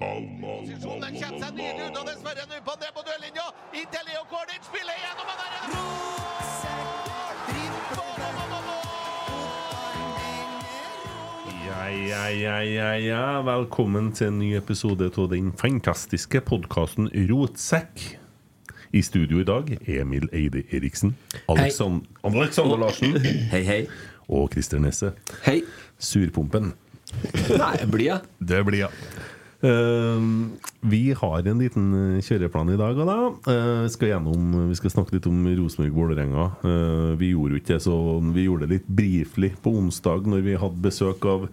Posisjon, den kjente seg nydelig ut, og dessverre nå på ned på duellinja. Inntil Leo Kornic spiller gjennom, og der er det Ja, ja, ja, ja, ja. Velkommen til en ny episode av den fantastiske podkasten Rotsekk. I studio i dag Emil Eide Eriksen, Alexand Alexander Larsen Hei, hei. og Christer Nesse. Hei. Surpumpen. Nei, blir jeg? Det blir jeg. Eh, vi har en liten eh, kjøreplan i dag. Og da. Eh, vi, skal gjennom, vi skal snakke litt om Rosenborg-Vålerenga. Eh, vi gjorde jo ikke det sånn, vi gjorde det litt briflig på onsdag når vi hadde besøk av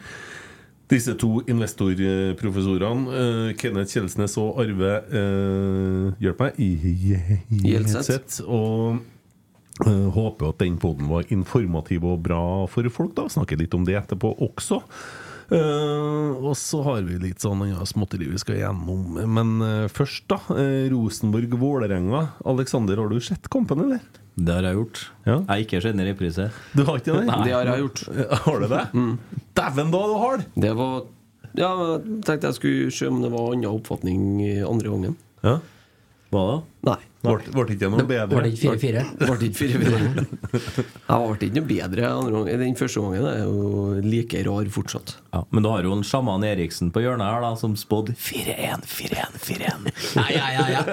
disse to investorprofessorene. eh, Kenneth Kjelsnes og Arve eh, Hjelp meg. I- I- Gjelseth. Og Eh, håper at den poden var informativ og bra for folk. da Snakker litt om det etterpå også. Eh, og så har vi litt sånn ja, småtteri vi skal gjennom. Men eh, først, da. eh, Rosenborg-Vålerenga. Aleksander, har du sett kampen, eller? Det har jeg gjort. Ja. Jeg har ikke sett den i reprise. Du har ikke det? Nei. Det har jeg gjort. Eh, Har du det? Dæven, da du har det! Det var Ja, jeg tenkte jeg skulle se om det var annen oppfatning i andre gangen. Ja. Hva da? Nei. Ble ble det ikke noe bedre? Var det ikke 4-4? Ble ikke fire fire. Jeg ble ikke noe bedre andre gangen. Den første gangen er jo like rar fortsatt. Ja, men du har jo en sjaman Eriksen på hjørnet her da som spådde 4-1, 4-1, 4-1. Ja, ja, ja.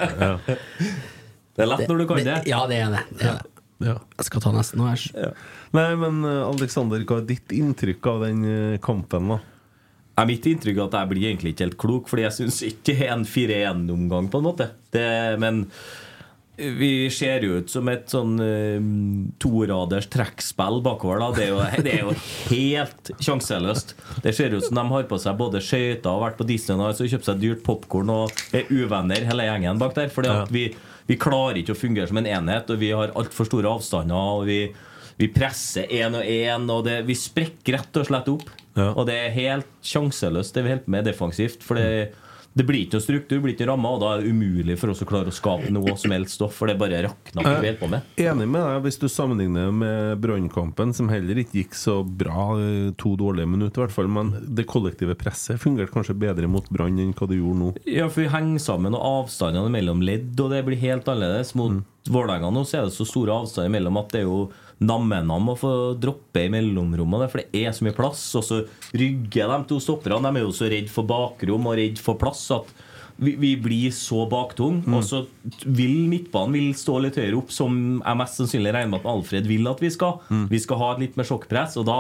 ja. Det er lett når du kan det. Ja, det er det. det, er det. Ja. Jeg skal ta nesten noe her. Nei, men eh, Aleksander, hva er ditt inntrykk av den eh, kampen, da? Ja, mitt inntrykk er at jeg blir egentlig ikke helt klok, fordi jeg syns ikke det er en 4-1-omgang, på en måte. Det, men vi ser jo ut som et sånn eh, toraders trekkspill bakover. Da. Det, er jo, det er jo helt sjanseløst. Det ser ut som de har på seg både skøyter og vært på Disneyland og kjøpt seg dyrt popkorn og er uvenner, hele gjengen bak der. Fordi at vi, vi klarer ikke å fungere som en enhet, og vi har altfor store avstander. Og vi, vi presser én og én, og det, vi sprekker rett og slett opp. Ja. Og det er helt sjanseløst, det vi holder på med defensivt. For det, det blir ikke noe struktur, det blir ikke rammer, og da er det umulig for oss å klare å skape noe som helst stoff. For det bare rakner ikke vi holder på med. Enig med deg hvis du sammenligner med Brannkampen, som heller ikke gikk så bra. eh, To dårlige minutter, i hvert fall. Men det kollektive presset fungerte kanskje bedre mot Brann enn hva det gjorde nå. Ja, for vi henger sammen, og avstandene mellom ledd, og det blir helt annerledes. Mot Vålerenga nå så er det så store avstander mellom at det er jo nammenam å få droppe i mellomrommene, for det er så mye plass. Og så rygger de to stopperne. De er jo så redd for bakrom og redd for plass at vi, vi blir så baktung. Og så vil midtbanen vil stå litt høyere opp, som jeg mest sannsynlig regner med at Alfred vil at vi skal. Vi skal ha et litt mer sjokkpress, og da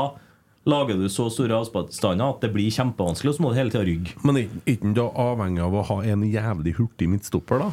lager du så store avstander at det blir kjempevanskelig, og så må du hele tida rygge. Men er ikke- er ikke han da avhengig av å ha en jævlig hurtig midtstopper, da?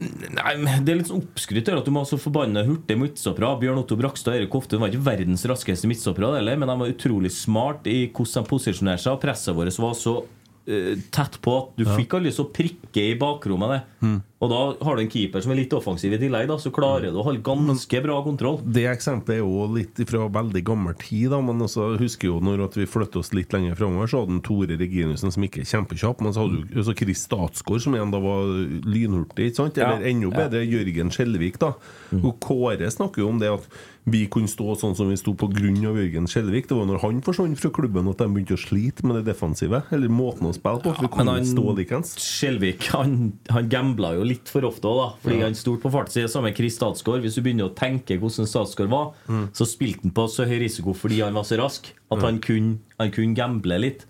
Nei, men Det er litt sånn oppskrytt her at du må ha så forbanna hurtige midtstoppere. Bjørn Otto Brakstad og Erik Hofte var ikke verdens raskeste midtstoppere, heller, men de var utrolig smart i hvordan de posisjonerte seg. Og presset vårt var så eh, tett på at du fikk aldri lyst til å prikke i bakrommet. Det. Og da har du en keeper som er litt offensiv i tillegg, da, så klarer du å holde ganske bra kontroll. Det eksempelet er jo litt fra veldig gammel tid, da, men også husker jo når at vi flytter oss litt lenger framover, så hadde han Tore Reginussen, som ikke er kjempekjapp, men så hadde du også Chris Statsgaard, som igjen da var lynhurtig, ikke sant? Eller Ja, enda ja. bedre Jørgen Skjelvik, da. Og Kåre snakker jo om det at vi kunne stå sånn som vi sto på grunn av Jørgen Skjelvik. Det var når han forsvant fra klubben at de begynte å slite med det defensive, eller måten å spille på. for vi kunne Men ikke stå han Skjelvik han, han gambla jo litt for ofte òg, da. Fordi Ja. han stolte på fartssida. Samme Chris Statsgaard. Hvis du begynner å tenke hvordan Statsgaard var, Mm. så spilte han på så høy risiko fordi han var så rask, at Ja. han kunne, han kunne gamble litt.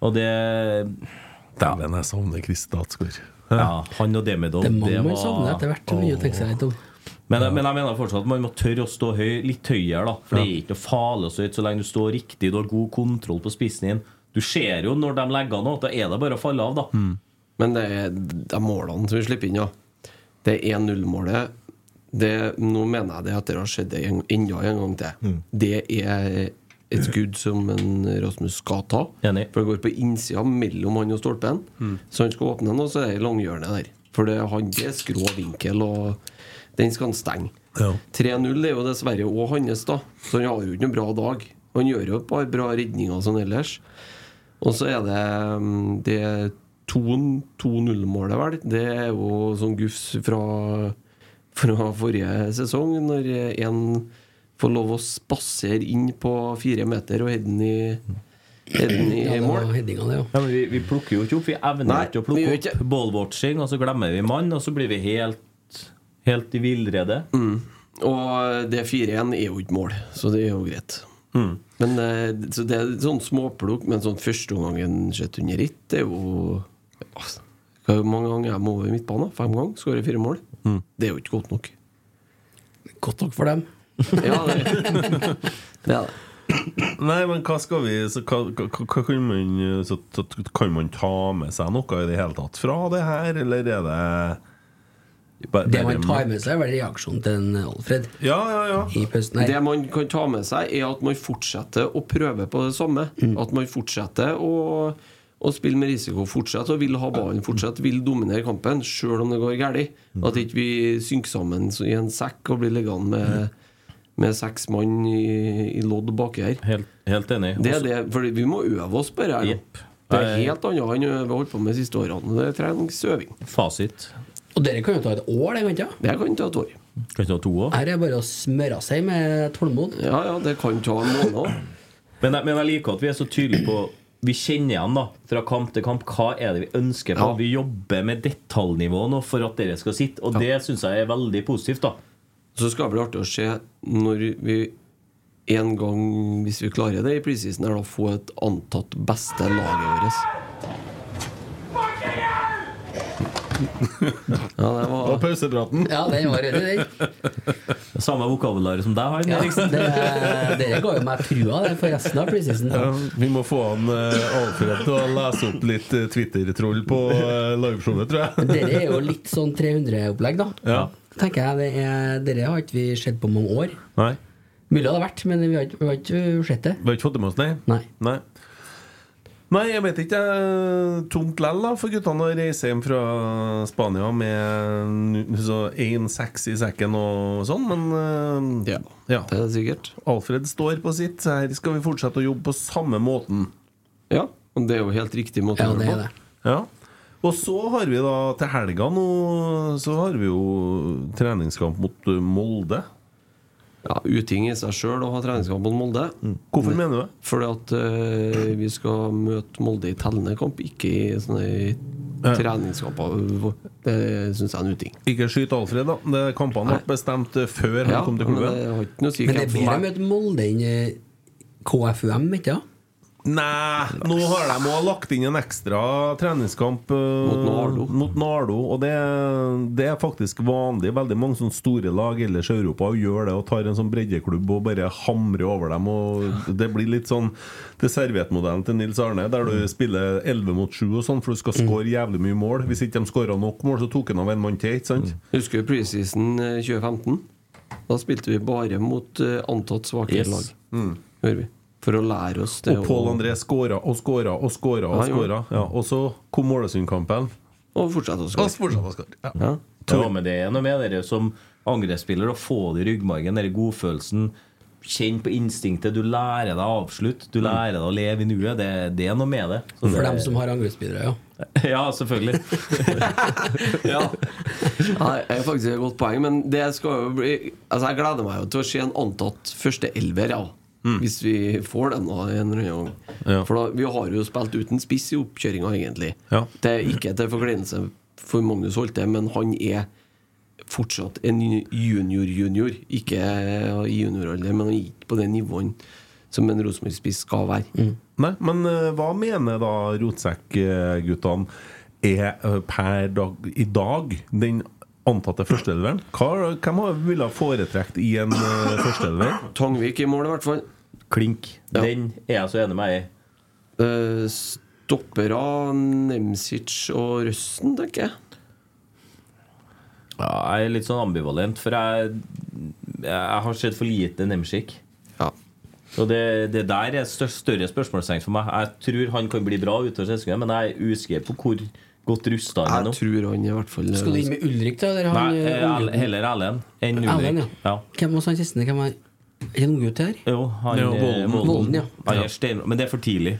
Og det Dæven, jeg savner Chris Statsgaard. Ja, han og Demidov. Det er mange det man var- savner etter hvert. Det er mye å tenke seg litt om. Men, men jeg mener fortsatt at man må tørre å stå høy, litt høyere. da For Det er ikke noe farlig å stå høyt så lenge du står riktig. Du har god kontroll på spissen din. Du ser jo når de legger an, at da er det bare å falle av. da Men det er de målene som vi slipper inn, ja. Det er 1-0-målet. Det- Nå mener jeg det etter å ha sett det en- enda en gang til. Mm. Det er et skudd som en Rasmus skal ta. For det går på innsida mellom han og stolpen. Mm. Så han skal åpne den, og så er det langhjørnet der. For det, han, det er skrå vinkel, og den skal han stenge. 3-0 er jo dessverre òg hans, da. Så han har jo ikke noen bra dag. Han gjør jo et par bra redninger sånn ellers. Og så er det mm, det 2-0-målet, vel. Det er jo sånn gufs fra, fra forrige sesong, når en får lov å spasere inn på fire meter og heade den i, heade den i mål. Ja, men vi, vi plukker jo ikke opp. Vi evner Nei, ikke å vi plukke gjør opp ballwatching, og så glemmer vi mann, og så blir vi helt, helt i villrede. Mm. Og det 4-1 er jo ikke mål, så det er jo greit. Mm. Men eh, så det er sånn småplukk, men sånn førsteomgangen sett under ett, det er jo altså, Hvor mange ganger er de over midtbanen? Fem ganger? Skårer fire mål? Mm. Det er jo ikke godt nok. Godt nok for dem. Ja, det, det er det. Nei, men hva skal vi så, hva, hva, hva kan, man, så, så, kan man ta med seg noe i det hele tatt fra det her, eller er det bare- Det man tar med seg, er vel reaksjonen til en Alfred. Ja, ja, ja. I pausen her. Det man kan ta med seg, er at man fortsetter å prøve på det samme. At man fortsetter å, å spille med risiko, fortsette og vil ha ballen, fortsette vil dominere kampen, sjøl om det går galt. At ikke vi synker sammen i en sekk og blir liggende med, med seks mann i, i lodd baki her. Helt, helt enig. Det er det, for vi må øve oss på det. her nå. Det er Jeg- helt annet enn vi har holdt på med de siste årene. Det trengs øving. Fasit. Og dere kan jo ta et år, det kan ikke? Det kan ta et år. Kan ikke ha to òg. Her er det bare å smøre seg med tålmod. Ja, ja, det kan ta en måned òg. Men, jeg- men jeg liker at vi er så tydelige på Vi kjenner igjen da fra kamp til kamp hva er det vi ønsker på. Ja. Vi jobber med detaljnivå nå for at dere skal sitte, og det syns jeg er veldig positivt. da Så skal det bli artig å se når vi en gang, hvis vi klarer det i preseason, her da få et antatt beste laget vårt. Ja, det var pausepraten. Ja, den var ryddig, den. Samme vokabular som deg har, Ja, Eriksen. det- Dere ga jo meg trua det, for resten av preseason. Ja, vi må få han eh, Alfred til å lese opp litt eh, Twitter-troll på eh, liveshowet, tror jeg. Dere er jo litt sånn 300-opplegg, da. Ja. Tenker jeg, det er, Dere har ikke vi sett på mange år. Nei. Mulig det hadde vært, men vi har ikke, vi har ikke sett det. Vi har ikke fått det med oss, nei? Nei. Nei. Nei, jeg vet ikke. eh, Tungt lell da, for guttene å reise hjem fra Spania med eh, så 1-6 i sekken og sånn, men eh, Ja, det er sikkert. Alfred står på sitt. så Her skal vi fortsette å jobbe på samme måten. Ja, og det er jo helt riktig måte Ja, å det gjøre er det det. på. Ja. Og så har vi da til helga nå Så har vi jo treningskamp mot eh, Molde. Ja, uting i seg sjøl å ha treningskamp mot Molde. Mm. Hvorfor mener du det? Fordi at eh, vi skal møte Molde i tellende kamp, ikke i sånne treningskamper. Det syns jeg er en uting. Ikke skyt Alfred, da. Det Kampene ble bestemt eh, før han Ja, kom til men det klubben. har ikke noe å si Men det hvem er som bedre er- å møte Molde enn eh, KFUM, ikke sant? Nei, nå har de òg lagt inn en ekstra treningskamp eh, Mot Nardo. mot Nardo, og det, det er faktisk vanlig. Veldig mange sånne store lag ellers i Europa gjør det og tar en sånn breddeklubb og bare hamrer over dem. Og det blir litt sånn til serviettmodellen til Nils Arne, der du spiller 11 mot 7 og sånn, for du skal skåre jævlig mye mål. Hvis ikke de skåra nok mål, så tok han av en mann til, ikke sant? Husker du preseason eh, 2015? Da spilte vi bare mot eh, antatt svakere Yes. lag. Hører vi. For å lære oss det. Og Pål André skåra og skåra og skåra. Og, Ja, jo. skåra. ja, og så kom Målesund-kampen. og fortsette å skåre. Og fortsette å skåre, ja. Ta med det noe med dere som angrepsspiller og få det i ryggmargen, den godfølelsen. Kjenn på instinktet. Du lærer deg å avslutte. Du lærer deg å leve i nuet. Det, det er noe med det. Så Mm. For det- dem som har angrepsspillere, ja. Ja, selvfølgelig. Nei, det er faktisk et godt poeng, men det skal jo bli Altså, jeg gleder meg jo til å se en antatt førsteelver, ja. Hvis vi får den da, en eller annen gang. For da, vi har jo spilt uten spiss i oppkjøringa, egentlig. Ja. Det er ikke til forkleinelse for Magnus Holte, men han er fortsatt en junior-junior. Ikke i junioralder, men han er ikke på det nivået som en Rosenborg-spiss skal være. Nei, men eh, hva mener da Rotsekk-guttene er eh, per dag i dag den antatte førsteelveren? Hva- Hvem har- ville ha foretrekt i en eh, førsteelver? Tangvik i mål, i hvert fall. Klink. Den er jeg så enig med deg i. Eh, stoppere, Nemsic og Røsten, tenker jeg. Ja, jeg er litt sånn ambivalent, for jeg, jeg har sett for lite Nemsjik. Ja. Og det, det der er stør- større spørsmålstegn for meg. Jeg tror han kan bli bra utover sesongen, men jeg er usikker på hvor godt rusta han er nå. Jeg tror han i hvert fall Skal du inn med Ulrik, da? Eller han, Nei, eh, eh, unggutten? Al- heller Erlend enn Erlend, Ulrik. Ja. Hvem var han siste? Hvem var Er det en unggutt her? Jo, han Jo, eh, Volden. Volden, ja. Mm. Han er stein, men det er for tidlig.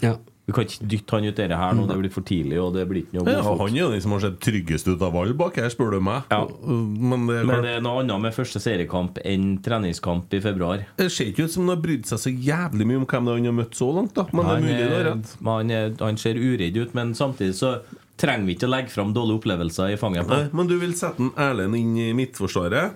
Vi kan ikke dytte han ut dere her nå. Det blir for tidlig, og det blir ikke noe Ja, god fot. han er jo den som har sett tryggest ut av alle bak her, spør du meg. Men det er Men klart det er noe annet med første seriekamp enn treningskamp i februar. Det ser ikke ut som de har brydd seg så jævlig mye om hvem de har møtt så langt, da. Men det er mulig det er rett. Han, er, han ser uredd ut, men samtidig så trenger vi ikke å legge fram dårlige opplevelser i fanget på Nei, men du vil sette en Erlend inn i midtforsvaret?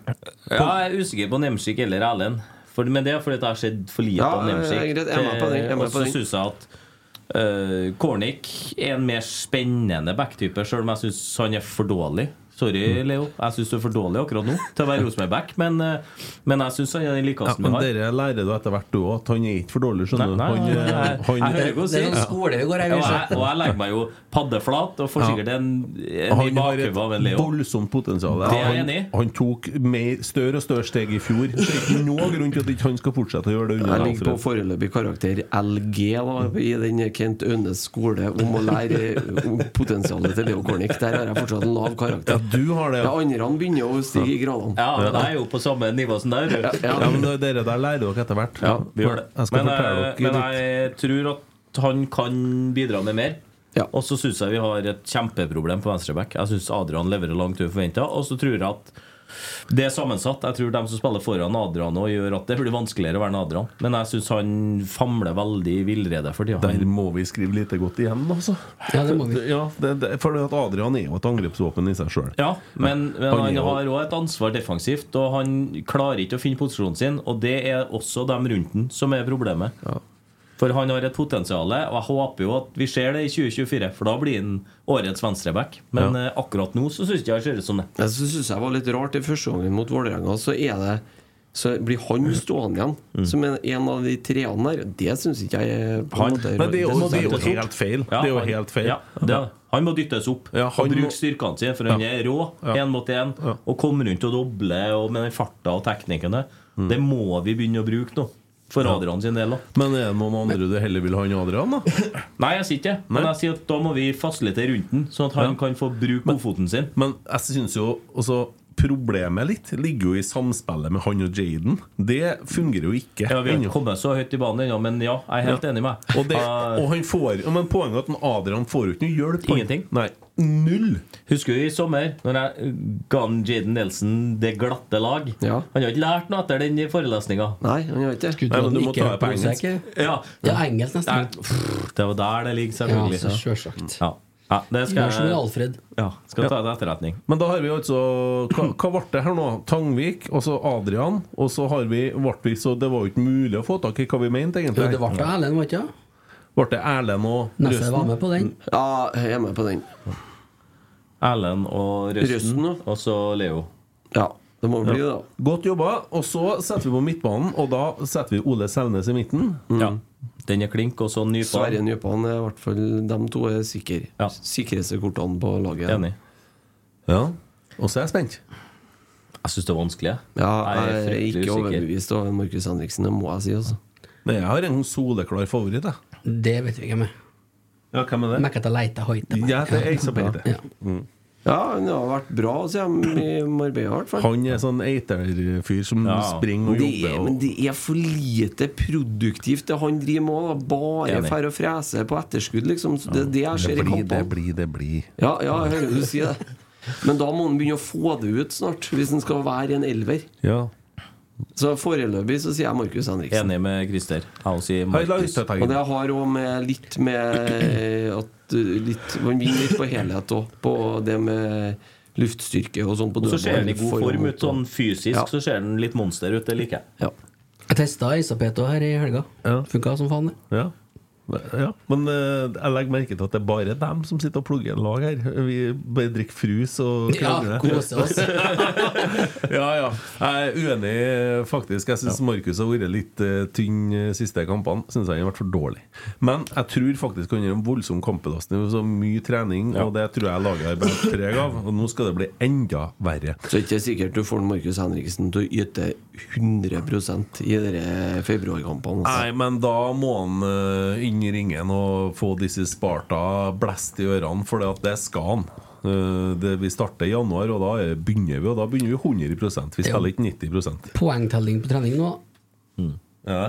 Ja, jeg er usikker på Nemsik eller Erlend. For, men det er fordi at jeg har sett for lite Ja, av Nemsik. Eh, jeg er greit. Jeg er med på den. Jeg er med Og på så den. syns jeg at eh, Kornik er en mer spennende backtype, sjøl om jeg syns han er for dårlig. Sorry, Mm. Leo. Jeg syns du er for dårlig akkurat nå til å være Rosenborg-back, men, eh, men jeg syns han er den Ja, likeste men vi har. dere lærer du etter hvert, du òg, at han er ikke for dårlig, skjønner du. Nei, Han, nei, nei, eh, nei. han- Jeg hører hva du sier. Ja, og jeg, og jeg legger meg jo paddeflat og får Ja. sikkert en, en i Han har bakhodet av en et Leo. voldsomt potensial. Det er jeg Han, enig i. han tok mer, større og større steg i fjor. Så det er ikke noen grunn til at ikke han skal fortsette å gjøre det. under Jeg ligger på Alfred. foreløpig karakter LG da, i den Kent Ønes skole om å lære om potensialet til Leo Kornic. Der har jeg fortsatt en lav karakter. Ja, du har det, De andre begynner å stige i gradene. Ja, men jeg er jo på samme nivå som deg. Ja, Ja, men det- Dere der lærer dere etter hvert. Ja, vi gjør det. Jeg skal Men, fortelle dere jeg, men litt. jeg tror at han kan bidra med mer. Og så syns jeg vi har et kjempeproblem på venstreback. Jeg syns Adrian leverer langt over forventa. Og så tror jeg at det er sammensatt. Jeg tror de som spiller foran Adrian, nå gjør at det blir vanskeligere å være en Adrian. Men jeg syns han famler veldig i villrede for tida. Der må vi skrive lite godt igjen, altså. Ja, det må vi. Ja, det, det, fordi at Adrian er jo et angrepsvåpen i seg sjøl. Ja, men, men Han han, er jo- har òg et ansvar defensivt, og han klarer ikke å finne posisjonen sin. Og det er også dem rundt den som er problemet. For han har et potensial, og jeg håper jo at vi ser det i 2024, for da blir han årets venstreback. Men eh, akkurat nå så syns jeg han ser ut som det. Jeg sy- synes jeg var litt rart i første gangen mot Vålerenga. Så, er det, så blir han stående igjen Mm. som en, en av de treene der. Det syns ikke jeg er på en måte- Men det er jo, det synes jeg er jo litt rart. helt feil. Det er jo han- helt feil. Ja, det, er det. han må dyttes opp han og må- bruke styrkene sine, for han Ja. er rå Ja. én mot én. Og komme rundt og doble og med den farta og teknikken der. Det må vi begynne å bruke nå, for Mm. Ja. Adrian sin del òg. Men er det noen andre du heller vil ha enn Adrian, da? Nei, jeg sier ikke det. Men jeg sier at da må vi fasilitere rundt den, sånn at han kan få bruke godfoten sin. Men jeg syns jo også Problemet litt ligger jo i samspillet med han og Jaden. Det fungerer jo ikke. Ja, Vi har ennå. ikke kommet så høyt i banen ennå, men ja, jeg er helt Ja. enig med deg. Og, det, Ah, og han får ja, Men poenget er at en Adrian får jo ikke noe hjelp. han. Ingenting. Nei, null. Husker du i sommer, når jeg ga han Jaden Nelson det glatte lag? Ja. Han har ikke lært noe etter den forelesninga. Nei, han gjør ikke det. Nei, men du må ta det på altså. engelsk. Ja. Ja. Det er engelsk nesten. Nei, pff, Det var der det ligger, selvfølgelig. Ja, altså. så selvsagt. Ja. Ja, det skal Gjør som med jeg Alfred. ja, skal ta til etterretning. Men da har vi altså Hva, hva ble det her nå? Tangvik, og så Adrian. Og så har vi, ble vi så det var jo ikke mulig å få tak i hva vi mente, egentlig. Jo, det ble da Erlend, var det ikke? Ble det Erlend og Nesse var med på den. Ja, jeg er med på den. Erlend og Røsten, og så Leo. Ja, det må bli det, da. Godt jobba. Og så setter vi på midtbanen, og da setter vi Ole Selnes i midten. Ja. Den er klink, og så Nypan. Mm. Sverre Nypan er i hvert fall De to er sikre. Sikreste kortene på laget. Enig. Ja. Og så er jeg spent. Jeg syns det er vanskelig. jeg. Ja, Jeg er jeg er fryktelig ikke usikker. overbevist av Markus Henriksen, det må jeg si. altså Men jeg har en soleklar favoritt, jeg. Det vet vi hvem er. Ja, hvem er det? Mekka til leita høyt. Ja, det er jeg som heter det. Mm. Ja, han har vært bra, sier de i Marbella i hvert fall. Han er sånn eiterfyr som Ja. springer og det er, jobber. og- Men det er for lite produktivt, det han driver med òg. Bare Enig. fær og frese på etterskudd, liksom. Så det er det jeg ser i blir, det kampene. blir, det blir. Ja, ja, jeg hører du si det. Men da må han begynne å få det ut snart, hvis han skal være en elver. Ja. Så foreløpig så sier jeg Markus Henriksen. Enig med Christer. Jeg sier Og Markus. det har òg med litt med eh, at eh, litt, Man vinner litt på helhet òg, på det med luftstyrke og sånn på Og så ser dødball, han i god form ut sånn fysisk, Ja. så ser han litt monster ut. Det liker jeg. Jeg testa Isapeto her i helga. Funka som faen, det. Ja. ja. Men eh, jeg legger merke til at det er bare dem som sitter og plugger lag her. Vi bare drikker frus og Ja, koser oss. ja, ja. Jeg er uenig, eh, faktisk. Jeg syns Markus har vært litt eh, tynn eh, siste kampene. Syns jeg han har vært for dårlig. Men jeg tror faktisk han gjør en voldsom kampbelastning. Så mye trening, og det tror jeg laget har båret preg av. Og nå skal det bli enda verre. Så det er ikke sikkert du får Markus Henriksen til å yte 100 i dere februarkampene. altså. Nei, men da må han eh, inn i ringen og få disse Sparta blæst i ørene, for det, at det skal han. Eh, det, vi starter i januar, og da eh, begynner vi, og da begynner vi 100 Vi spiller ikke 90 Poengtelling på trening nå. ja.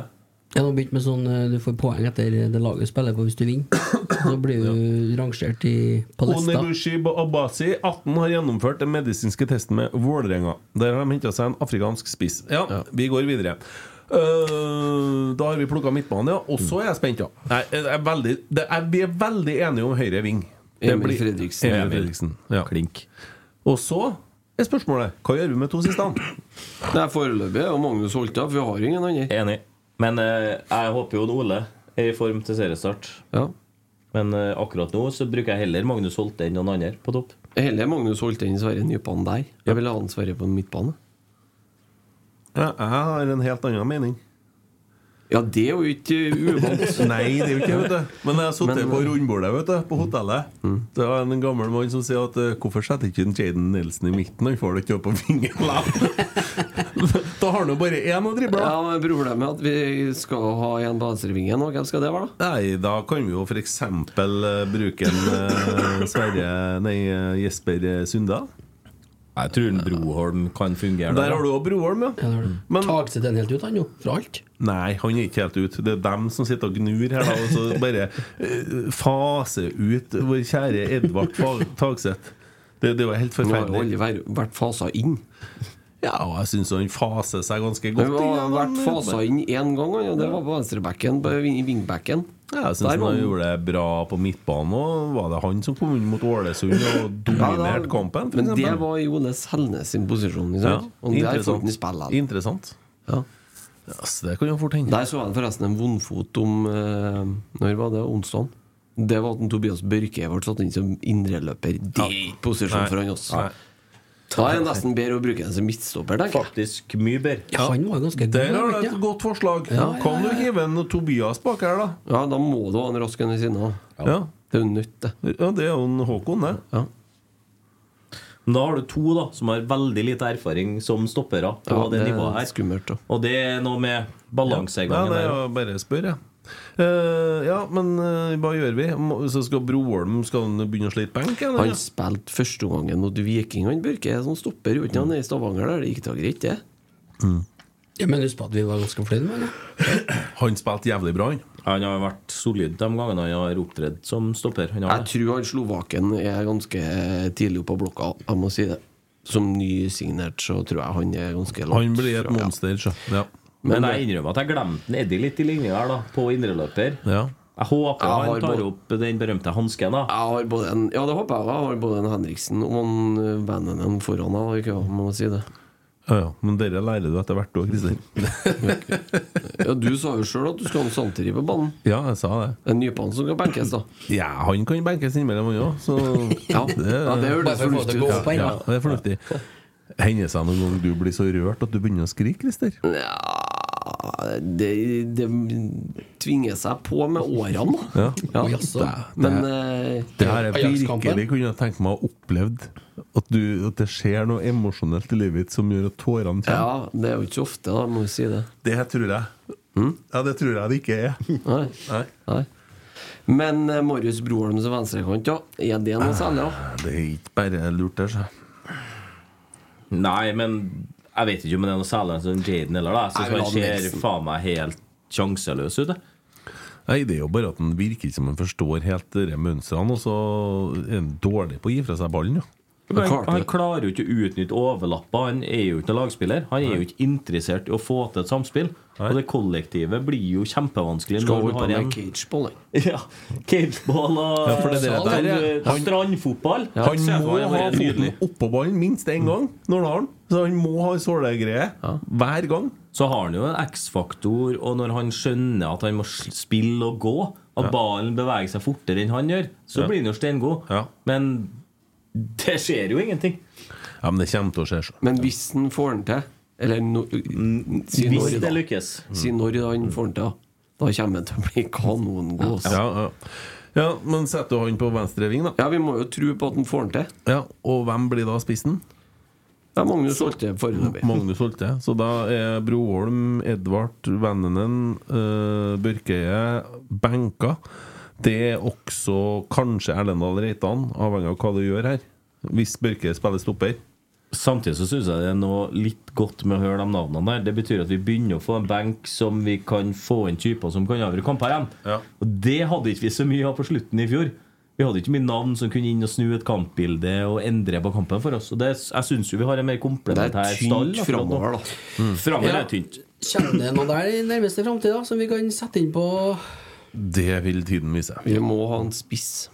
Jeg har nå begynt med sånn eh, Du får poeng etter det laget du spiller på hvis du vinner. Så blir du rangert i, på lista. Onibushi Abasi, 18, har gjennomført den medisinske testen med Vålerenga. Der har de henta seg en afrikansk spiss. Ja, vi går videre. Eh, da har vi plukka midtbane, ja. Og så er jeg spent, ja. Nei, jeg er veldig, det er, vi er veldig enige om høyre ving. Det Emil blir- Fredriksen. Emil Fredriksen. Ja. Klink. Og så er spørsmålet hva gjør vi med to siste? Nei, foreløpig er jo Magnus Holta, for vi har jo ingen andre. Enig. Men eh, jeg håper jo at Ole er i form til seriestart. Men eh, akkurat nå så bruker jeg heller Magnus Holte enn noen andre på topp. Heller Magnus Holte enn Sverre Nypan der. Jeg ville ha han Sverre på midtbane. Ja, jeg har en helt annen mening. Ja, det er jo ikke uvant. Nei, det er jo ikke det, vet du. Men jeg har sittet Men- eh, Mm. på rundbordet vet du, på hotellet. Det var en gammel mann som sier at eh, 'Hvorfor setter ikke en Jaden Nelson i midten? Han får det ikke opp på vingen da har han jo bare én å drible. Ja, men Problemet er at vi skal ha en på venstrevingen, og hvem skal det være, da? Nei, da kan vi jo f.eks. bruke en eh, Sverre Nei, eh, Jesper eh, Sunda. Jeg tror en Broholm kan fungere. Der har du òg Broholm, ja. Men Taksett den helt ut, han jo. Fra alt. Nei, han er ikke helt ute. Det er dem som sitter og gnur her, da, og så bare eh, faser ut vår kjære Edvard Fa- Tagseth. Det, det var helt Han har jo forferdelig. aldri vært- vært fasa inn. Ja, og jeg syns han faser seg ganske godt Han inn, har han, vært fasa inn én gang, han, og det var på venstrebacken, på ving- i wingbacken. Ja, jeg syns Der han var han- gjorde det bra på midtbanen òg. Var det han som kom inn mot Ålesund og Ja, dominerte da- kampen? for Men det eksempel? var i Ole Selnes sin posisjon. Ikke Ja, sant? og der får interessant. han ikke spille. han. Interessant. altså. Ja. det kan jo fort hende. Der så jeg forresten en vondfot om eh, Når var det? Onsdag? Det var at en Tobias Børke ble satt inn som indreløper. Det er ikke posisjon Nei. for han også. Nei. Da er det nesten bedre å bruke den som midtstopper, tenker jeg. Faktisk mye bedre. Ja, han var jo ganske god. Der da, har vet du jeg. et godt forslag. Ja, ja, Kan du hive en Tobias bak her, da? Ja, da må du ha en rask en i siden av. Ja. Det er jo nødt, det. ja, det er jo en Håkon, det. Ja. Men da har du to da som har veldig lite erfaring som stoppere på Ja, det det er nivået her. skummelt, da. Og det er noe med Ja, balansegangen det er der. jo bare å spørre, jeg. Eh, ja, men eh, hva gjør vi? Må- Så skal Broholm Skal han begynne å slite benk? eller? Han spilte førsteomgangen mot Viking. Han Børke som stopper uten han er i Stavanger der. Det gikk da greit, det. Ja, men husk på at vi var ganske fornøyd med det. Han spilte jævlig bra, han. Han har vært solid de gangene han har opptredd som stopper. Han har Jeg tror han Slovaken er ganske tidlig oppe på blokka, jeg må si det. Som nysignert så tror jeg han er ganske langt Han blir et fra, ja. eh, monster, så. Ja. Men jeg innrømmer at jeg glemte Eddie litt i linja her, da, på indreløper. Ja. Jeg håper Jeg har han tar både- opp den berømte hansken, da. Jeg har både en, ja, det håper jeg. Jeg har både en Henriksen og en eh, Vananen foran meg. Ikke, sant, må jeg si det. Ja, ja. Men dere lærer du etter hvert òg, Kristin. Ja, du sa jo sjøl at du skal ha en Santeri på banen. Ja, jeg sa det. En nypann som kan benkes, da. Ja, han kan benkes innimellom, han òg, så Ja, ja, det hørtes Bare for å få det fornuftig til å ut. gå opp her, ja, ja. det er fornuftig. Hender det seg noen gang du blir så rørt at du begynner å skrike, Christer? Ja, det, det tvinger seg på med årene, da. Ja. Ja. Oi, altså. Men eh, Det her er Ajax-kampen. virkelig kunne jeg tenke meg å ha opplevd. At, du, at det skjer noe emosjonelt i livet ditt som gjør at tårene kommer. ja, det er jo ikke så ofte, da, må vi si det. Mm? Det tror jeg. Ja, det tror jeg det ikke er. Nei. Nei. Nei. Men eh, Marius Broholm som venstrekant, ja. Er det noe særlig, da? Det er ikke bare lurt, det, altså. så. Nei, men jeg vet ikke om det er noe særlig som Jaden eller da. Jeg Nei, synes men han Adamsen. ser faen meg helt sjanseløs ut. jeg. Nei, Det er jo bare at han virker ikke som han forstår helt de mønstrene, og så er han dårlig på å gi fra seg ballen. Ja. Men Han, han klarer jo ikke å utnytte overlapper. Han er jo ikke noen lagspiller. Han er jo ikke interessert i å få til et samspill. Og det kollektivet blir jo kjempevanskelig Skal når holde du på har med en cageball, jeg. Ja, cageball og Ja, for det er det sånn, der, ja. eh, Han- strandfotball. Han Så jeg må bare- ha foten oppå ballen minst én gang når han har den. Så han må ha en sålegreie hver gang. Så har han jo en X-faktor, og når han skjønner at han må s- spille og gå, at Ja. ballen beveger seg fortere enn han gjør, så Ja. blir han jo steingod. Men det skjer jo ingenting. Ja, men det kommer til å skje. så. Men hvis han får den til Eller no, si hvis når, det da. lykkes. Si Mm. når da han får den til, da. Da kommer han til å bli kanongod. altså. Ja, ja. ja, men setter du han på venstre ving, da? Ja, vi må jo tro på at han får den til. Ja, Og hvem blir da spissen? Ja, Magnus Holte foreløpig. Magnus Holte. Så da er Broholm, Edvard Vennenen, eh, Børkeie benka. Det er også kanskje Erlendal Reitan, avhengig av hva du gjør her. Hvis Børkeie spiller stopper. Samtidig så syns jeg det er noe litt godt med å høre de navnene der. Det betyr at vi begynner å få en benk som vi kan få inn typer som kan avgjøre kamper igjen. Og det hadde ikke vi så mye av på slutten i fjor. Vi hadde ikke mye navn som kunne inn og snu et kampbilde og endre på kampen for oss. Og det, jeg syns jo vi har en mer komplementær stall. akkurat nå. Mm. Framover er tynt. Kommer det noe der i nærmeste framtid som vi kan sette inn på Det vil tiden vise. Vi må ha en spiss.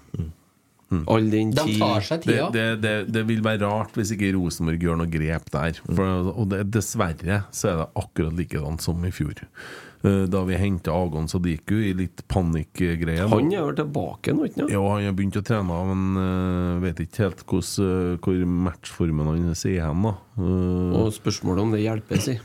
Mm. All den De tid tar seg tida. Det, det, det, det vil være rart hvis ikke Rosenborg gjør noe grep der. For, og det, dessverre så er det akkurat likedan som i fjor. Eh, Da vi henta Agon Sadiku i litt panikkgreier. Han er jo tilbake nå, ikke sant? Ja, han har begynt å trene, men eh, vet ikke helt hvordan, eh, hvor matchformen hans er hen. da. Eh, Og spørsmålet om det hjelper, si.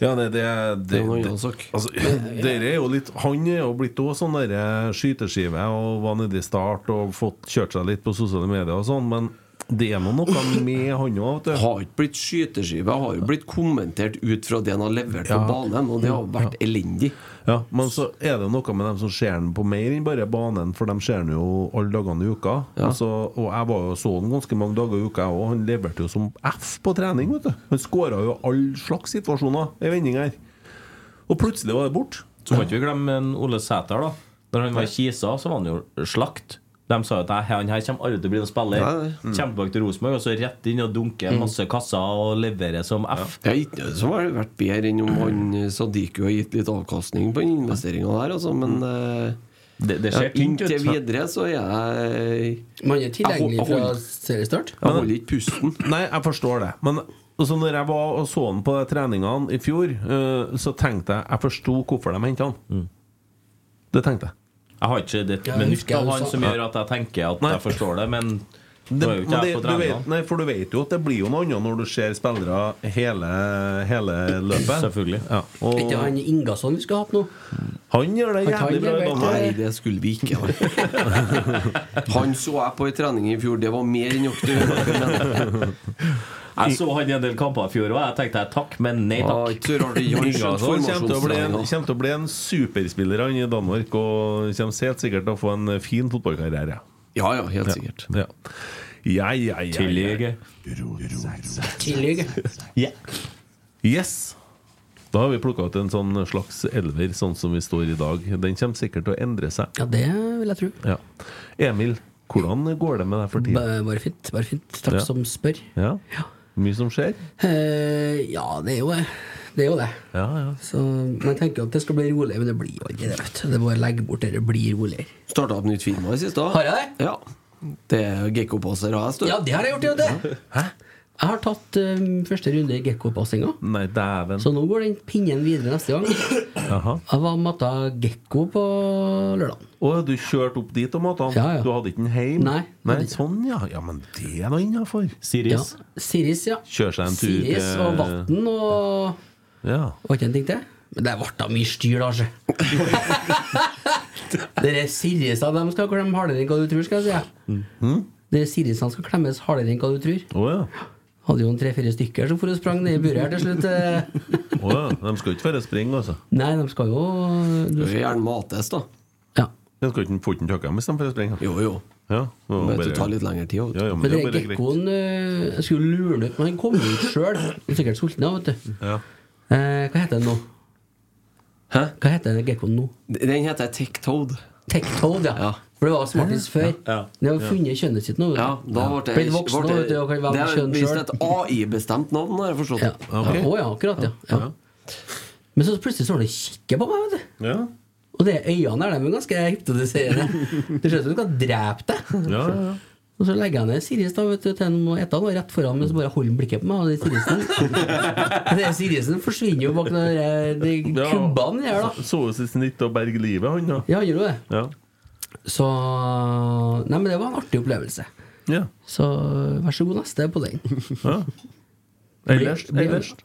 ja, det, det, Det det, er noe det, annet sak. altså, dere er jo litt Han er jo blitt også sånn derre skyteskive og var nede i start og fått kjørt seg litt på sosiale medier og sånn, men det er nå noe med han òg, vet du. Har ikke blitt skyteskive, har jo blitt kommentert ut fra det han har levert på Ja. Mm. banen, og det har vært elendig. Ja, Men så er det noe med dem som ser den på mer enn bare banen, for de ser den jo alle dagene i uka. Ja. Og, så, og jeg var jo så den ganske mange dager i uka, jeg òg. Han leverte jo som F på trening. vet du Han skåra jo alle slags situasjoner i vending her. Og plutselig var det bort. Så må ikke vi glemme en Ole Sæter, da. Når han var i Kisa, så var han jo slakt. De sa jo at «Nei, han her kommer aldri til å bli noen spiller. Nei, nei. Mm. Kommer tilbake til Rosenborg og så rett inn og dunke Mm. masse kasser og levere som F. Det er ikke noe som har vært bedre enn om han eh, Sadiku har gitt litt avkastning på den investeringa der, altså, men Mm. eh, det, det ser tynt ut. Inntil videre så er jeg Man er tilgjengelig Jeg fra hold- seriestart? Jeg holder ikke pusten. Nei, jeg forstår det. Men altså, når jeg var og så han på de treningene i fjor, eh, så tenkte jeg Jeg forsto hvorfor de henta han. Det tenkte jeg. Jeg har ikke det Ja, jeg minutt husker av du han sa- som gjør at jeg tenker at jeg forstår det, men Det, det var jo men ikke det, jeg på du vet, treningene. nei, for du vet jo at det blir jo noe annet når du ser spillere hele, hele løpet. Selvfølgelig. Ja. Er ikke han Ingasson vi skal ha opp nå? Han gjør det Han tar jævlig bra i levert Danmark. Nei, det skulle vi ikke ha. Han så jeg på ei trening i fjor, det var mer enn nok til å gjøre. men- Jeg så han i en del kamper i fjor òg. Jeg tenkte jeg takk, men nei Ah, Ja, takk. ikke så rart det gjør Ja, så han kommer til å bli en- kommer til å bli en superspiller han i Danmark, og kommer helt sikkert til å få en fin fotballkarriere. Ja, ja, helt sikkert. Ja, ja, ja, ja. Tillegg. Tillegg. Yes! Da har vi plukka ut en sånn slags elver, sånn som vi står i dag. Den kommer sikkert til å endre seg. Ja, det vil jeg tro. Ja. Emil, hvordan går det med deg for Ba- tida? Bare fint. bare fint Takk Ja. som spør. Ja. Mye som skjer? Eh, ja, det er jo det. Det er jo det. Ja, ja. Så man tenker jo at det skal bli rolig, men det blir jo ikke det. vet du Det er bare å legge bort det, det blir roligere. Starta opp nytt firma i siste. Har jeg det? Ja. Det er Gekko-poser og jeg står Ja, det har jeg gjort, jo, det! Jeg har tatt eh, første runde i gekkopassinga, Nei, dæven. så nå går den pinnen videre neste gang. Jaha. Jeg var matta gekko på lørdag. Å, du kjørte opp dit og måtte han? Ja, ja. Du hadde ikke den hjem? Nei, Nei hadde ikke. sånn, ja. ja. Men det er da innafor. Siris. Ja, Siris, ja. Kjøre seg en tur Siris til- eh, og vann og Ja. Og ikke en ting til. Men det ble da mye styr, da, sjø. Dere Sirisa, de skal klemme hardere enn hva du tror, skal jeg si. Mm. Dere Sirisene skal klemmes hardere enn hva du tror. Å ja. Hadde jo en tre-fire stykker som for og sprang ned i buret her til slutt. eh. Å ja. De skal ikke føre springe, altså. Nei, de skal jo Du er gjerne mates, da. Ja. Den skal ikke få den takka med istedenfor å sprenge? Jo, jo. Ja, og Men bare- det tar litt lengre tid. Ja, ja, men Men det er den bare greit. gekkoen eh, Jeg skulle lure den ut, men han kom jo ut sjøl. Sikkert sulten, da, vet du. Ja. Eh, hva heter den nå? Hæ? Hva heter den gekkoen nå? Den heter Tectoad. Tectoad, ja. For det var smartest før. Ja. Den har funnet kjønnet sitt nå. vet du. Ja, da ble det Blitt voksen nå, vet du, og kan Det velge er kjønn visst sjøl. et AI-bestemt navn, har jeg forstått. Ja. Ja. Å ja, akkurat, ja. ja. Men så plutselig står han og kikker på meg, vet du. Ja. Og det øynene der, de er ganske hypnotiserende. Det ser ut som du skal drepe deg. Ja, ja, ja. Og så legger jeg ned Sirius da, vet du, til han må ette han, og rett foran meg, så bare holder han blikket på meg. Og det er Siriusen Det er Siriusen forsvinner jo bak den der, eh, de kubbene der, da. Så- Så ut som snitt og berge livet, han, da. Ja, han gjør jo det. Ja. Så Nei, men det var en artig opplevelse. Ja. Så vær så god, neste på den. ja. Ellers? Blir- blir- Ellers? Mm.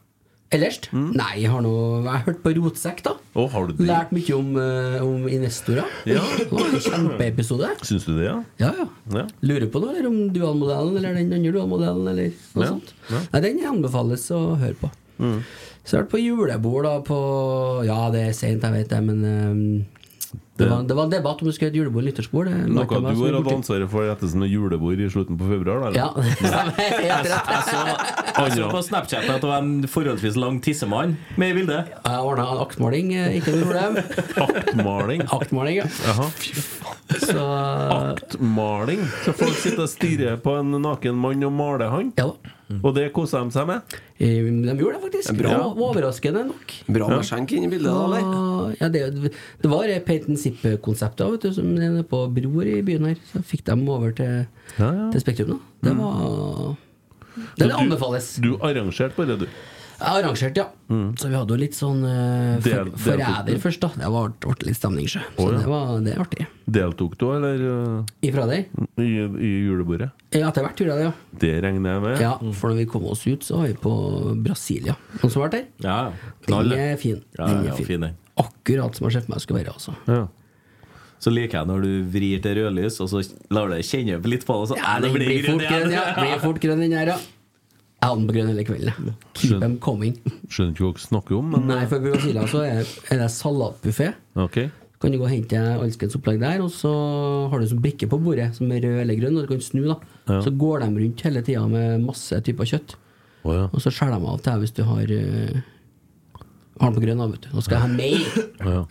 Ellers? Nei, jeg har nå Jeg har hørt på Rotsekk, da. Å, har du det? Lært mye om, eh, om investorer. Ja. Det var en Kjempeepisode. Syns du det, ja? Ja, ja. Ja. Lurer på noe eller om dualmodellen eller den andre dualmodellen eller noe Ja, sånt. ja. Mm. Nei, den anbefales å høre på. Så jeg har vært på julebord da på Ja, det er seint, jeg vet det, men ehm, Det- det, var, det var en debatt om vi skulle ha et julebord eller nyttårsbord. det Noe merket jeg meg du som har er hatt borti. ansvaret for etter som er julebord i slutten på februar? Eller? Ja, helt rett. Jeg så på Snapchat at det var en forholdsvis lang tissemann med i bildet. Jeg ordna en aktmaling, eh, ikke noe problem. Aktmaling. Aktmaling, ja. Jaha. Så Aktmaling. Så folk sitter og stirrer på en naken mann og maler han? ja da. Og det koser de seg med? Eh, De gjorde det faktisk. Bra. Det var Overraskende nok. Bra med skjenk inn i bildet, da, eller? Og- Ja, det, det var det Peyton Zipp-konseptet vet du, som er nede på Bror i byen her. Så fikk dem over til, Ja, ja. til Spektrum. da Det var Det Så anbefales. Du arrangerte bare, du. Jeg arrangerte, ja. Så vi hadde jo litt sånn eh, Del- for, del- forræder først, da. Det var det ble litt stemning, sjø. Så Å, ja. det var det er artig. Deltok du, eller? øh, Ifra deg? I, i julebordet? Ja, Etter hvert gjorde jeg det, ja. Det regner jeg med. ja. For når vi kom oss ut, så var vi på Brasilia. Noen som har vært der? Ja, Den knall. er fin. Ja, Den ja, er fin. fin den. Akkurat som jeg ser for meg skulle være, altså. Ja. Så liker jeg når du vrir til rødlys, og så lar du deg kjenne litt på det. og Så, Ja, Nei, den det blir grønn fort grønn, ja. Blir fort grønn den her, ja. Jeg hadde den på grønn hele kvelden. jeg. Keep Skjønner. them coming. Skjønner ikke hva dere snakker om, men Nei, for på Brasilia så er er det salatbuffé. ok. Kan du gå og hente alskens opplegg der, og så har du sånn brikke på bordet som er rød eller grønn, og du kan snu, da. Ja. Så går de rundt hele tida med masse typer kjøtt, Å ja. og så skjærer de av til deg hvis du har eh, har den på grønn, da, vet du. Nå skal jeg ha mer!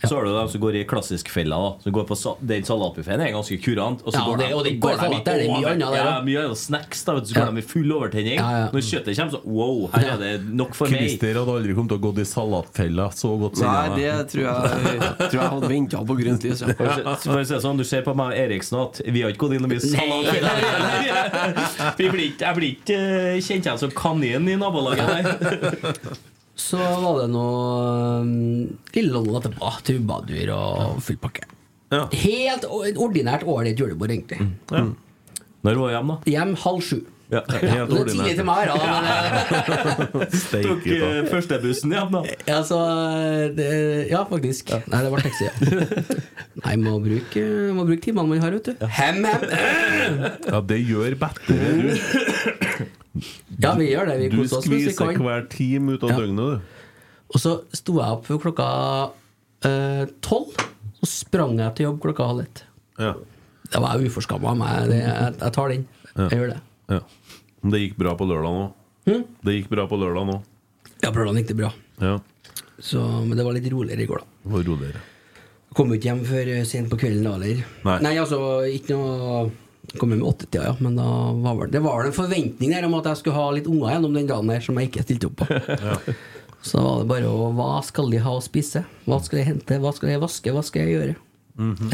Så har du dem som går i klassiskfella. da, Som går på sa Den salatbuffeen er ganske kurant. Og så Ja, går det- de- og det går går salat, det er det mye over- annet der, Ja, da. mye annet snacks. da, vet du, Så går de i full overtenning. Ja, ja. Når kjøttet kommer, så wow, her er det nok for meg. Christer hadde aldri kommet til å gå i salatfella så godt Nei, siden det tror jeg, tror jeg hadde venta på grønt lys. Ja. Så- så får jeg si det sånn, Du ser på meg og Eriksen at vi har ikke gått inn og mye salat. Vi blir ikke, jeg blir ikke eh, kjent igjen som kanin i nabolaget. her. Så var det noe um, ille London etterpå. Trubadur og full pakke. Ja. Helt o- et ordinært ålreit julebord, egentlig. Mm. Når var jeg hjem, da? Hjem halv sju. Ja. Ja, det er tidlig til meg, her, da. Men, Tok Steike ta. eh, førstebussen hjem, da. eh, altså, det, ja, faktisk. Nei, det var taxi. Ja. Nei, må bruke, må bruke timene man har, vet du. Hem, hem. Ja, det gjør bedre, du. Ja, vi gjør det. Vi Du koser oss mens vi skviser kan. hver time ut av Ja. døgnet, du. Og så sto jeg opp klokka eh, tolv, og sprang jeg til jobb klokka halv ett. Ja. Det var jeg uforskamma av meg. Det, jeg, jeg tar den. Jeg gjør det. ja. Men det gikk bra på lørdag nå. Det gikk bra på lørdag nå. Ja, Blåland gikk det bra. Ja. Så, men det var litt roligere i går, da. Må roe dere. Kom jo ikke hjem før eh, sent på kvelden, da, eller? Nei. altså, ikke noe Kom hjem i åttetida, ja. Men da var vel, det var vel en forventning der om at jeg skulle ha litt unger gjennom den dagen der som jeg ikke stilte opp på. Så da var det bare å Hva skal de ha å spise? Hva skal jeg hente? Hva skal jeg vaske? Hva skal jeg gjøre?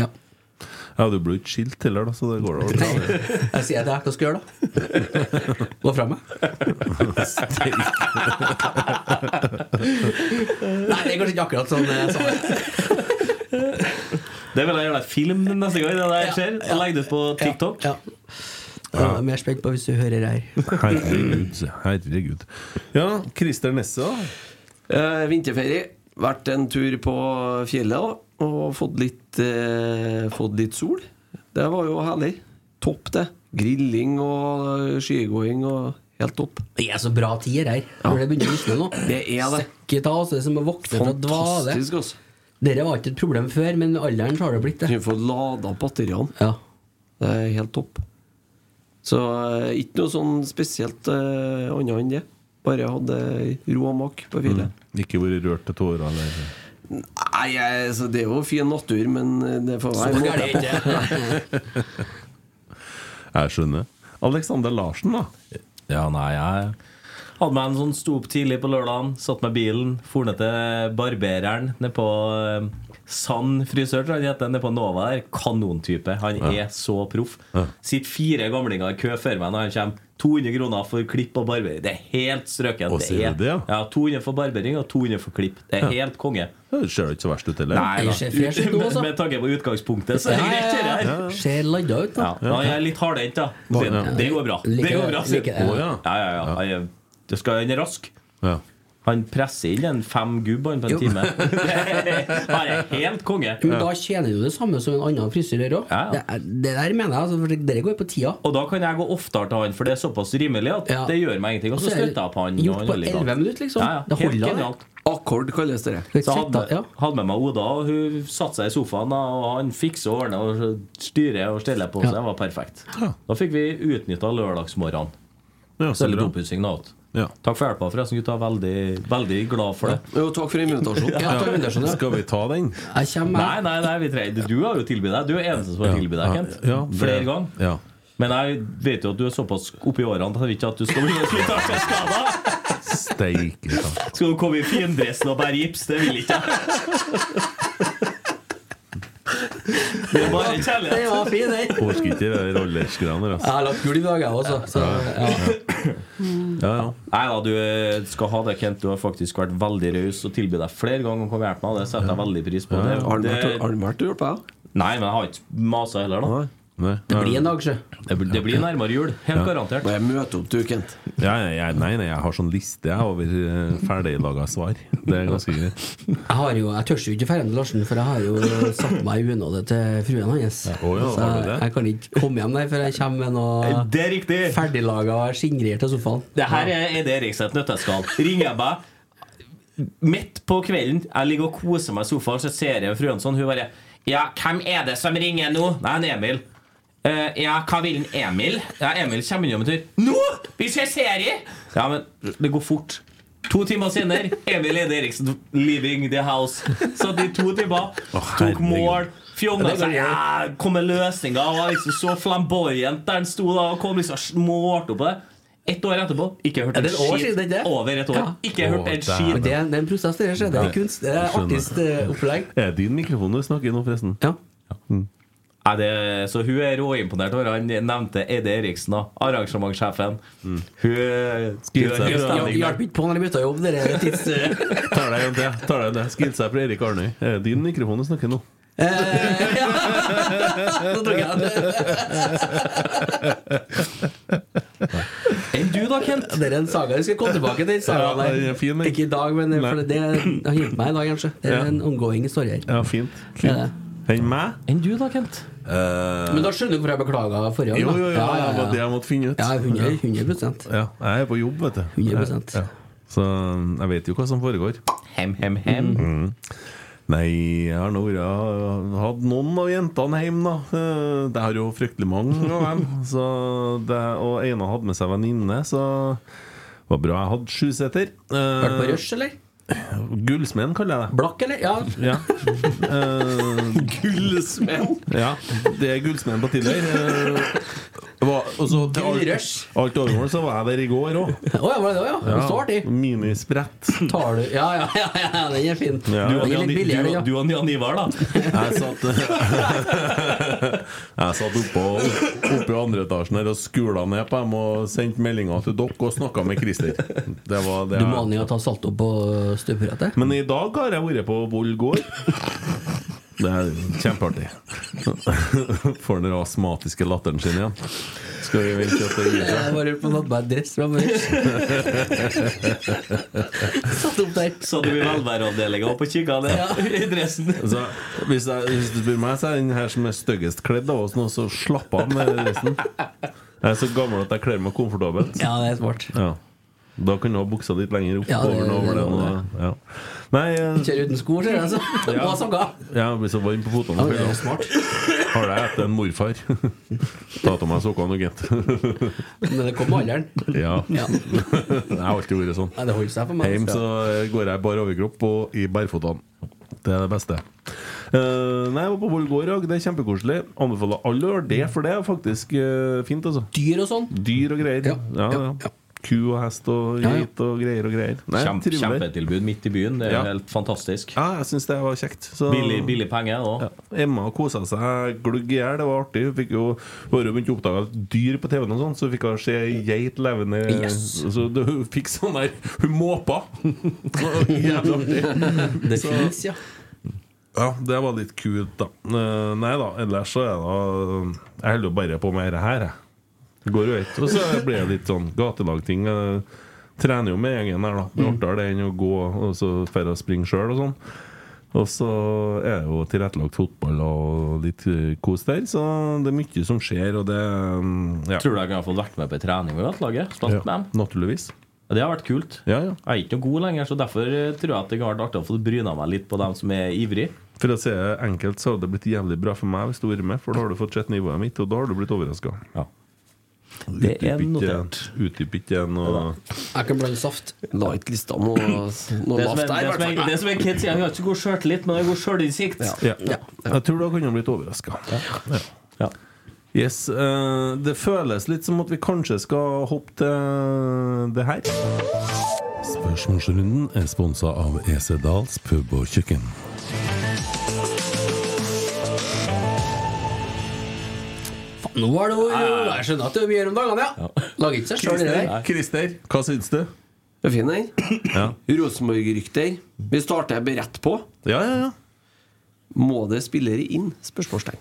Ja. Ja, du ble ikke skilt heller, da, så det går da vel bra. det. Jeg sier at jeg hva skal jeg gjøre, da? Gå fra meg? Nei, det er kanskje ikke akkurat sånn jeg sa det. Det vil jeg gjøre deg film neste gang. Det der skjer Og legge det ut på TikTok. Ja. Ja, Jeg er mer spent på hvis du hører her. Herregud. Herregud. Ja, Christer Nesse, da? Eh, vinterferie. Vært en tur på fjellet da, og fått litt, eh, fått litt sol. Det var jo herlig. Topp, det. Grilling og eh, skigåing og helt topp. Det er så bra tider her. Når det begynner å lysne nå. Det er det. Sekket av oss, det er som å våkne fra dvale. Fantastisk, altså. Dette var ikke et problem før, men med alderen så har det blitt det. Du får lada batteriene. Ja. Det er helt topp. Så eh, ikke noe sånn spesielt eh, annet enn det. Bare hadde ro og mak på fjellet. Ikke vært rørt til tårer, eller Mm. Nei, jeg- så det er jo fin natur, men eh, det får Så være gærent er det Jeg skjønner. Alexander Larsen, da? Ja, nei, jeg hadde meg en sånn Sto opp tidlig på lørdagen, satt med bilen, for ned til barbereren nede på eh, Sand frisør, tror jeg han heter, nede på Nova der. Kanontype. Han Ja. er så proff. Sitter fire gamlinger i kø før meg når han kommer. 200 kroner for klipp og barbering. Det er helt strøkent. Å, sier du det, ja? 200 for barbering og 200 for klipp. Det er Ja. helt konge. Ja, Det ser jo ikke så verst ut heller. Nei, da. med, altså. med tanke på utgangspunktet, så er det greit. det her. Ser ladda ut, da. Ja, jeg er litt hardhendt, da. Ja. Så Det går bra. Liker Det går det, bra liker det. sier han. Ja, ja, ja. Han er- Det skal han er rask. Han presser inn en fem gubb han, på en Jo. time. Han er helt konge. Men da tjener du det samme som en annen frisyr gjør òg. Ja, ja. Det, er- det der mener jeg, altså, for det- det går jo på tida. Og da kan jeg gå oftere til han, for det er såpass rimelig at Ja. det gjør meg ingenting. Og Og så så er det støtter jeg på han. og gjort han på er legal. 11 minutter, liksom. Ja, ja. Det Helt holder, det. genialt. Akkord kalles det. Så hadde, hadde med meg Oda, og hun satte seg i sofaen, da, og han fikser og ordner og styrer og steller på, så det var perfekt. Da fikk vi utnytta lørdagsmorgenen. Ja, så litt oppussing da. vet du. Takk for hjelpa, forresten, gutta. Veldig, veldig glad for det. Jo, takk for invitasjonen. Ja, takk for invitasjonen, ja. Skal vi ta den? Jeg kommer Nei, nei, nei, vi trenger Du har jo tilbudt deg. Du er eneste som har tilbudt deg, Kent. Ja, det- Flere ganger. Ja. Men jeg vet jo at du er såpass oppi årene at jeg vil ikke at du skal bli skada. Steike ta. Skal du komme i findressen og bære gips? Det vil ikke jeg. Det er bare kjærlighet. Det var fin, den. Orker ikke de der aldersgreiene der, Jeg altså. har lagt gull i dag, jeg også. Så, ja. Ja, ja. Nei da, du eh, skal ha det, Kent. Du har faktisk vært veldig raus og tilbudt deg flere ganger å komme og hjelpe meg. og Det setter jeg veldig pris på. Det, Har det, han vært og hjulpet deg? nei, men jeg har ikke masa heller, da. Det blir en dag, sjø. Det, bl- det blir nærmere jul. Helt garantert. Må jeg møte opp, du, Kent? Ja, ja, ja, nei, nei, jeg har sånn liste jeg over eh, ferdiglaga svar. Det er ganske greit. Jeg har jo, jeg tør jo ikke ferden til Larsen, for jeg har jo satt meg i unåde til fruen hans. å ja, så har du jeg, det? jeg kan ikke komme hjem der før jeg kommer med Det er noe riktig! ferdiglaga skinngreier til sofaen. Det her er Ed Erikseth Nøtteskall. Ringer jeg meg midt på kvelden, jeg ligger og koser meg i sofaen, så ser jeg fruen sånn, hun bare Ja, hvem er det som ringer nå? Nei, han Emil. «Eh, ja, hva vil han Emil? Ja, Emil kommer innom en tur. Nå! Vi ser serie! Ja, men det går fort. To timer senere, Emil Ed Eriksen leaving the house. Satt i to timer, tok mål. Fjonga seg, altså, ja, kom med løsninger. og Var liksom så flamboyant der han sto da, og kom liksom smurt opp på det. Ett år etterpå, ikke hørt Er en det et år skit. siden, ikke det? Over et år. Ja. Ikke hørt en Men skit. Det, er- det er en prosess, det der, sjø. Det er eh, kunst. Det er artistopplegg. Er det din mikrofon du snakker i nå, forresten? Ja. Nei, det, så hun er råimponert over han nevnte Edde Eriksen, da, arrangementssjefen. Hun Skriver seg hun- fra. Hjalp hjalp ikke på når jeg bytta jobb. Det er tids... Tar deg en til. Tar deg en til. Skriv seg fra Erik Arnøy. Er det din mikrofon du snakker i nå? Eh, ja. Nå tok jeg den. Enn du da, Kent? Det er en saga vi skal komme tilbake til. Saga Ja, den er fin, den. Ikke i dag, men for Nei. det har hjulpet meg i dag, kanskje. Det Ja. er en ongoing story her. Ja, fint. Det er det. Enn meg? Enn du da, Kent? Men da skjønner du hvorfor jeg beklaga forrige gang. Eh, Jo, jo, jo, da. det var det jeg måtte finne ut. Ja, 100, 100 Ja, jeg er på jobb, vet du. 100%. Ja. Så um, jeg vet jo hva som foregår. Hem, hem, hem. Nei, jeg har nå vært hatt noen av jentene hjemme, da. Eh, Det har jo fryktelig mange av dem. Så det, og ene hadde med seg venninne, så det var bra jeg hadde sjuseter. Vært på Eh, rush, eller? Gullsmeden kaller jeg det. Blakk, eller? Ja. Ja. gullsmeden? Ja, det er gullsmeden på Tiller. Eh, var- og så til alt, Gullrush. alt overmål så var jeg der i går òg. Å ja, var det det? Ja. ja. Så artig. Minisprett. Tar du Ja, ja, ja, ja den er fin. Ja. Du og Den er Jan- litt billigere, ja. du- du og Jan Ivar, da? Jeg satt Jeg satt oppå, oppe i andre etasjen her og skula ned på dem og sendte meldinger til dere og snakka med Christer. Det var det Du jeg- må an i å ta salto på støvbrettet. Men i dag har jeg vært på Voll gård. Det er kjempeartig. Får den astmatiske latteren sin igjen. Skal vi vente at det gir seg? Jeg bare lurte på om han hadde på seg dress fra Mørs. Satt opp der. Så hadde vi velværeavdelinga opp og kikka ned i dressen. Så, hvis, jeg, hvis du spør meg, så er den her som er styggest kledd av oss nå, så slapp av med resten. Jeg er så gammel at jeg kler meg komfortabelt. Ja, det er smart. Ja. Da kan du ha buksa litt lenger opp. Ja, det- over den, over det den, var og- ja. Nei, eh, Kjører uten sko, sier jeg. altså. så- Det var så galt. Ja, jeg blir så varm på fotene. Ja, det er jo smart. Har deg etter en morfar. Ta av meg sokkene og gitt. Men det kom med alderen. Ja. Ja. Jeg har alltid vært sånn. Nei, det holder seg for meg, Heim altså. så eh, går jeg bar overkropp og i bærføttene. Det er det beste. Eh, nei, jeg var på Voll gård i dag. Det er kjempekoselig. Anbefaler alle å gjøre det, for det er faktisk eh, fint, altså. Dyr og sånn? Dyr og greier. Ja, ja, Ku og hest og Ja, ja. geit og greier og greier. Nei, Kjempe, trivelig. kjempetilbud midt i byen. Det er Ja. helt fantastisk. Ja, jeg syns det var kjekt. Så- Billig, billig penger òg. Emma kosa seg glugg i hjel. Det var artig. Hun fikk jo bare begynt å oppdage dyr på TV-en, og sånn så hun fikk hun se geit levende Yes. Så det- Hun fikk sånn der Hun måpa! Så jævlig artig. Det Så- fins, ja. ja, det var litt kult, da. Eh, Nei da, ellers så er det eh, Jeg holder jo bare på med dette her, jeg. Det går jo ett. Og så blir det litt sånn gatelagting. Jeg Trener jo med gjengen her, da. Det Mm. er artigere det enn å gå og så dra og springe sjøl og sånn. Og så er det jo tilrettelagt fotball og litt eh, kos der, så det er mye som skjer, og det mm, ja. Tror du jeg kunne fått vært med på trening med gatelaget? Spilt med dem? Naturligvis. Det har vært kult. Ja, ja. Jeg er ikke noe god lenger, så derfor eh, tror jeg at det kan vært artig å få bryna meg litt på dem som er ivrig. For å si det enkelt, så hadde det blitt jævlig bra for meg hvis du hadde vært med, for da har du fått sett nivået mitt, og da har du blitt overraska. Ja. Det er notert. Utdyp ikke noe Jeg kan blande saft. La ikke lista noe, noe Det som er, lavt det der, i som hvert er, fall. det som er kids, jeg har ikke god sjøltillit, men jeg har god sjølinnsikt. Ja. Jeg tror da kunne han blitt overraska. Ja. Yes, eh, det føles litt som at vi kanskje skal hoppe til det her. Spørsmålsrunden er sponsa av EC Dals pub og kjøkken. Faen, nå var det jo Jeg skjønner at det er mye her om dagene, ja. Lager ikke seg sjøl, det der. Christer, hva syns du? Det er fin, den. Ja. Rosenborg-rykter. Vi starter bare rett på. Ja, ja, ja. Må det spillere inn? Spørsmålstegn.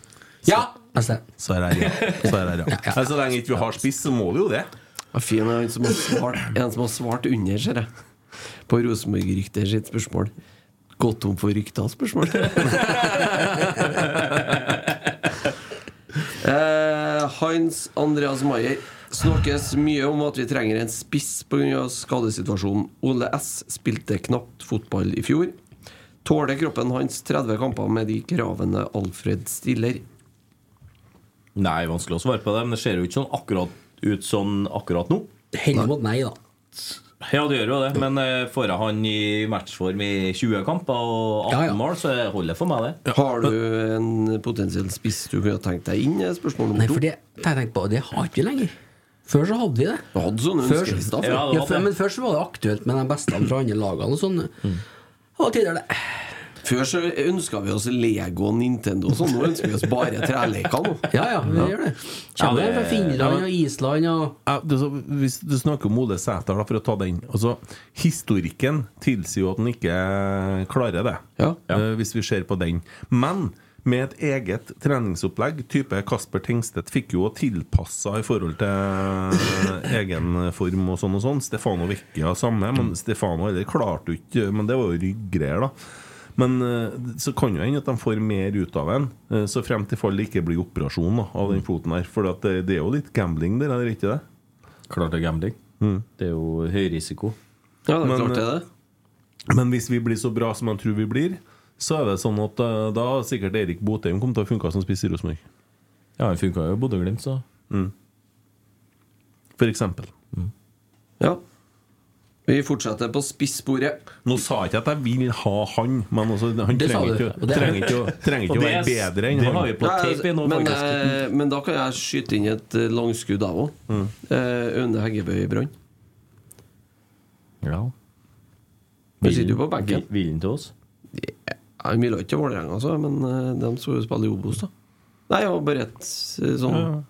Ja! Altså, Så er det her, ja. Så, er det her, ja. Nei, så lenge ikke vi har spiss, så må vi jo det. Ja, fin er en som har svart, en som har svart under, ser jeg. På Rosenborg-rykter sitt spørsmål. Gått tom for rykter? Spørsmål. eh, Hans Andreas Maier. Snakkes mye om at vi trenger en spiss pga. skadesituasjonen. Ole S spilte knapt fotball i fjor. Tåler kroppen hans 30 kamper med de kravene Alfred stiller? Nei, vanskelig å svare på det, men det ser jo ikke sånn akkurat ut sånn akkurat nå. Heller mot nei, da. Ja, det gjør jo det, men eh, får jeg han i matchform i 20 kamper og 18 mål, så holder det for meg, det. Har du en potensiell spiss du kunne tenkt deg inn? er Spørsmål nummer Nei, to. for det det har jeg tenkt på, det har ikke vi lenger. Før så hadde vi det. Vi hadde sånne altså. Før, ønskelister før. ja, før, men før så var det aktuelt med de beste fra andre lagene og sånn. Og tidligere det. Før så ønska vi oss Lego og Nintendo og sånn. Nå ønsker vi oss bare treleker nå. Ja, ja, vi gjør det. Kommer Ja, det- fra Finland og Island og Ja, det, er så, hvis du snakker om Ole Sæter, da, for å ta den altså, Historikken tilsier jo at han ikke klarer det, eh, hvis vi ser på den. Men med et eget treningsopplegg, type Kasper Tengstedt fikk jo tilpassa i forhold til egen form og sånn og sånn. Stefano Vecchia samme, men Stefano heller klarte jo ikke Men det var jo ryggreier, da. Men eh, så kan jo hende at de får mer ut av en, eh, så frem til fall det ikke blir operasjon da, av den foten her. For at det, det er jo litt gambling der, er det ikke det? Klart det er gambling. Det er jo høy risiko. Ja, det er Men, klart det eh, er det. Men hvis vi blir så bra som man tror vi blir, så er det sånn at eh, da har sikkert Erik Botheim kommet til å funke som spiss i Rosenborg. Ja, han funka jo i Bodø-Glimt, så Mm. For eksempel. Ja. Vi fortsetter på spissporet. Nå sa jeg ikke at jeg vil ha han, men altså, han Det sa trenger du, ikke, og det- trenger ikke, å- trenger ikke å være bedre enn han. Nei, altså- altså, men, eh, men da kan jeg skyte inn et eh, langskudd, jeg òg. Mm. Eh, Aune Heggebø i Brann. Ja. Han sitter jo på benken. Vil han til oss? Han ville ikke til Vålerenga, altså, men eh, de skulle jo spille i Obos, da. Nei, jeg var bare et eh, sånn Ja.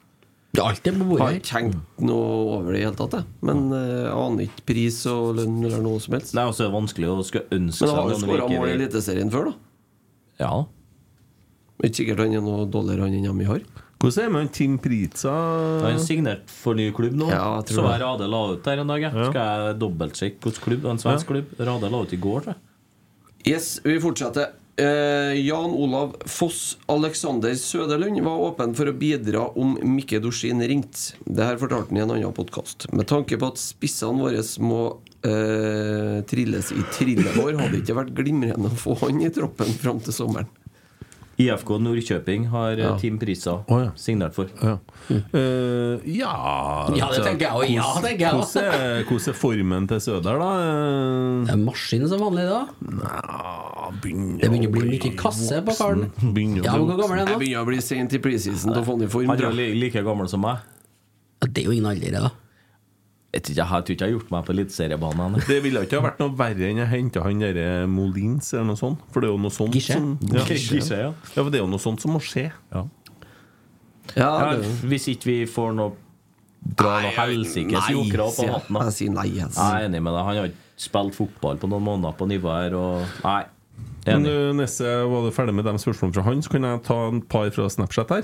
Det er alltid på bordet Har ikke tenkt noe over det i det hele tatt, jeg. Men eh, jeg aner ikke pris og lønn eller noe som helst. Nei, altså, det er vanskelig å skulle ønske Men han har jo seg noen skåra vi ikke mål i vet. Eliteserien før, da. Ja. Ikke sikkert han er noe dårligere han enn Ami har. Hvordan er det med han Tim Pritza? Han signerte for ny klubb nå. Ja, jeg tror så det. jeg Rade la ut der en dag. jeg. Skal jeg dobbeltsjekke hvilken klubb? En svensk klubb? Rade la ut i går, tror jeg. Yes, vi fortsetter. Eh, Jan Olav Foss Alexander Søderlund var åpen for å bidra om Mikke Dorsin ringte. Dette fortalte han i en annen podkast. Med tanke på at spissene våre må eh, trilles i trillebår, hadde det ikke vært glimrende å få han i troppen fram til sommeren. IFK Nordkjøping har ja. Team Prisa signert for. Ja. Eh, ja Ja, det tenker jeg også. Ja, det tenker jeg også. Hvordan er- Hvordan er formen til Søder, da? Eh, Det er maskin som vanlig da. Det begynner å bli mye kasse på karen. Begynner Ja, men hvor gammel er han Jeg nå? begynner å bli sent i preseason til å få han i form. Han er jo tror jeg. li- like gammel som meg. Det er jo ingen alder, da. Jeg tror ikke jeg har- tror ikke jeg har gjort meg på eliteseriebanen. ennå. Det ville ikke ha vært noe verre enn å hente han derre Molins eller noe sånt. For det er jo noe sånt Gisje. som ja. Gisje, ja. ja, for det er jo noe sånt som må skje. Ja, Ja, det, Hvis ikke vi får noe Dra noe helsikes jokere opp av sier jeg. hatten. da. Jeg sier nei. Jeg. Jeg er enig med deg. Han har ikke spilt fotball på noen måneder på nivå her. Og... Nei. Men Enig. du, Nesse, var du ferdig med de spørsmålene fra han, så kan jeg ta en par fra Snapchat her.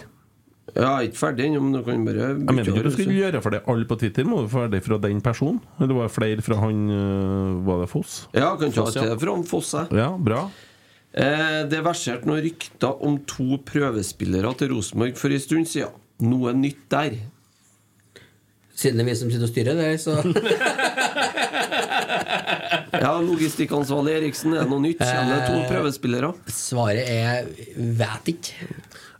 Jeg er ikke ferdig ennå, men du kan bare Jeg mener ikke over, du skulle så. gjøre for det alle på Twitter. Må du være ferdig fra den personen? Eller var det flere fra han øh, Var det Foss? Ja, jeg kan ta Foss, et ja. til fra Fosse. Ja, bra. Eh, Det verserte noen rykter om to prøvespillere til Rosenborg for en stund siden. Noe nytt der. Siden det er vi som sitter og styrer det, så Ja, Logistikkansvarlig Eriksen, er det noe nytt? Kommer det Eh, to prøvespillere? Svaret er vet ikke.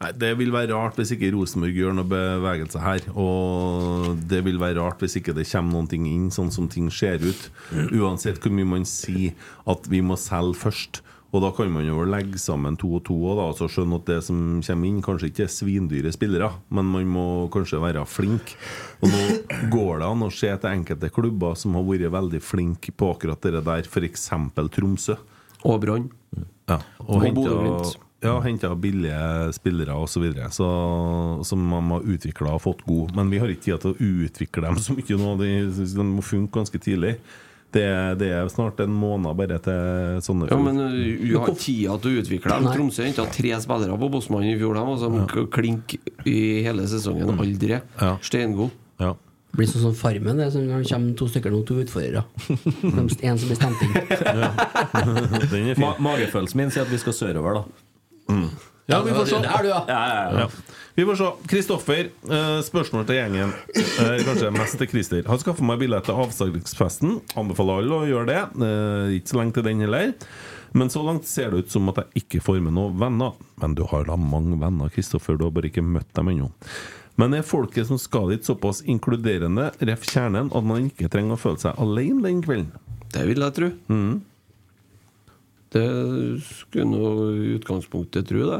Nei, Det vil være rart hvis ikke Rosenborg gjør noe bevegelse her. Og det vil være rart hvis ikke det kommer noen ting inn sånn som ting ser ut. Uansett hvor mye man sier at vi må selge først. Og da kan man jo legge sammen to og to og da, altså skjønne at det som kommer inn, kanskje ikke er svindyre spillere, men man må kanskje være flink. Og nå går det an å se til enkelte klubber som har vært veldig flinke på akkurat det der, f.eks. Tromsø. Og Brann. Ja, og Og henta Bodø-Glimt. ja, hentet billige spillere osv. Som man har utvikla og fått god. Men vi har ikke tid til å utvikle dem så mye nå. De, de må funke ganske tidlig. Det, det er snart en måned bare til sånne Ja, men uh, eh, du har tida til å utvikle dem. Nei. Tromsø henta tre spillere på Bosman i fjor. De var som klink i hele sesongen. Aldri. Mm. Ja. Steingod. Ja. Det blir sånn som Farmen. Det er sånn, det kommer to stykker nå, to utfordrere. Fremst En som blir stemt inn. Den er fin. Ma magefølelsen min sier at vi skal sørover, da. Ja, vi får se. Det er du, ja. Ja, ja, ja. Sånn Ja. Vi får se. Kristoffer, eh, spørsmål til gjengen. Eh, Kanskje mest til Christer. Har skaffa meg billett til avsagsfesten. Anbefaler alle å gjøre det. Eh, Ikke så lenge til den heller. Men så langt ser det ut som at jeg ikke får med noen venner. Men du har da mange venner, Kristoffer. Du har bare ikke møtt dem ennå. Men er folket som skal dit, såpass inkluderende, ref kjernen, at man ikke trenger å føle seg alene den kvelden? Det vil jeg tro. Mm. Det skulle nå i utgangspunktet tro, det.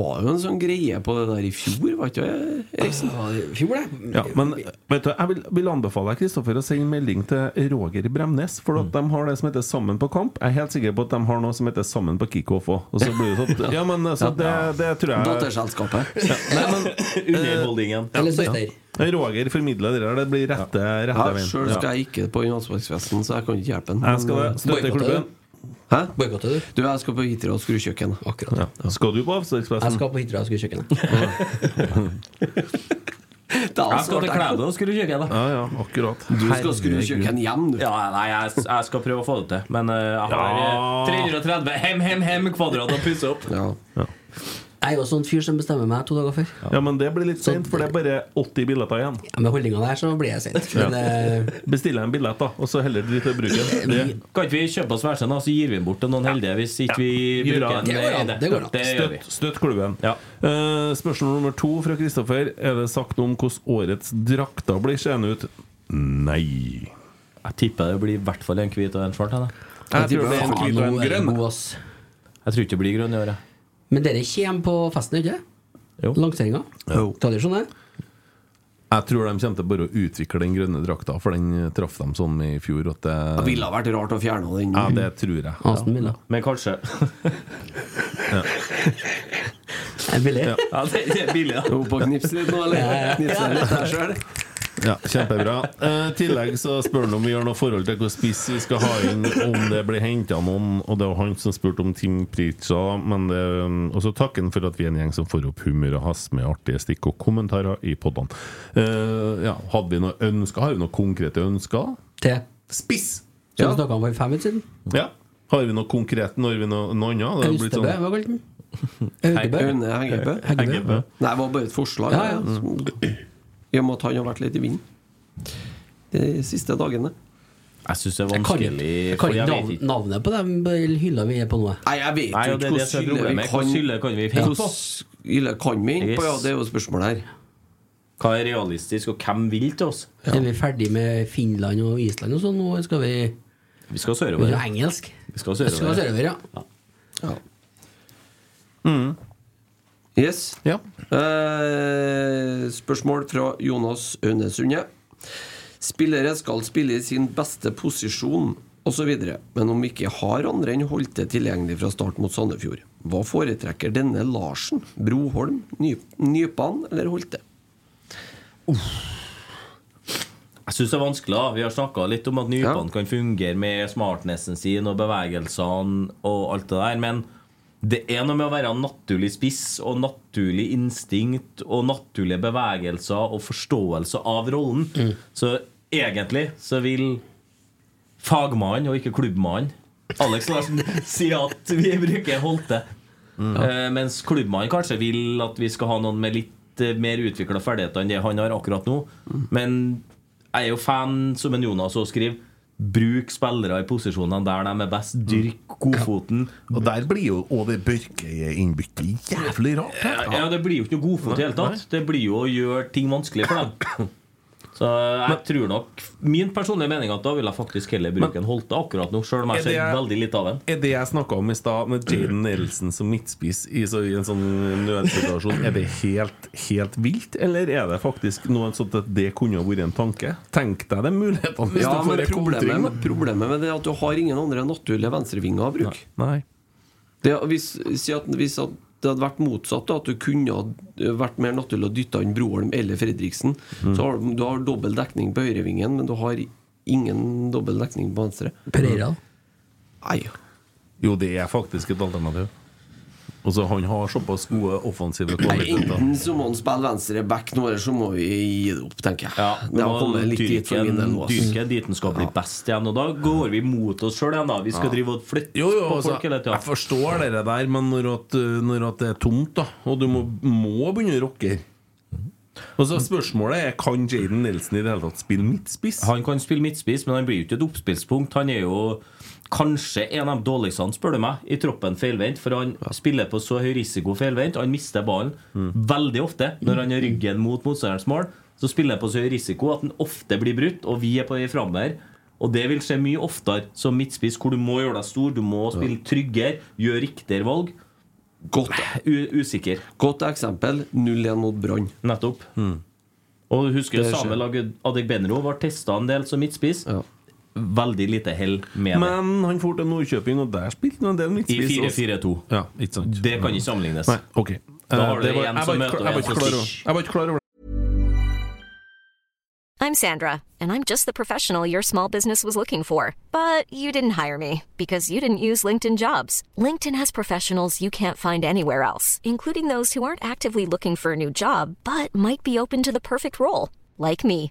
Var jo en sånn greie på det der i fjor, var ikke det, Eriksen? Det var i Fjor, det. Ja, men vet du, jeg vil, vil anbefale deg Kristoffer å sende melding til Roger Bremnes. For at de har det som heter Sammen på kamp. Jeg er helt sikker på at de har noe som heter Sammen på kickoff òg. Og så blir det sånn Ja, men så det, det tror jeg Datterselskapet. Nei, men Underholdningen. Eller søster. Roger formidler det der. Det blir rette, rette Ja, Sjøl veien. Ja. skal jeg ikke på Johannesborgsfesten, så jeg kan ikke hjelpe Jeg skal det. han. eh, Støtte klubben. Hæ? Boikotter du? Du, jeg skal på Hitra og skru kjøkken. Akkurat. Ja. Skal du på Jeg Avstadspressen? skal på Hitra og skru kjøkkenet. Da Jeg skal svarte til jeg. Klæbu og skru kjøkken, da. Ja, ja, akkurat. Du skal skru Herregud. kjøkken hjem, du. Ja, nei, jeg, jeg skal prøve å få det til. Men eh, jeg har Ja. eh, 330 hem, hem, hem kvadrat å pusse opp. Ja. Jeg er jo sånn fyr som bestemmer meg to dager før. Ja, men det blir litt seint, for det er bare 80 billetter igjen. Ja, med holdninga der så blir jeg sint. Men eh, Bestiller jeg en billett, da, og så heller driter jeg i bruken. Det Kan ikke vi kjøpe oss hver sin, da, så gir vi den bort til noen heldige hvis ikke vi Gjør bruker det. Det den? går an, i det går an. Det gjør vi. Støtt, støtt klubben. Ja. Eh, spørsmål nummer to fra Kristoffer. Er det sagt noe om hvordan årets drakter blir seende ut? Nei. Jeg tipper det blir i hvert fall en hvit og en svart. jeg, da. Jeg tror tipper det er en faen, hvit og nå en er den grønn. god, ass. Jeg tror ikke det blir grønn i år, jeg. Men dere kommer på festen, ikke Jo. Langseringa. Tradisjon, det. Jeg tror de kommer til bare å utvikle den grønne drakta, for den traff dem sånn i fjor at det Det ville ha vært rart å fjerne den. Ja, det tror jeg. Hasen min, da. Men kanskje. Er det billig? Ja, det, det er billig, da. Jo, på knips litt nå, eller? Knipse litt der selv. Ja, Kjempebra. Eh, I tillegg så spør han om vi har noe forhold til hvor spiss vi skal ha inn, om det blir henta noen. Og det var han som spurte om Tim Pritcha. Men det, og så takker han for at vi er en gjeng som får opp humør og has med artige stikk og kommentarer i podene. Eh, ja, hadde vi noe ønsker? Har vi noen konkrete ønsker? Til Spiss! Som Ja. vi snakka om for fem minutter siden. ja. Har vi noe konkret? Når vi noe, noe annet? Det har blitt Austebø, hva sånn- kalte den? Augebø? Aune Heggebø. Heggebø. Nei, det var bare et forslag. Ja, ja. som- I og med at han har vært litt i vinden de siste dagene. Jeg syns det er Jeg kan vanskelig ikke- jeg for kan jeg ikke vet nav- navnet på den hylla vi er på nå. Nei, jeg vet Nei, jo og det ikke er det som hvordan er hylle vi problemet. Hvordan hylle kan vi finne på? Hvordan hylle kan vi inn på? Ja, det er jo spørsmålet her. Hva er realistisk, og hvem vil til oss? Er vi ferdig med Finland og Island og sånn? Nå skal vi Vi skal Vi sørover. skal engelsk. Vi skal Vi skal sørover. sørover, ja. Mm. Yes. Eh, spørsmål fra Jonas Aunesundet. Spillere skal spille i sin beste posisjon osv., men om vi ikke har andre enn Holte tilgjengelig fra start mot Sandefjord, hva foretrekker denne Larsen? Broholm, Ny Nypan eller Holte? Jeg syns det er vanskelig. da Vi har snakka litt om at nypene kan fungere med smartnessen sin og bevegelsene og alt det der, men det er noe med å være naturlig spiss og naturlig instinkt og naturlige bevegelser og forståelse av rollen. Mm. Så egentlig så vil fagmann og ikke klubbmann Alex Larsen si at vi bruker Holte. Mm. Eh, mens klubbmannen kanskje vil at vi skal ha noen med litt eh, mer utvikla ferdigheter enn det han har akkurat nå. Mm. Men jeg er jo fan, som en Jonas også skriver, bruk spillere i posisjonene der de er best. Mm. Dyrk godfoten. Og der blir jo Og det Børke-innbyttet jævlig rart. Ja, ja, det blir jo ikke noe godfot i det hele tatt. Det blir jo å gjøre ting vanskelig for dem. Så jeg tror nok Min personlige mening er at da vil jeg faktisk heller bruke en Holte akkurat nå, sjøl om jeg Er det- ser veldig lite av den. Er det jeg snakka om i stad, med Jaden Nelson som midtspiss i, så, i en sånn nødsituasjon, er det helt, helt vilt? Eller er det faktisk noe sånt at det kunne ha vært en tanke? Tenk deg de mulighetene hvis Ja, du får men en kontring. problemet, problemet med det er at du har ingen andre naturlige venstrevinger å bruke. Nei. Det, hvis, si at, hvis at det hadde vært motsatt, da, at du kunne ha vært mer naturlig å dytte inn Broholm eller Fredriksen Mm. Så har du, du har dobbel dekning på høyrevingen, men du har ingen dobbel dekning på venstre. Pereira. Nei. Jo, det er faktisk et alternativ. Og så Han har såpass gode offensive Nei, kvaliteter. enten så må han spille venstre back nå, eller så må vi gi det opp, tenker jeg. Vi det har må kommet litt dit dyrke for min del nå. altså. ass. dyrke dit den skal bli best igjen. Og da går vi mot oss sjøl igjen, da. Vi skal Ja. drive og flytte Jo, jo, på altså, folk hele tida. jeg forstår det der, men når, at, eh, når at det er tomt, da og du må, må begynne å rocke Mhm. Og så Spørsmålet er kan Jaden Nelson i det hele tatt spille midtspiss? Han kan spille midtspiss, men han blir jo ikke et oppspillspunkt. Han er jo kanskje en av de dårligste, han, spør du meg, i troppen feilvendt. For han spiller på så høy risiko feilvendt. Han mister ballen veldig ofte når han har ryggen mot motstanderens mål. Så spiller han på så høy risiko at den ofte blir brutt, og vi er på vei framover. Og det vil skje mye oftere som midtspiss, hvor du må gjøre deg stor, du må spille tryggere, gjøre riktigere valg. Godt, U usikker. godt eksempel. 0-1 mot Brann. Nettopp. Mm. Og husker Det skjer. Samuel Adegbenro var testa en del som midtspiss. Veldig lite hell med det. Men han får til Nordkjøping, og der spilte han en del I midtspiss. 4-4-2. Ja, ikke sant. Det kan ikke sammenlignes. Nei, ok. Da Eh, har du det var- en jeg som var ikke møter klar- jeg var en ikke som klar over- stitch. Jeg var ikke klar over I'm Sandra, and I'm just the professional your small business was looking for. But you didn't hire me because you didn't use LinkedIn jobs. LinkedIn has professionals you can't find anywhere else, including those who aren't actively looking for a new job but might be open to the perfect role, like me.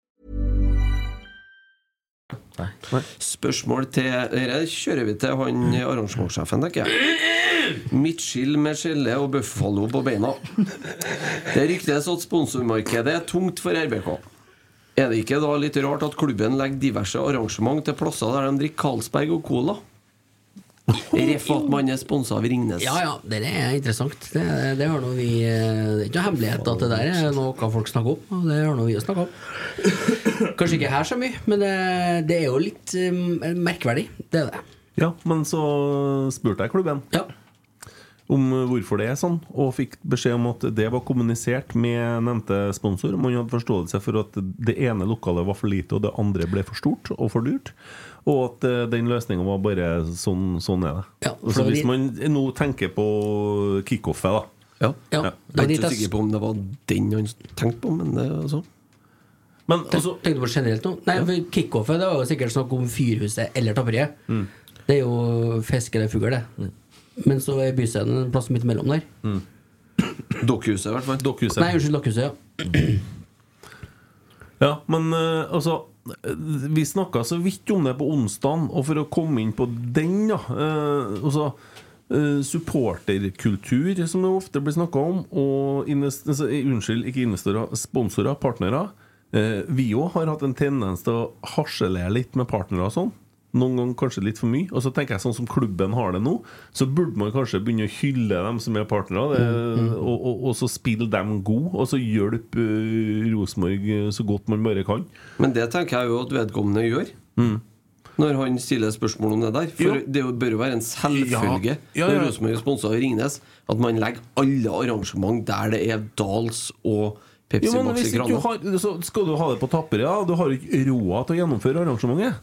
Spørsmål til Dette kjører vi til han Mm. arrangementssjefen, tenker jeg. Midtskill med skjelle og buffalo på beina. Det ryktes at sponsormarkedet er tungt for RBK. Er det ikke da litt rart at klubben legger diverse arrangement til plasser der de drikker Carlsberg og Cola? Ref at man er sponsa av Ringnes. Ja, ja, det er interessant. Det, det har nå vi eh, Det er ikke noe hemmelighet at det der er noe folk snakker om. Og det har nå vi å snakke om. Kanskje ikke her så mye, men det, det er jo litt eh, merkverdig. Det er det. Ja, men så spurte jeg klubben om hvorfor det er sånn, og fikk beskjed om at det var kommunisert med nevnte sponsor. Man hadde forståelse for at det ene lokalet var for lite, og det andre ble for stort og for dyrt. Og at eh, den løsninga var bare sånn, sånn er det. så for hvis vi- man nå tenker på kickoffet, da Ja. Ja. Jeg er ikke så sikker på om det var den han tenkte på, men det er sånn. Men altså, Tenkte du på generelt nå? Nei, for kickoffet det var jo sikkert snakk om Fyrhuset eller Tapperiet. Mm. Det er jo fisk eller fugl, det. Men så er Byscenen en plass midt imellom der. Mm. Dokkhuset, i hvert fall. Nei, unnskyld, Dokkhuset, ja. Ja, men eh, altså eh, Vi snakka så vidt om det på onsdagen, og for å komme inn på den, da eh, altså, eh, Supporterkultur, som det ofte blir snakka om, og invest altså, eh, unnskyld, ikke investorer, sponsorer, partnere. Eh, vi òg har hatt en tendens til å harselere litt med partnere og sånn. Noen ganger kanskje litt for mye. Og så tenker jeg sånn som klubben har det nå, så burde man kanskje begynne å hylle dem som er partnere, det, og, og, og så spille dem gode, og så hjelpe eh, Rosenborg eh, så godt man bare kan. Mm. Men det tenker jeg jo at vedkommende gjør. Når han stiller spørsmål om det der. For Ja. det jo- bør jo være en selvfølge Ja. Ja, ja. når Rosenborg er sponsa av Ringnes, at man legger alle arrangement der det er Dals og Pepsi Jo, men Max i hvis ikke du krana. har, så skal du ha det på tappere, ja. Du har ikke råd til å gjennomføre arrangementet.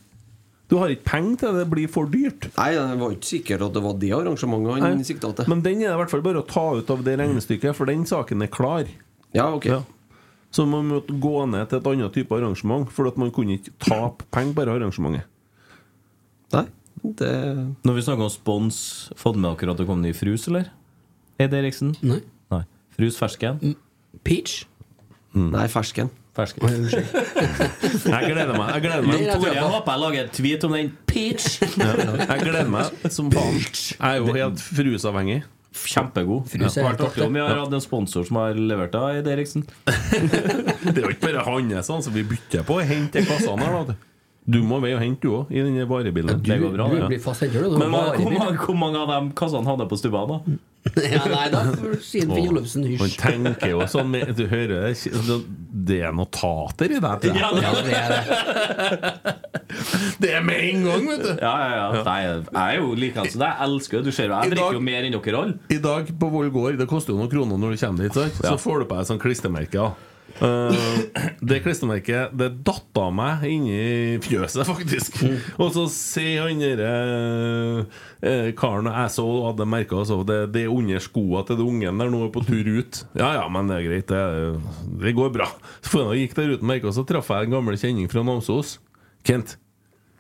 Du har ikke penger til det, det blir for dyrt. Nei, det var ikke sikkert at det var det arrangementet han Nei. sikta til. Men den er det i hvert fall bare å ta ut av det regnestykket, for den saken er klar. Ja, ok Så man måtte gå ned til et annet type arrangement, for at man kunne ikke tape penger på det arrangementet. Nei, det Når vi snakker om spons, fått med dere at det kom ny frus, eller? Ed Eriksen? Nei. Frus fersken? Peach? Nei, fersken. Fersken. jeg gleder meg. Jeg gleder meg. Det er rett og slett. Tore, jeg håper jeg lager en tweet om den. Peach! Jeg gleder meg som faen. Jeg er jo helt frusavhengig. Kjempegod. Frus er Ja. helt Vært artig om vi har topp, hatt en sponsor som har levert deg, Ed Eriksen. Det er jo ikke bare hans som vi bytter på. Hent de kassene her, da. Du må ved og hente, du òg, i den varebilen. Det går bra, det. Men hvor mange- hvor mange- hvor mange av de kassene hadde jeg på stubba, da? ja, nei da, for siden Finn Olufsen, Man hysj. tenker jo sånn med, Du hører det, det er notater i deg. Ja, det er Det er med en gang, vet du. Ja, ja, ja. Nei, jeg er jo likeens som deg. Jeg elsker jo Du ser jo, jeg drikker jo mer enn dere alle. I dag på Voll gård, det koster jo noen kroner når du kommer dit, sant? så får du på deg sånn klistremerke. Ja. Eh, det klistremerket Det datt av meg inni fjøset, faktisk. Og så sier han derre eh, karen jeg så hadde merka altså, det, det er under skoa til den ungen der nå er på tur ut. Ja ja, men det er greit, det, det går bra. Så for jeg gikk der uten merke, og så traff jeg en gammel kjenning fra Namsos. Kent,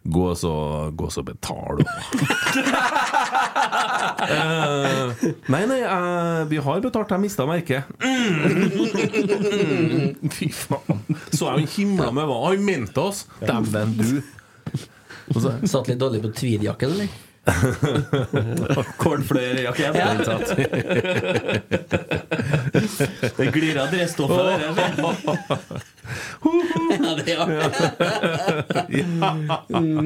gå og så, gå og så betal, du. Eh, nei, nei, eh, vi har betalt. Jeg mista merket. Mm. Fy faen. Så jeg jo himla med hva han mente oss! Dæven, du. Satt litt dårlig på tweedjakken, eller? Cornfløyerjakke. Ja. Det glir av dressstoffet. det der. Ja, det er artig.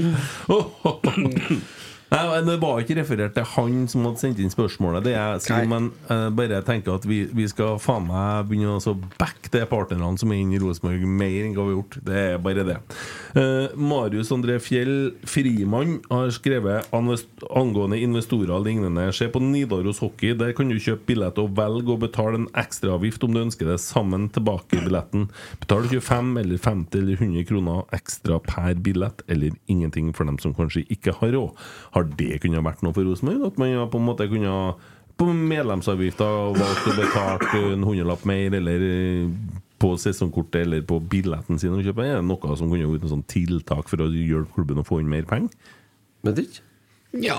Nei, men Det var ikke referert til han som hadde sendt inn spørsmålet. Det er sier, Men eh, bare tenker at vi, vi skal faen meg begynne å så backe de partnerne som er inne i Rosenborg, mer enn hva vi har gjort. Det er bare det. Eh, Marius André Fjell Frimann har skrevet "Anvest- angående investorer og lignende. Se på Nidaros Hockey. Der kan du kjøpe billett og velge å betale en ekstraavgift om du ønsker det, sammen tilbake i billetten. Betal 25 eller 50 eller 100 kroner ekstra per billett, eller ingenting for dem som kanskje ikke har råd. Har det kunnet vært noe for Rosenborg? At man på en måte kunne ha på medlemsavgifta valgt å betale en hundrelapp mer, eller eh, på sesongkortet eller på billetten sin å kjøpe? Er det noe som kunne vært noe sånn tiltak for å hjelpe klubben å få inn mer penger? Vet ikke. Ja.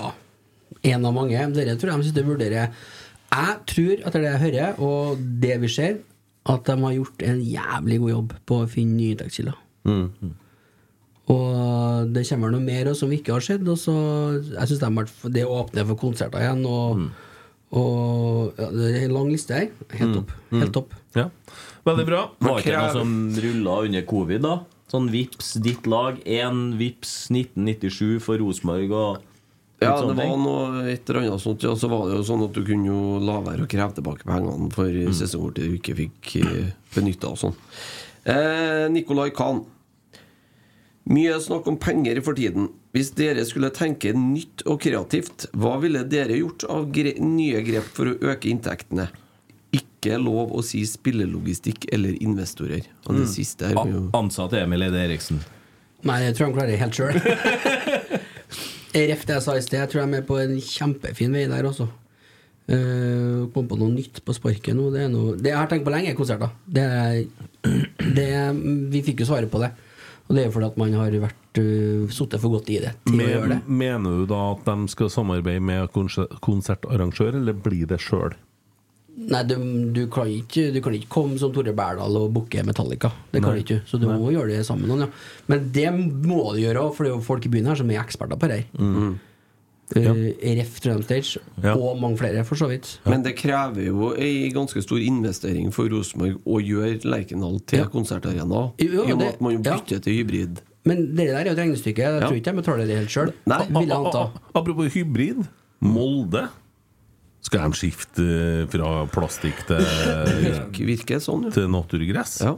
En av mange. Dere tror jeg de sitter og vurderer. Jeg tror, etter det jeg hører, og det vi ser, at de har gjort en jævlig god jobb på å finne nye inntektskilder. Og det kommer vel noe mer også, som vi ikke har sett. Og så, jeg syns de det åpner for konserter igjen. Og, og ja, Det er en lang liste her. Helt topp. Helt topp. Ja. Veldig bra. Var ikke Krev- noe som rulla under covid, da? Sånn vips ditt lag, én vips 1997 for Rosenborg og litt Ja, sånne det var ting. noe et eller annet sånt. Ja, så var det jo sånn at du kunne jo la være å kreve tilbake pengene for Mm. sesongkort du ikke fikk benytta og sånn. Eh, Nicolai Kahn. Mye snakk om penger for tiden. Hvis dere skulle tenke nytt og kreativt, hva ville dere gjort av gre nye grep for å øke inntektene? Ikke lov å si spillelogistikk eller investorer. Og det Mm. siste er jo Ansatte Emil Eide Eriksen. Nei, jeg tror han klarer det helt sjøl. Ref det jeg sa i sted, jeg tror de er på en kjempefin vei der også. Uh, kom på noe nytt på sparket nå. Det, er noe, det jeg har tenkt på lenge, er konserter. Det, er- det, er- vi fikk jo svaret på det. Og det er jo fordi at man har vært uh, sittet for godt i det til å gjøre det. Men, mener du da at de skal samarbeide med konser- konsertarrangør, eller blir det sjøl? Nei, du, du, kan ikke, du kan ikke komme som Tore Berdal og booke Metallica. Det kan Nei. du ikke, Så du må gjøre det sammen med noen. Ja. Men det må du gjøre, for det er jo folk i byen her som er eksperter på det her. Mm. Mm. Eh, Ref Trøndestage, Ja. og mange flere, for så vidt. Men det krever jo ei ganske stor investering for Rosenborg å gjøre Lerkendal til konsertarena. I Jo, og med det- at man jo bytter til hybrid. Men det der er jo et regnestykke. Jeg Ja. tror ikke de betaler det helt sjøl. Nei. Vil jeg anta. Apropos hybrid. Molde. Skal de skifte eh, fra plastikk til Virker, sånn, Til naturgress? Ja,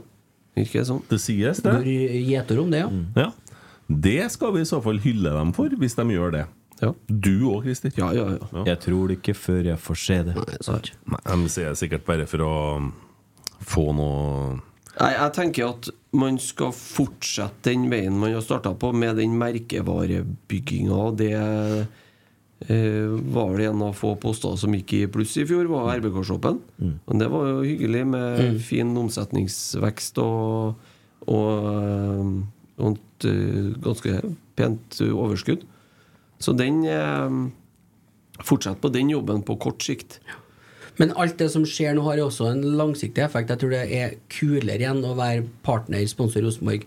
virker sånn Det sies, det. Går gjeter om det, ja. Ja. Det skal vi i så fall hylle dem for, hvis de gjør det. Du òg, Christer. Jeg tror det ikke før jeg får se det. Nei, De sier det sikkert bare for å få noe Nei, jeg tenker at man skal fortsette den veien man har starta på, med den merkevarebygginga. Det eh, var vel en av få poster som gikk i pluss i fjor, var RBK-shoppen. Men det var jo hyggelig med Mm. fin omsetningsvekst og, og, eh, og et eh, ganske pent eh, overskudd. Så den eh, Fortsett på den jobben på kort sikt. Men alt det som skjer nå, har jo også en langsiktig effekt. Jeg tror det er kulere igjen å være partner, sponsor Rosenborg,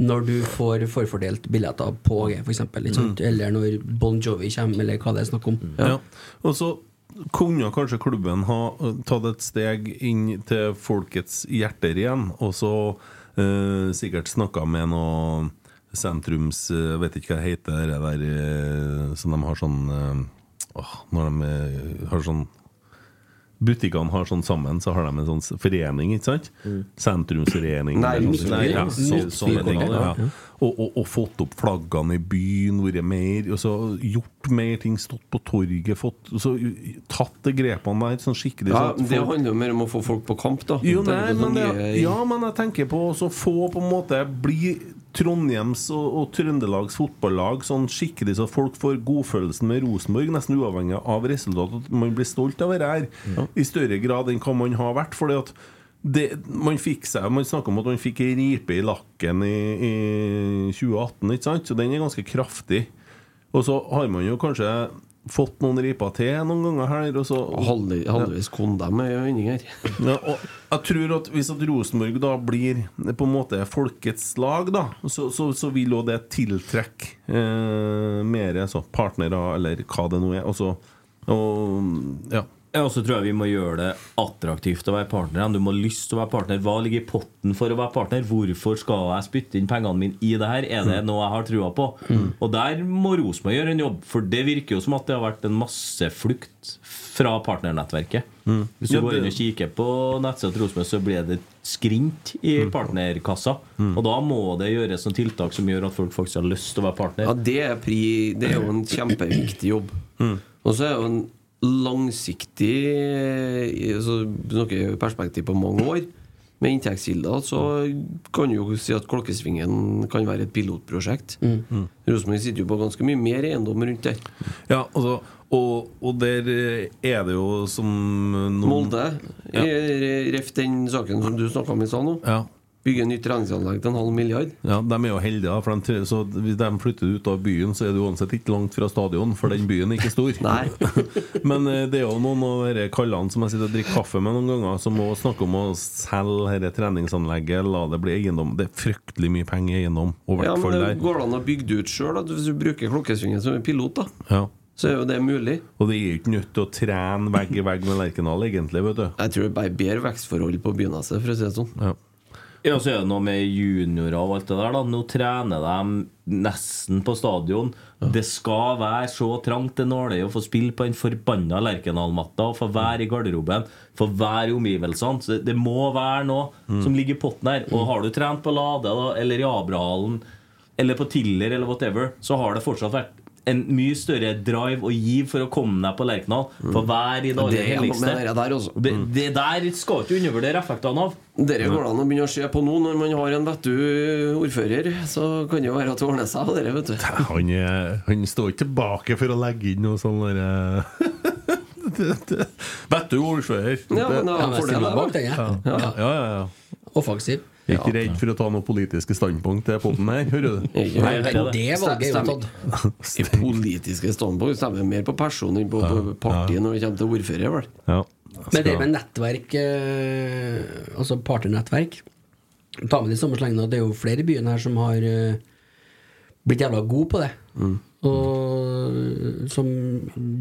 når du får forfordelt billetter på AG, f.eks. Mm. Mm. Eller når Bon Jovi kommer, eller hva det er snakk om. Ja. Og så kunne kanskje klubben ha eh, tatt et steg inn til folkets hjerter igjen, og så eh, sikkert snakka med noe sentrums eh, Vet ikke hva det heter, det der eh, som de har sånn eh, åh, Når de eh, har sånn Butikkene har sånn sammen, så har de en sånn s- forening, ikke sant? Sentrumsforening. Nei, eller midtby- sånn- ja, så, midtbykanal, sånne ting. ja. Ja. Og, og, og fått opp flaggene i byen, vært mer og så Gjort mer ting, stått på torget, fått så, Tatt de grepene der sånn skikkelig. Ja, sånn at det folk- handler jo mer om å få folk på kamp, da. jo, Tenker nei, på men, sånn det, nye- ja, men jeg tenker på å få på en måte bli Trondheims og, og Trøndelags fotballag sånn skikkelig så folk får godfølelsen med Rosenborg, nesten uavhengig av resultatet, at man blir stolt av å være her i større grad enn hva man har vært. Fordi at det, man fikk seg Man snakker om at man fikk ei ripe i lakken i, i 2018, ikke sant? Så den er ganske kraftig. Og så har man jo kanskje fått noen riper til noen ganger her, og så Halvveis, halvveis kondem er jo inni her. ja, og jeg tror at Hvis at Rosenborg da blir på en måte folkets lag, da, så, så, så vil jo det tiltrekke eh, mer så partnere, eller hva det nå er. Og så, og, ja. Ja, og så tror jeg vi må gjøre det attraktivt å være partner. Du må ha lyst til å være partner. Hva ligger i potten for å være partner? Hvorfor skal jeg spytte inn pengene mine i det her? Er Mm. det noe jeg har trua på? Og der må Rosenborg gjøre en jobb, for det virker jo som at det har vært en masseflukt fra partnernettverket. Hvis Mm. du Ja, går det- inn og kikker på nettsida til Rosenborg, så blir det skrint i Mm. partnerkassa. Og da må det gjøres noen tiltak som gjør at folk faktisk har lyst til å være partner. Ja, det er, pri, det er jo en kjempeviktig jobb. Mm. Og så er det jo en langsiktig altså, Noe perspektiv på mange år. Med inntektskilder så kan du jo si at Klokkesvingen kan være et pilotprosjekt. Mm. Rosenborg sitter jo på ganske mye mer eiendom rundt der. Ja, altså, og, og der er det jo som noen Molde, Ja. eh, ref den saken som du snakka om i stad nå. Ja. Bygge nytt treningsanlegg til en halv milliard. Ja, De er jo heldige, da, for de, tre- så hvis de flytter ut av byen, så er det uansett ikke langt fra stadion, for den byen er ikke stor. Men eh, det er jo noen av disse kallene som jeg sitter og drikker kaffe med noen ganger, som også snakker om å selge dette treningsanlegget, la det bli eiendom. Det er fryktelig mye penger i eiendom, og i Ja, hvert men fall det der. går det an å bygge det ut sjøl? Hvis du bruker Klokkesundet som en pilot, da, Ja. så er jo det mulig. Og det er jo ikke nødt til å trene vegg i vegg med Lerkendal, egentlig. vet du Jeg tror det er bare bedre vekstforhold på begynnelsen, for å si det sånn. Ja. Ja, så er det noe med juniorer og alt det der. da Nå trener de nesten på stadion. Det skal være så trangt det nåløyet å få spille på den forbanna Lerkendal-matta og få være i garderoben, få være i omgivelsene. Så det, det må være noe Mm. som ligger i potten her. Og har du trent på Lade da, eller i Abrahallen eller på Tiller eller whatever, så har det fortsatt vært en mye større drive og giv for å komme deg på Lerkendal. Få være i det Mm. Det aller er Mm. noe med helligste. det der også. Mm. Det, det der skal ikke undervurdere effektene av. Dere går det an å begynne å se på nå. Når man har en vettu ordfører, så kan det jo være at det ordner seg. Dere, vet du. Han, er, han står ikke tilbake for å legge inn noe sånn derre Vet du, ordfører. Ja, men Det- da Ja, men får det stiller da. bak den, jeg. ja. ja, ja, ja. Offensiv. Jeg er Ikke redd for å ta noen politiske standpunkt til poden her, hører du? Nei, I politiske standpunkt stemmer mer på personen enn på, på partiet når det kommer til ordfører, vel. Ja. Men det med nettverk, eh, altså partynettverk Ta med det i samme slengen at det er jo flere i byen her som har eh, blitt jævla gode på det. Mm. Og som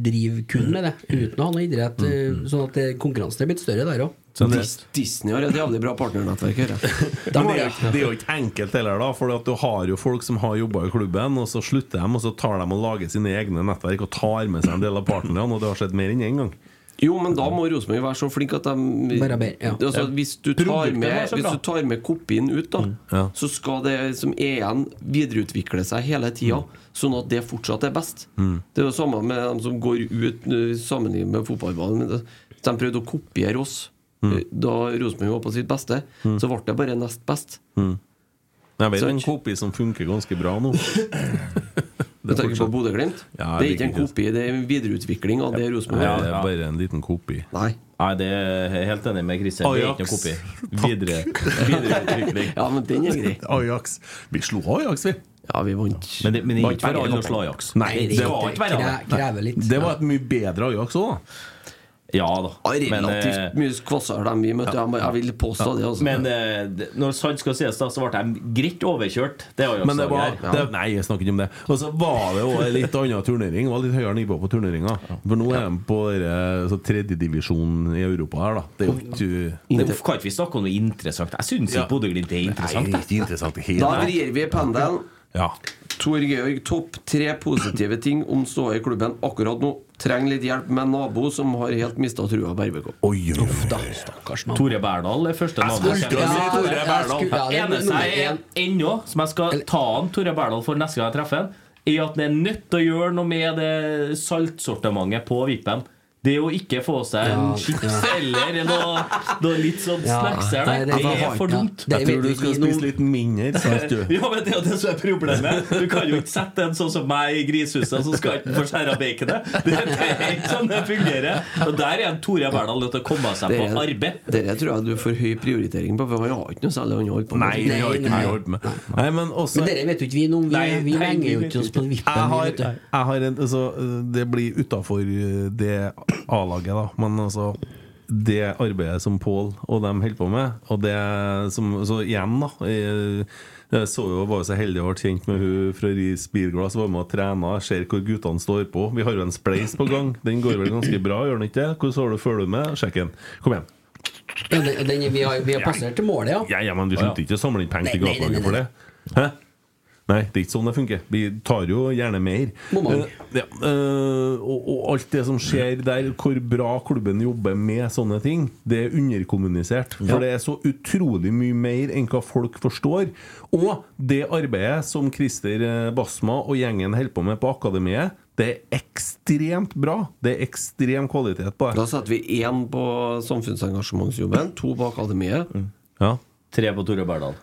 driver kun med det, uten å ha Mm. noe idrett. eh, Sånn at det, konkurransen er blitt større der òg. Dis Disney har et jævlig bra partnernettverk her. Men det er, jo ikke, det er jo ikke enkelt heller, da. For at du har jo folk som har jobba i klubben, og så slutter de, og så tar de og lager sine egne nettverk og tar med seg en del av partnerne, og det har skjedd mer enn én gang. Jo, men da må Rosenborg være så flink at de Bare ber- ja. altså, hvis, du tar Produktet må med, være så hvis bra. du tar med kopien ut, da, Ja. så skal det som er igjen, videreutvikle seg hele tida, Mm. sånn at det fortsatt er best. Mm. Det er jo samme med dem som går ut eh, sammenlignet med fotballbanen. men det- De prøvde å kopiere oss. Mm. Eh, Da Rosenborg var på sitt beste, Mm. så ble det bare nest best. Mm. Jeg vet Så- en kopi som funker ganske bra nå. Du tenker på Bodø-Glimt? Ja, det er ikke en Bodø-Glimt. kopi, det er en videreutvikling av det Rosenborg Ja, var. det er bare en liten kopi. Nei. Nei, det er jeg helt enig med Christian. Det er ikke noe kopi. Videre. Videreutvikling. ja, men den er grei. Ajax. Vi slo Ajax, vi. Ja, vi vant. Men det, men det er Vant ikke for begge alle å kampene. slå Ajax. Nei, det skal var- ikke være alle. kre- krever litt. Det var et mye bedre Ajax òg, da. Ja da. Relativt mye kvassere dem vi møtte. Jeg må- Jeg vil påstå det. Altså. Men eh, det- når sant skal sies, da, så ble de greit overkjørt. Det er Men det var, Ajax-laget her. det, nei, jeg snakker ikke om det. Og så var det jo en litt annen turnering. Det var Litt høyere nivå på turneringa. For nå er de på dere- så tredjedivisjon i Europa her, da. Det er jo ikke Hvorfor kan ikke vi snakke om noe interessant? Jeg syns ikke Bodø-Glimt er interessant. Nei, ikke interessant i hele Da tatt. vrir vi pendelen. Ja. Tor Georg, topp tre positive ting om ståa i klubben akkurat nå. Trenger litt hjelp med en nabo som har helt mista trua på RBK. Uff da, stakkars Tore Berdal er første Jeg navn. skulle jeg til å si kjenner. Tore Berdal. Jeg skulle- ja, det er Eneste jeg er nummer ennå, som jeg skal ta an Tore Berdal for neste gang jeg treffer han, er at han er nødt til å gjøre noe med det saltsortimentet på vippen. Det å ikke få seg en Ja, chips ja. eller noe, noe litt sånn Ja, snacks her, nei, det, det- det er for dumt. Ja, det Jeg tror vet du skal vi nå. spise litt mindre, sant du? Ja, men det er jo det som er problemet. Du kan jo ikke sette en sånn som meg i grisehuset, så skal ikke få skjæra baconet. Det det er ikke sånn det fungerer. Og der er en Tore Berdal nødt til å komme seg på arbeid. Dere tror jeg du får høy prioritering på, for han har ikke noe særlig han holder på med. Nei, det har ikke mye å holde med. Nei, men også Men dere vet jo ikke vi noe om. Vi, Nei, vi nei, henger vi jo vet ikke oss på ikke. Jeg vippen. vi, har, vet du. jeg har en, altså, det blir utafor det A-laget, da. Men altså det arbeidet som Pål og dem holder på med, og det som Så igjen, da. Jeg, jeg så jo, var jo så heldig å være kjent med hun fra Ris Bilglass. Var med og trena. Jeg Ser hvor guttene står på. Vi har jo en spleis på gang. Den går vel ganske bra, gjør den ikke det? Hvordan har du følger du med? Sjekk den. Kom igjen. Ja, den, den, vi, har, vi har passert til målet, ja. Ja, ja, men vi Å, ja. slutter ikke å samle inn penger til Nei, nei, nei, gatelaget nei, for det. Hæ? Nei, det er ikke sånn det funker. Vi tar jo gjerne mer. Moment. Eh, ja, eh, og, og alt det som skjer der, hvor bra klubben jobber med sånne ting, det er underkommunisert. Ja. For det er så utrolig mye mer enn hva folk forstår. Og det arbeidet som Christer eh, Basma og gjengen holder på med på Akademiet, det er ekstremt bra. Det er ekstrem kvalitet på det. Da setter vi én på samfunnsengasjementsjobben, to på akademiet. Ja. Tre på Tore Berdal.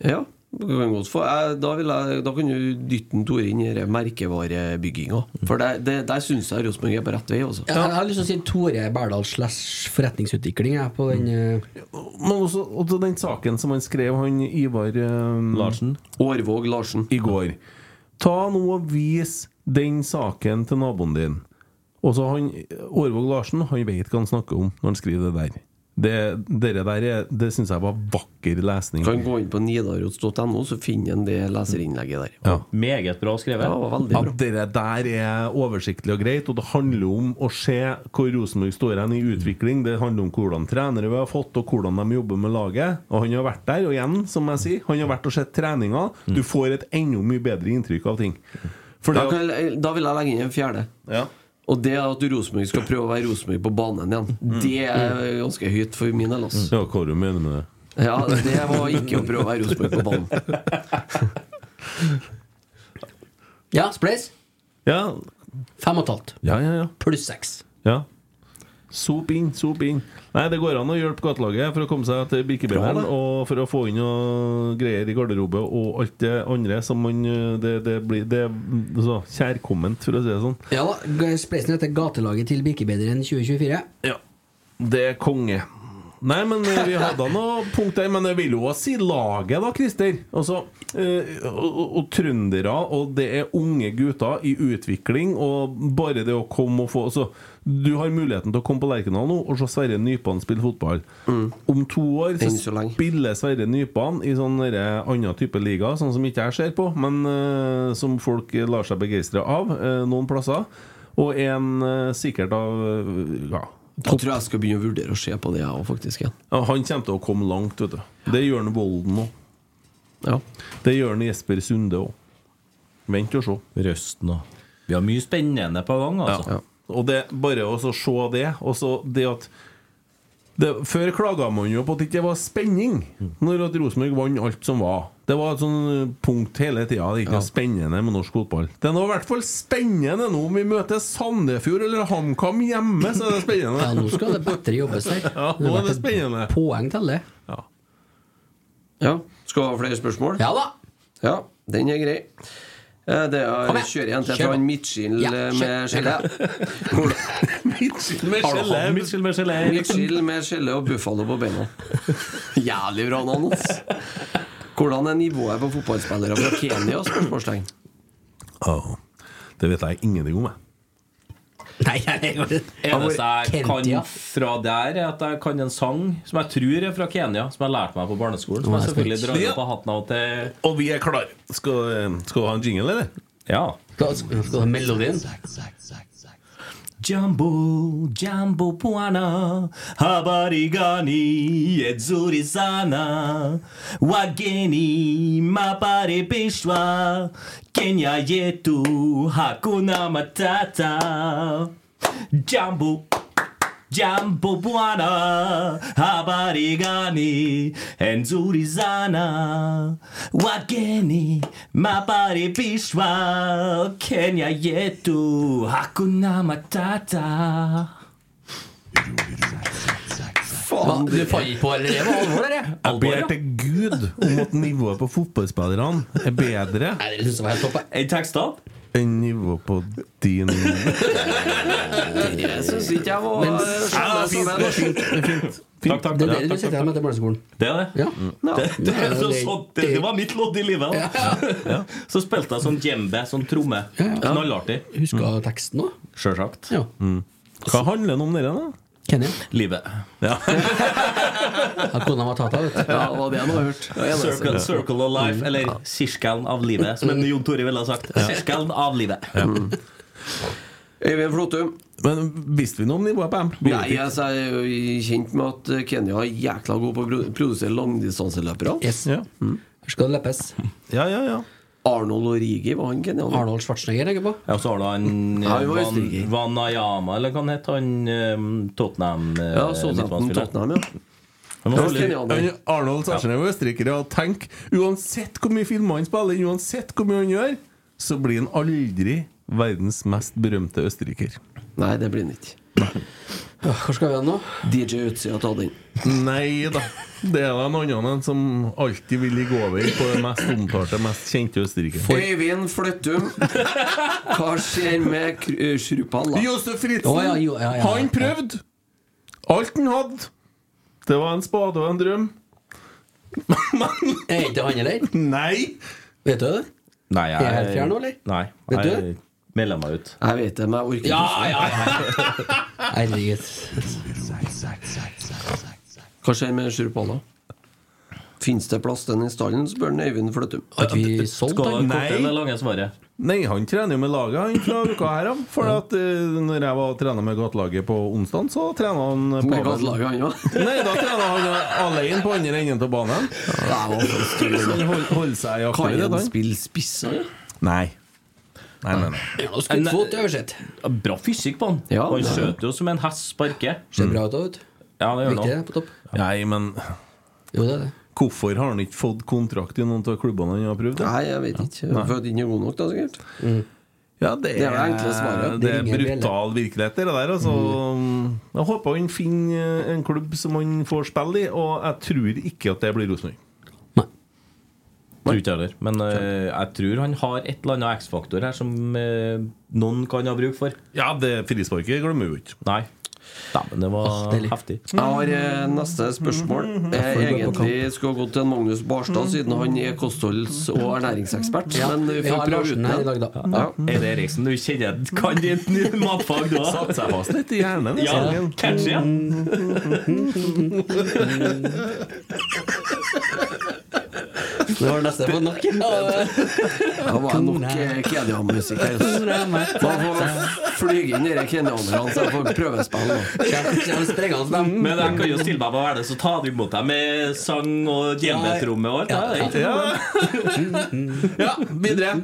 Ja, Du kan godt få- jeg- Da, vil jeg, da kan du dytte en Tore inn i denne merkevarebygginga. For det, det, der syns jeg Rosenborg er på rett vei. altså. Også. Jeg, jeg har lyst til å si Tore Berdal slash forretningsutvikling jeg, på den Mm. eh, Men også, også den saken som han skrev, han Ivar Larsen Årvåg Larsen i går. Ta nå og vis den saken til naboen din. Også han, Årvåg Larsen han vet hva han snakker om når han skriver det der. Det, dere der er, det syns jeg var vakker lesning. Kan gå inn på nidaros.no, så finner en det leserinnlegget der. Meget bra skrevet. At det der er oversiktlig og greit, og det handler om å se hvor Rosenborg står hen i utvikling. Det handler om hvordan trenere vi har fått, og hvordan de jobber med laget. Og han har vært der, og igjen, som jeg sier, han har vært og sett treninga. Du får et enda mye bedre inntrykk av ting. For da, det- kan, jeg- da vil jeg legge inn en fjerde. Og det er at Rosenborg skal prøve å være Rosenborg på banen igjen. Mm. Det er ganske høyt for min del. Altså. Ja, hva du mener med det? Ja, det var ikke å prøve å være Rosenborg på banen. Ja, Spleis? Ja. Fem og et halvt. Ja, ja, ja. Pluss seks. Ja. Sop inn, sop inn. Nei, det går an å hjelpe gatelaget for å komme seg til Birkebeineren og for å få inn noe greier i garderobe og alt det andre som man eh, Det, det blir det, er så kjærkomment, for å si det sånn. Ja da. g- Spleisen heter Gatelaget til Birkebeineren 2024. Ja. Det er konge. Nei, men eh, vi hadde noe punkt der, men jeg vil jo også si laget, da, Christer. Altså, eh, og, og, og trøndere, og det er unge gutter i utvikling, og bare det å komme og få altså, Du har muligheten til å komme på Lerkendal nå og se Sverre Nypan spille fotball. Om to år så, Mm. Enn så lenge. spiller Sverre Nypan i sånn derre annen type liga, sånn som ikke jeg ser på, men eh, som folk eh, lar seg begeistre av eh, noen plasser. Og en eh, sikkert av eh, ja, Jeg tror jeg skal begynne å vurdere å se på det, jeg òg, faktisk. igjen. ja, han kommer til å komme langt, vet du. Det gjør han Volden òg. Det gjør han Jesper Sunde òg. Vent og se. Røsten òg. Vi har mye spennende på gang, altså. Og det, bare å så se det, og så det at det, Før klaga man jo på at det ikke var spenning når at Rosenborg vant alt som var. Det var et sånn punkt hele tida. Det er ikke noe spennende med norsk fotball. Det er nå i hvert fall spennende nå om vi møter Sandefjord eller HamKam hjemme, så er det spennende. Ja, nå skal det bedre jobbes her. Ja, nå er det spennende. Poeng til det. Ja. Skal du ha flere spørsmål? Ja da. Ja, den er grei. Eh, Det er, Kom igjen. kjører jeg en til Kjør fra på. han Mitchell Ja, eh, kjør. med skjellet. Mitchell med skjellet. Mitchell med skjellet. Mitchell med skjellet og Buffalo på beina. Jævlig bra navn, ass. Hvordan er nivået på fotballspillere fra Kenya? Spørsmålstegn. Åh, det vet jeg ingenting om, jeg. Nei, jeg går Eneste jeg kan fra der, er at jeg kan en sang som jeg tror er fra Kenya, som jeg lærte meg på barneskolen. Som jeg selvfølgelig drar opp av hatten av og til. Og vi er klare. Skal, eh, skal du ha en jingle, eller? Ja. Skal du ha melodien? Jambo, jambo puana Habarigani, edzurizana Wageni, mapare peshwa Kenya yetu, hakuna matata Jambo, jambo puana Habarigani, edzurizana Wageni, mapare peshwa Kenya yetu, hakuna matata Hva, Du fant ikke på eller det? var alvor, eller? Jeg ber til Gud om at nivået på fotballspillerne er bedre liksom Enn tekstene? enn nivået på din Jeg syns ikke jeg var Men- skjønner Ah, jeg som en- Takk, takk, Det takk, er det du sitter takk, takk. igjen med etter barneskolen. Det er det. Det, det, er så sånn- det, det var mitt lodd i livet. da. Ja. Så spilte jeg sånn djembe, sånn tromme. Knallartig. Huska teksten òg? Sjølsagt. Ja. Hva handler den om, dere, da? Kenya. Livet. Hakuna Matata, vet du. Ja, det var det han hadde hørt. Det var det eneste. Circle, circle of Mm. life, eller sirkelen av livet, som en Jon Tore ville ha sagt. Sirkelen av livet. Øyvind Flåtum. Men visste vi noe om nivået på dem? Vi Nei, vet ikke. altså, jeg er jo kjent med at eh, Kenya er jækla god på å produ- produsere langdistanseløpere. Yes. Ja. Her skal det løpes. ja, ja, ja. Arnold Origi, var han kenyaner? Arnold Schwarzenegger tenker jeg på. Ja, så har du han eh, Ja, vi var i Van, Østerrike. Vanayama, eller hva han het han eh, Tottenham eh, Ja, Southampton, midtbanespiller. Tottenham, ja. Han var Ja, veldig- kenyaner. Arnold Schwarzenegger er østerriker, og tenk Uansett hvor mye filmer han spiller, uansett hvor mye han gjør, så blir han aldri verdens mest berømte østerriker. Nei, det blir han ikke. Hvor skal vi hen nå? DJ Utsida ta den. Nei da. Det er da en annen enn som alltid vil ligge over på det mest omtalte, mest kjente Østerrike. Øyvind Fløttum. Hva skjer med eh, kr- Shrupal, da? Josef Fritzen! Han prøvde! Alt han hadde. Det var en spade og en drøm. Er ikke han heller? Nei! Vet du det? Nei, jeg Er jeg helt fjern nå, eller? Nei. Vet du? Jeg melder meg ut. Jeg vet det, men jeg orker Ja, ja, ja. Herregud. Hva skjer med Shrupal, da? Fins det plass til den i stallen, spør han Øyvind Fløttum. Har ikke vi solgt Skal det korte eller lange svaret? Nei, han trener jo med laget han fra uka her av. For at eh, når jeg var trener med gatelaget på onsdag, så trener han eh, Med Pavel. gatelaget, han òg? Nei, da trener han eh, alene på andre enden av banen. Så han hold- holder seg i Kan akkurat han han. spille spiss? han, ja? Nei. Nei, nei, nei. Ja, skuddfot oversett. Bra fysikk på han. Ja, han det er det. skjøt jo som en hest sparker. Ser bra ut da, vet du. Ja, det gjør Likte han. det, på topp. Nei, men Hvorfor har han ikke fått kontrakt i noen av klubbene han har prøvd? Nei, jeg vet ikke. Nei. For at den er god nok, da, sikkert. Ja, det Det er det enkle svaret. Det Det er ringer bjeller. brutal virkelighet, det der. Altså, Jeg håper han finner en klubb som han får spille i, og jeg tror ikke at det blir Rosenborg. Tror ikke jeg heller. Men eh, jeg tror han har et eller annet X-faktor her som eh, noen kan ha bruk for. Ja, det frisparket glemmer vi ikke. Nei. Nei, men det var heftig. Jeg har eh, neste spørsmål. Jeg får gå på egentlig skulle ha gått til Magnus Barstad, siden han er kostholds- og ernæringsekspert. Ja, Men vi vi får har prøve Larsen uten her i den. dag, da. Ja. Er det Eriksen du kjenner kan ditt nye matfag da? Satt seg fast litt i hjernen. altså. Ja, catchy, ja. Det var neste på nok. Da var jeg nok eh, Kenya-musikk her. Da får jeg flyge inn de kenyanerne, så jeg får prøvespill nå. Men jeg kan jo stille meg på hva er det, så tar du imot deg med sang og djembetromme og alt. Ja, det er ikke ja. Ja, videre.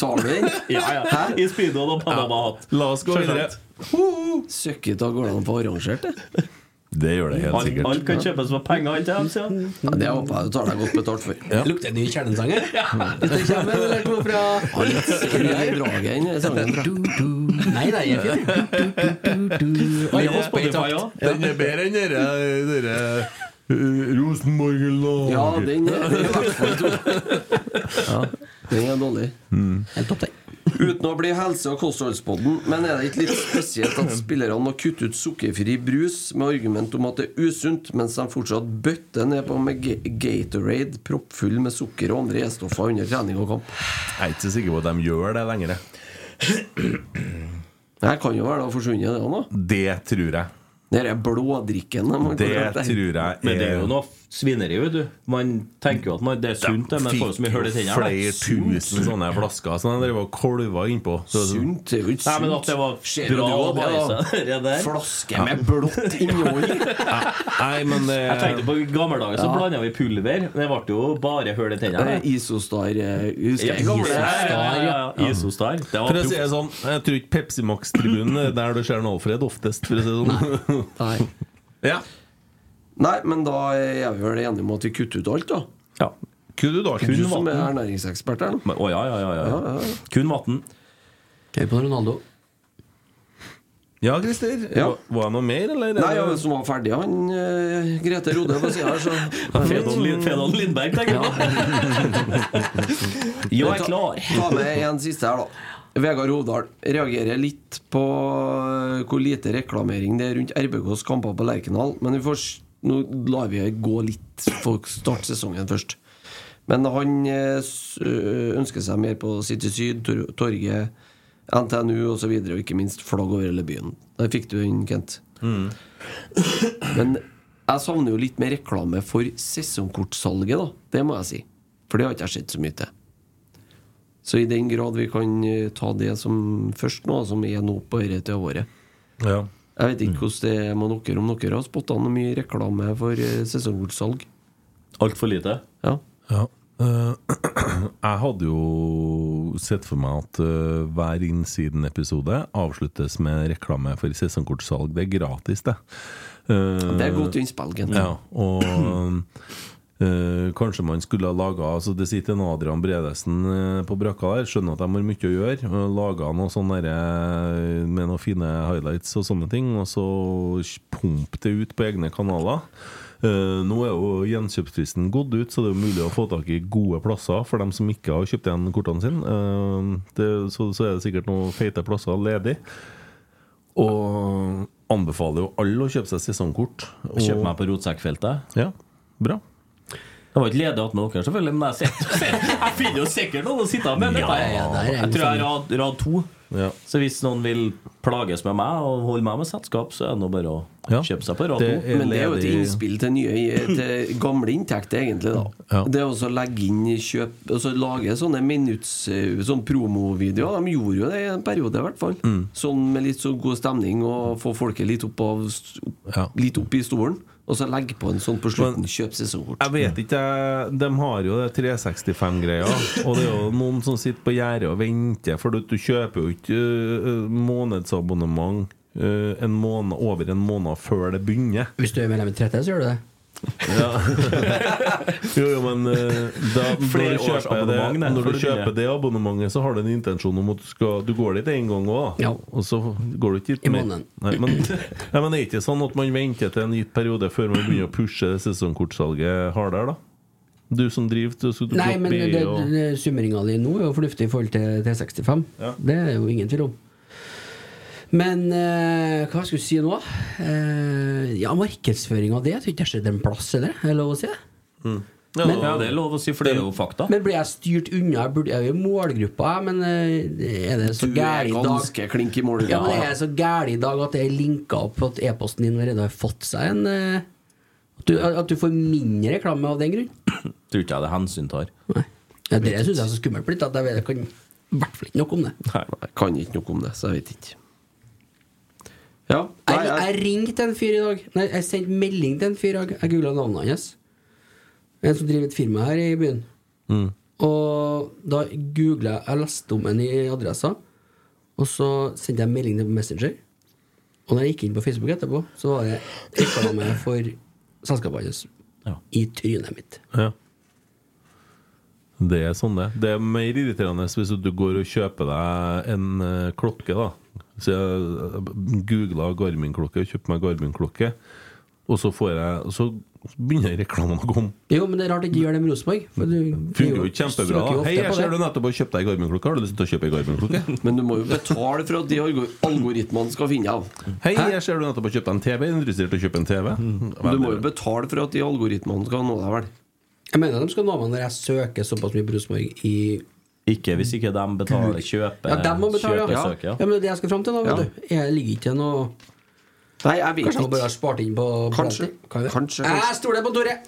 Tar du den? Ja, ja. Hæ? I speedoen og Panama-hatt. La oss gå videre. Søkkete går det an å få arrangert det? Det gjør det helt Alt, sikkert. alt kan kjøpes for penger, ikke sant? Ja, det håper jeg du tar deg godt betalt for. Lukter ny kjernesanger. Ja. Det kommer en eller to fra Har litt skru i draget i den sangen. Nei, nei, jeg er fin. Og jeg har Spotify òg. Den er bedre enn dere, dere eh, Rosenborg-laget. Ja, den er den er i hvert fall tung. Den er dårlig. Mm. Helt topp, den. Uten å bli helse- og kostholdspodden, men er det ikke litt spesielt at spillerne må kutte ut sukkerfri brus med argument om at det er usunt, mens de fortsatt bøtter ned på med Ga- Gatorade proppfull med sukker og andre E-stoffer under trening og kamp? Jeg er ikke så sikker på at de gjør det lenger. jeg. Det kan jo være det har forsvunnet, det òg, da. Det tror jeg. Den der blådrikken de har Det glemt der. tror jeg er Men det er jo noe svineri, vet du. Man tenker jo at man, det er sunt, det, men det får jo så mye hull i tennene. Flere tusen sånne flasker som de drev og kolva innpå. Så- Sunt er jo ikke Nei, men sunt. at det var altså. Ser du bra det å også, bæsje det det der. Flaske med blått innhold. Nei, men eh, det Jeg tenkte på i gamle dager så Ja. blanda vi pulver. Det ble jo bare hull i tennene. Eh, Isostar eh, Husker jeg Ja, gamle ja, ja, ja. Isostar. Det var For å si det proft. sånn, jeg tror ikke Pepsi Max-tribunen er der du ser en Alfred oftest, for å si det sånn. Nei. ja. Nei, men da er vi vel enige om at vi kutter ut alt, da. Ja. Kunne du da Du Kun som er vann. ernæringsekspert her nå. Men- Å ja, ja, ja. ja. Ja, ja. Kun vann. Høy på Ronaldo. Ja, Christer. Ja. Var- Var det noe mer, eller? Nei, ja, som var ferdig, han eh, Grete Rode på sida her, så Fedon Lin- Fedon Lindberg, tenker jeg. Jo, jeg er klar. Ta med en siste her, da. Vegard Hovdal reagerer litt på eh, hvor lite reklamering det er rundt RBKs kamper på Lerkendal. Men vi får, s- nå lar vi det gå litt for å starte sesongen først. Men han eh, s- ø, ønsker seg mer på City Syd, Tor- Torget, NTNU osv. Og, så videre, og ikke minst flagg over hele byen. Der fikk du den, Kent. Men jeg savner jo litt mer reklame for sesongkortsalget, da. Det må jeg si. For det har ikke jeg sett så mye til. Så i den grad vi kan eh, ta det som først nå, som er nå på dette til året Ja. Jeg vet Mm. ikke hvordan det er med dere, om dere har spotta noe mye reklame for eh, sesongkortsalg? Altfor lite. Ja. Ja. Eh, jeg hadde jo sett for meg at eh, hver Innsiden-episode avsluttes med reklame for sesongkortsalg. Det er gratis, det. Eh, Det er godt innspill, Kent. Ja, og Eh, kanskje man skulle ha laga altså Det sitter en Adrian Bredesen eh, på brakka der. Skjønner at de har mye å gjøre. Uh, laga noe sånn derre med noen fine highlights og sånne ting. Og så pump det ut på egne kanaler. Eh, nå er jo gjenkjøpsfristen gått ut, så det er jo mulig å få tak i gode plasser for dem som ikke har kjøpt igjen kortene sine. Eh, det, så, så er det sikkert noen feite plasser ledig. Og anbefaler jo alle å kjøpe seg sesongkort. Og... Kjøp meg på rotsekkfeltet. Ja, bra Jeg var ikke ledig attmed dere, selvfølgelig, men jeg, sitter, jeg finner jo sikkert noen å sitte med. men Ja, dette er- der er jeg vi tror jeg er sammen. sånn- rad, rad to. Ja. Så hvis noen vil plages med meg og holde meg med selskap, så er det nå bare å kjøpe seg på rad to. Men det er jo et innspill til, nye, til gamle inntekter, egentlig. da Det er også å legge inn i kjøp altså Lage sånne minutts eh, Sånn promovideoer. De gjorde jo det i en periode, i hvert fall. Sånn med litt så god stemning og få folket litt opp, av, st- litt opp i stolen. Og så legge på en sånn på slutten. Kjøp sesongkort. Jeg vet ikke, jeg- de har jo det 365-greia. Og det er jo noen som sitter på gjerdet og venter, for du, du kjøper jo ikke øh, øh, månedsabonnement øh, en måned, over en måned før det begynner. Hvis du er medlem i 30, så gjør du det. Ja. jo, jo, men eh, da, når, Flere du års kjøper det, abonnement, det, når for du det kjøper billige. det abonnementet, så har du en intensjon om at du skal Du går dit én gang òg, Ja. og så går du ikke dit I mer. måneden. Nei, men, nei, men det er ikke sånn at man venter til en gitt periode før man begynner å pushe sesongkortsalget hardere, da? Du som driver du, du Nei, men klopper i det, og- det, summeringa di nå er jo fornuftig i forhold til T65. Det er jo ingen tvil om. Men eh, hva skal vi si nå? Eh, ja, markedsføringa di. Jeg tror ikke det skjedde en plass, eller? Er det lov å si det? Ja, Men- ja, det er lov å si, for det er jo fakta. Men blir jeg styrt unna? Burde jeg er jo i målgruppa? jeg, Men eh, er det så Du er gæli i dag? ganske klink i målgruppa. Ja, men er det så gæli i dag at det er linka opp at e-posten din allerede har fått seg en eh, at, du, at du får mindre reklame av den grunn? Tror ikke jeg det hensyn tar. Ja, det syns jeg er så skummelt blitt. At jeg vet jeg kan i hvert fall ikke noe om det. Jeg kan ikke noe om det, så jeg vet ikke. Ja, Jeg, jeg ringte en fyr i dag. Nei, jeg sendte melding til en fyr i dag. Jeg googla navnet hans. En som driver et firma her i byen. Mm. Og da googla jeg Jeg leste om en i adressa, og så sendte jeg melding til Messenger. Og når jeg gikk inn på Facebook etterpå, så var det reklame for selskapet hans i trynet mitt. Ja. Det er sånn det. Det er mer irriterende hvis du går og kjøper deg en eh, klokke, da. Så jeg googla Garmin-klokke og kjøpte meg Garmin-klokke, og så får jeg Så begynner reklamen å komme. Jo, men det er rart ikke gjør det med Rosenborg. for du- Funker jo du søker kjempebra. jo ofte Hei, på jeg det. ser du nettopp har kjøpt deg Garmin-klokke. Har du lyst til å kjøpe ei Garmin-klokke? Men du må jo betale for at de algor- algoritmene skal finne av. Hei, jeg ser du nettopp har kjøpt deg en TV. Er du interessert i å kjøpe en TV? Du må jo betale for at de algoritmene skal nå deg, vel? Jeg mener de skal nå meg når jeg søker såpass mye på Rosenborg i Ikke hvis ikke de betaler kjøpe, Ja, dem må betale, ja. kjøpesøk, ja. Men det er det jeg skal fram til, da. Ja. Vet du. Jeg ligger ikke noe Nei, jeg vet Kanskje ikke. jeg bare har spart inn på Kanskje. Plenty. Kan jeg det? Kanskje, Jeg stoler på Tore!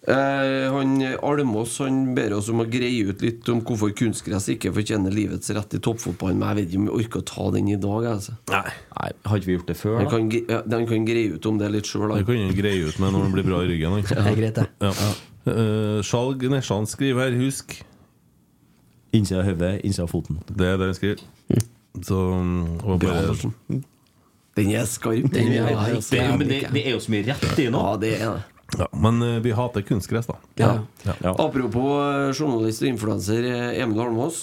Eh, han Almås han ber oss om å greie ut litt om hvorfor kunstgress ikke fortjener livets rett i toppfotballen. Men jeg vet ikke om vi orker å ta den i dag. Altså. Nei. Har ikke vi gjort det før? Han kan, gre- ja, de kan greie ut om det litt sjøl. Det kan han greie ut med når han blir bra i ryggen. han. Det er greit, det. Ja. Eh, Skjalg Nesjan skriver her, husk Innsida av hodet, innsida av foten. Det er det han skriver. Så mm, og Bra, bare- Andersen. Den er skarp. Den er veldig helt skarp. jævlig. Men det- det er jo så mye rett i nå. Ja, det er det. Ja, men eh, vi hater kunstgress, da. Ja. Ja. Apropos eh, journalist og influenser eh, Emil Almås.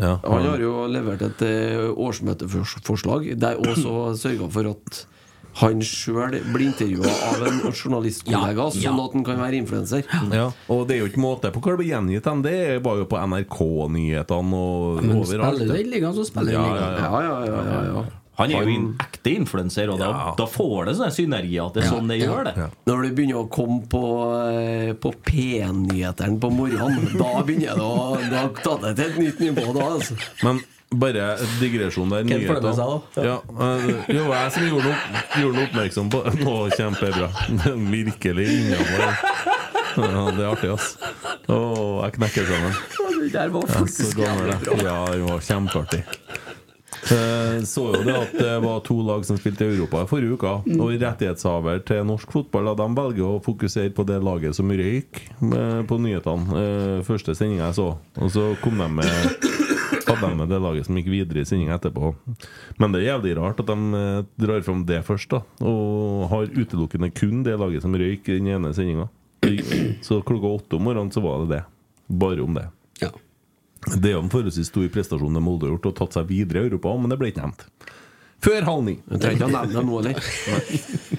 Ja. Han har jo levert et eh, årsmøteforslag der også sørga for at han sjøl blir intervjua av en journalistkollega, Ja, ja. sånn at han kan være influenser. Ja, og det er jo ikke måte på hva det ble gjengitt hen. Det var jo på NRK-nyhetene og Men overalt. spiller du i ligaen, så spiller du i Ja, ligaen. ja, Han er jo en ekte influenser, og da, da får det sånne synergier at det er sånn det Ja. gjør det. Når det begynner å komme på, eh, på P1-nyhetene på morgenen, da begynner det å Da tar det til et nytt nivå, da. Altså. Men bare digresjon der. Hvem får det med nyheter. seg, da? Ja, eh, jo, jeg som gjorde den opp- gjorde den oppmerksom på Nå, kjempebra. Virkelig innafor. Ja, det er artig, ass. Å, jeg knekker sammen. Det der var Ja, så faktisk gammel, jævlig jeg. bra. Ja, det var kjempeartig. Eh, Så jo det at det var to lag som spilte i Europa i forrige uke. Mm. Og rettighetshaver til norsk fotball da, De velger å fokusere på det laget som røyk eh, på nyhetene. eh, Første sendinga jeg så. Og så kom de med hadde de med det laget som gikk videre i sendinga etterpå. Men det er jævlig rart at de eh, drar fram det først, da. Og har utelukkende kun det laget som røyk i den ene sendinga. Så klokka åtte om morgenen så var det det. Bare om det. Det er jo en forholdsvis stor prestasjon de Molde har gjort, og tatt seg videre i Europa, men det ble ikke nevnt. Før halv ni. Jeg trenger ikke å nevne dem nå, eller?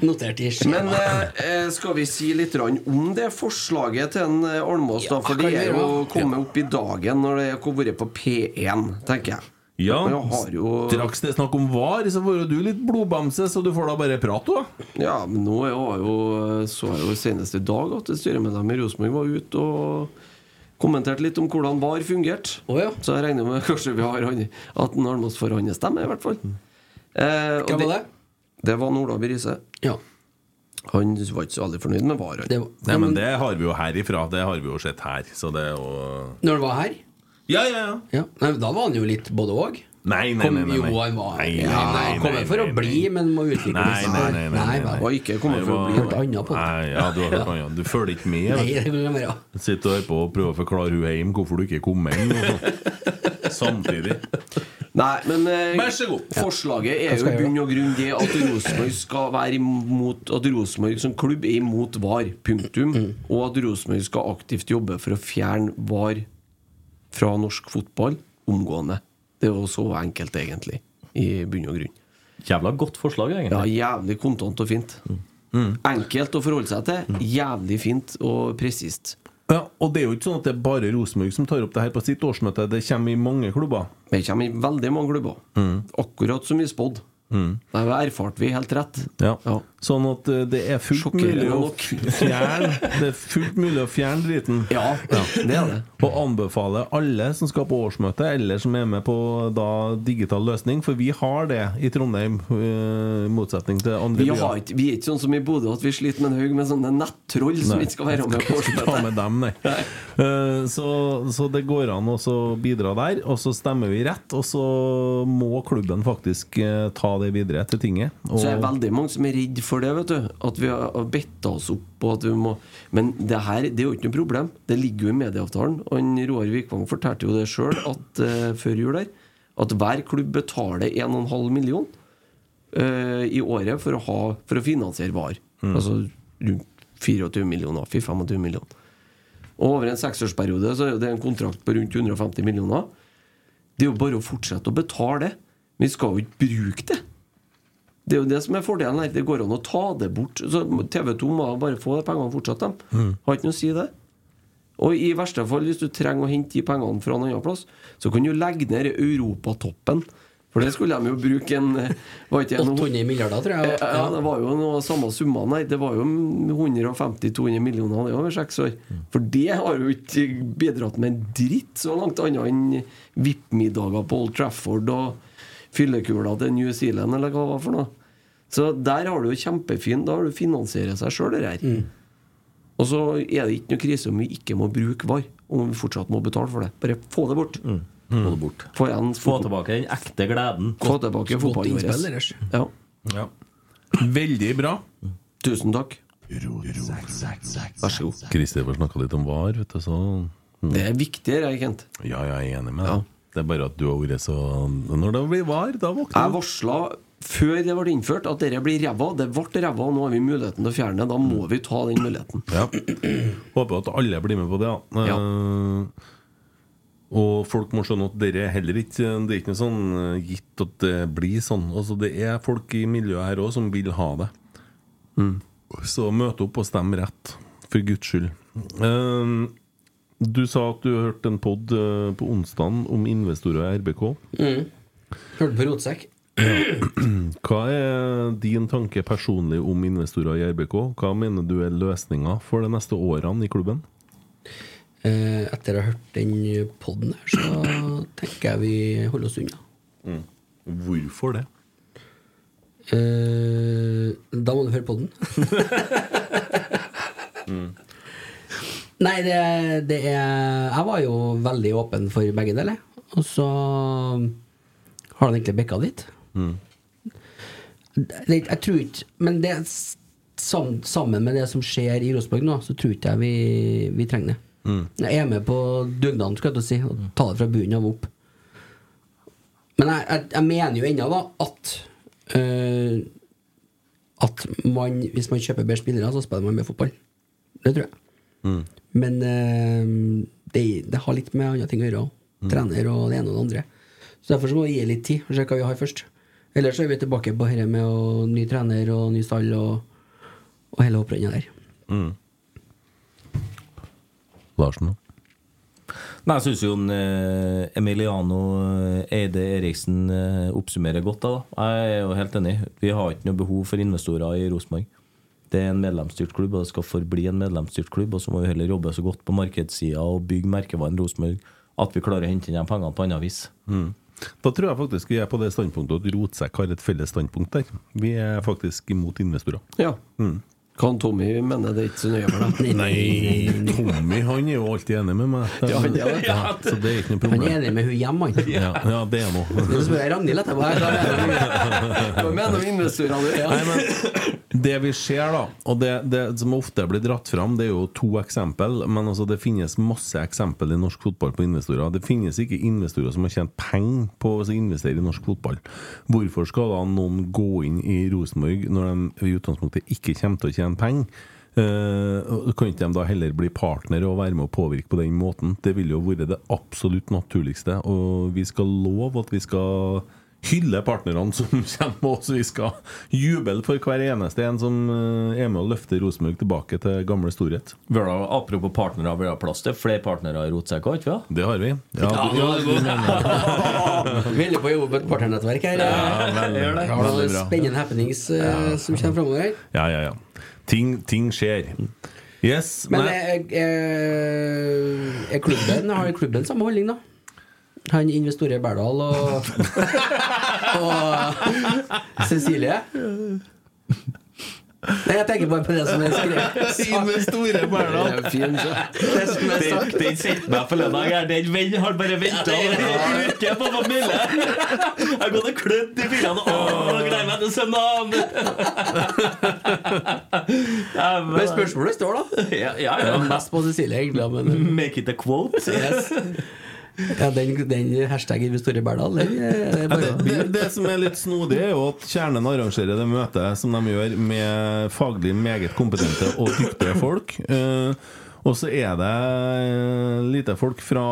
Notert i skjema. Men eh, eh, skal vi si litt grann om det forslaget til en eh, Almås, da? For kan det er gjøre jo kommet opp i dagen når det har vært på P1, tenker jeg. Ja, Men jeg har jo straks det er snakk om VAR, så får jo du litt blodbamse, så du får da bare prate, du. Ja, men nå er jeg jo, så jeg jo senest i dag at et styremedlem i Rosenborg var ute og kommenterte litt om hvordan VAR fungerte. Så jeg regner med kanskje vi har han, at han Almås får hans stemme, i hvert fall. Eh, og Mm. Hvem var det? Det var Olav Riise. Ja. Han var ikke så veldig fornøyd med VAR. han. Nei, men det har vi jo herifra. Det har vi jo sett her, så det er jo Når han var her? Ja, ja, ja. Nei, men da var han jo litt både òg. Nei, nei, nei, nei, nei. Jo, han var Nei, nei, Ja, nei, han kommer nei, for å bli, men må utvikle Nei, seg. nei, nei. nei, nei, nei. vel. Nei, hva- Nei, ja, du har hørt noe annet. Du følger ikke med. Nei, vet det du. kan jeg gjøre. Sitter og hører på og prøver å forklare hun hjem hvorfor du ikke kom hjem. og sånn. Samtidig. Nei, men eh, Vær så god. forslaget Hva er jo skal i jeg bunn og grunn det at Rosenborg skal være imot At Rosenborg som klubb er imot VAR. Punktum. Og at Rosenborg skal aktivt jobbe for å fjerne VAR fra norsk fotball omgående. Det er jo så enkelt, egentlig. I bunn og grunn. Jævla godt forslag, Ja, egentlig. jævlig kontant og fint. Mm. Enkelt å forholde seg til. Jævlig fint og presist. Ja, og det er jo ikke sånn at det er bare Rosenborg som tar opp det her på sitt årsmøte. Det kommer i mange klubber. Det kommer i veldig mange klubber. Akkurat som vi spådde. Mm. Der erfarte vi helt rett. Ja. Sånn at eh, det er fullt Sjokkerende mulig å nok. fjerne Det er fullt mulig å fjerne driten. Ja, det er det. Og anbefale alle som skal på årsmøte, eller som er med på da, digital løsning, for vi har det i Trondheim, eh, i motsetning til andre Vi, har ikke, vi er ikke sånn som i Bodø at vi sliter med en haug med sånne nettroll som Nei. ikke skal være med på Skal ikke ta årsmøtet. med dem, nei. Eh, Så, så det går an å så bidra der, og så stemmer vi rett. Og så må klubben faktisk eh, ta det videre til tinget. Og Så er det veldig mange som er redd for det, vet du. At vi har bitta oss opp på at vi må Men det her det er jo ikke noe problem. Det ligger jo i medieavtalen. Og han Roar Vikvang fortalte jo det sjøl uh, før jul her, at hver klubb betaler 1,5 million eh, i året for å, ha, for å finansiere VAR. Mm. Altså rundt 24 millioner, 25 millioner. Og over en seksårsperiode så er jo det en kontrakt på rundt 150 millioner. Det er jo bare å fortsette å betale det. Vi skal jo ikke bruke det. Det er jo det som er fordelen her. Det går an å ta det bort. Så TV2 må bare få de pengene fortsatt, dem. Mm. Har ikke noe å si det. Og i verste fall, hvis du trenger å hente de pengene fra en annen plass, så kan du legge ned Europatoppen. For det skulle de jo bruke en eh, var ikke en- 800 milliarder, tror jeg. Eh, Ja, det var jo noe samme summa, nei. Det var jo 150-200 millioner det over seks år. For det har jo ikke bidratt med en dritt så langt, annet enn VIP-middager på Old Trafford og fyllekula til New Zealand, eller hva det var for noe. Så der har du jo kjempefin Da har du finansiert seg sjøl, det her. Og så er det ikke noe krise om vi ikke må bruke VAR, om vi fortsatt må betale for det. Bare få det bort. Få det bort. Få, igjen Få tilbake den ekte gleden. Få tilbake fotballen vår. Ja. Ja. Veldig bra. Tusen takk. Vær så god. Kristoffer snakka litt om VAR, vet du, så Det er viktigere, jeg, Kent. Ja, ja, jeg er enig med deg. Det er bare at du har vært så Når det blir VAR, da våkner Jeg varsla før det ble innført at dette blir ræva. Det ble ræva, nå har vi muligheten til å fjerne det. Da må vi ta den muligheten. Ja. Håper at alle blir med på det. Ja. Eh, og folk må skjønne at dere er heller ikke Det er ikke noe sånn eh, gitt at det blir sånn. Altså, det er folk i miljøet her òg som vil ha det. Mm. Så møt opp og stem rett, for guds skyld. Eh, du sa at du hørte en pod på onsdagen om investorer i RBK. Mm. Hørte på rotsekk. Hva er din tanke personlig om investorer i RBK? Hva mener du er løsninga for de neste årene i klubben? Eh, etter å ha hørt den poden her, så tenker jeg vi holder oss unna. Hvorfor det? Eh, da må du høre poden. Nei, det, det er Jeg var jo veldig åpen for begge deler. Og så har han egentlig bikka dit. Det- det- Jeg tror ikke Men det, s- sam- sammen med det som skjer i Rosenborg nå, så tror ikke jeg vi, vi trenger det. Jeg er med på dugnaden, skal jeg til å si. Og ta det fra bunnen av opp. Men jeg, jeg, jeg mener jo ennå da at øh, At man, hvis man kjøper bedre spillere, så spiller man bedre fotball. Det tror jeg. Men eh, det, det har litt med andre ting å gjøre òg. Mm. Trener og det ene og det andre. Så derfor så må vi gi litt tid og se hva vi har først. Ellers så er vi tilbake på dette med å, ny trener og ny stall og, og hele hopprennet der. Larsen, da? Nei, jeg syns jo en, eh, Emiliano eh, Eide Eriksen eh, oppsummerer godt. da, da. Jeg er jo helt enig. Vi har ikke noe behov for investorer i Rosenborg. Det er en medlemsstyrt klubb, og det skal forbli en medlemsstyrt klubb. Og så må vi heller jobbe så godt på markedssida og bygge merkevaren Rosenborg at vi klarer å hente inn de pengene på annet vis. Mm. Da tror jeg faktisk vi er på det standpunktet at Rotsekk har et felles standpunkt der. Vi er faktisk imot investorer. Ja. Hva han Tommy mener, det er ikke så nøye for deg. Nei, Tommy han er jo alltid enig med meg. Ja, han er det. Ja, så det er ikke noe Han problem. er enig med hun hjemme, han. Ja, ja det er Så noe. spør jeg Ragnhild etterpå. her, da er det- Hva mener du investorene du? Nei, men det vi ser, da, og det, det som ofte blir dratt fram, det er jo to eksempel, men altså det finnes masse eksempel i norsk fotball på investorer. Det finnes ikke investorer som har tjent penger på å investere i norsk fotball. Hvorfor skal da noen gå inn i Rosenborg når de i utgangspunktet ikke kommer til å tjene penger? Eh, og kan ikke de da heller bli partnere og være med å påvirke på den måten? Det ville jo vært det absolutt naturligste, og vi skal love at vi skal hylle partnerne som kommer med oss. Vi skal juble for hver eneste en som eh, er med å løfte Rosenborg tilbake til gamle storhet. Vi har, da- apropos partnere, vi har plass til flere partnere i Rotsekk, har vi ikke det? har vi. du- Ja, ja, du Vi holder på å jobbe på et partnernettverk her. Ja, veldig, Gjør veldig det. Har noen bra. spennende happenings eh, som kommer framover her. Ja, ja, ja. Ting, ting skjer. Yes. Men eh, nei. er, er, er klubben, har klubben samme holdning, da? Han investorer Berdal og, og Cecilie? Nei, jeg tenker bare på det som er skrevet. Investorer Berdal. Det er fint, så. Det som er Den, sagt. den sendte meg forleden dag. her. Den vennen har bare venta en uke på å få melde! Jeg har gått og klødd i fingrene. Åh, Gleder meg til søndag! Men spørsmålet står, da. Ja, ja, Det ja. er Mest på Cecilie, egentlig. Men... Make it a quote. Yes. Ja, den, den hashtaggen investorer Berdal, den eh, er det er Ja, bare det, det, det som er litt snodig, er jo at Kjernen arrangerer det møtet som de gjør med faglig meget kompetente og dyktige folk. Eh, og så er det eh, lite folk fra,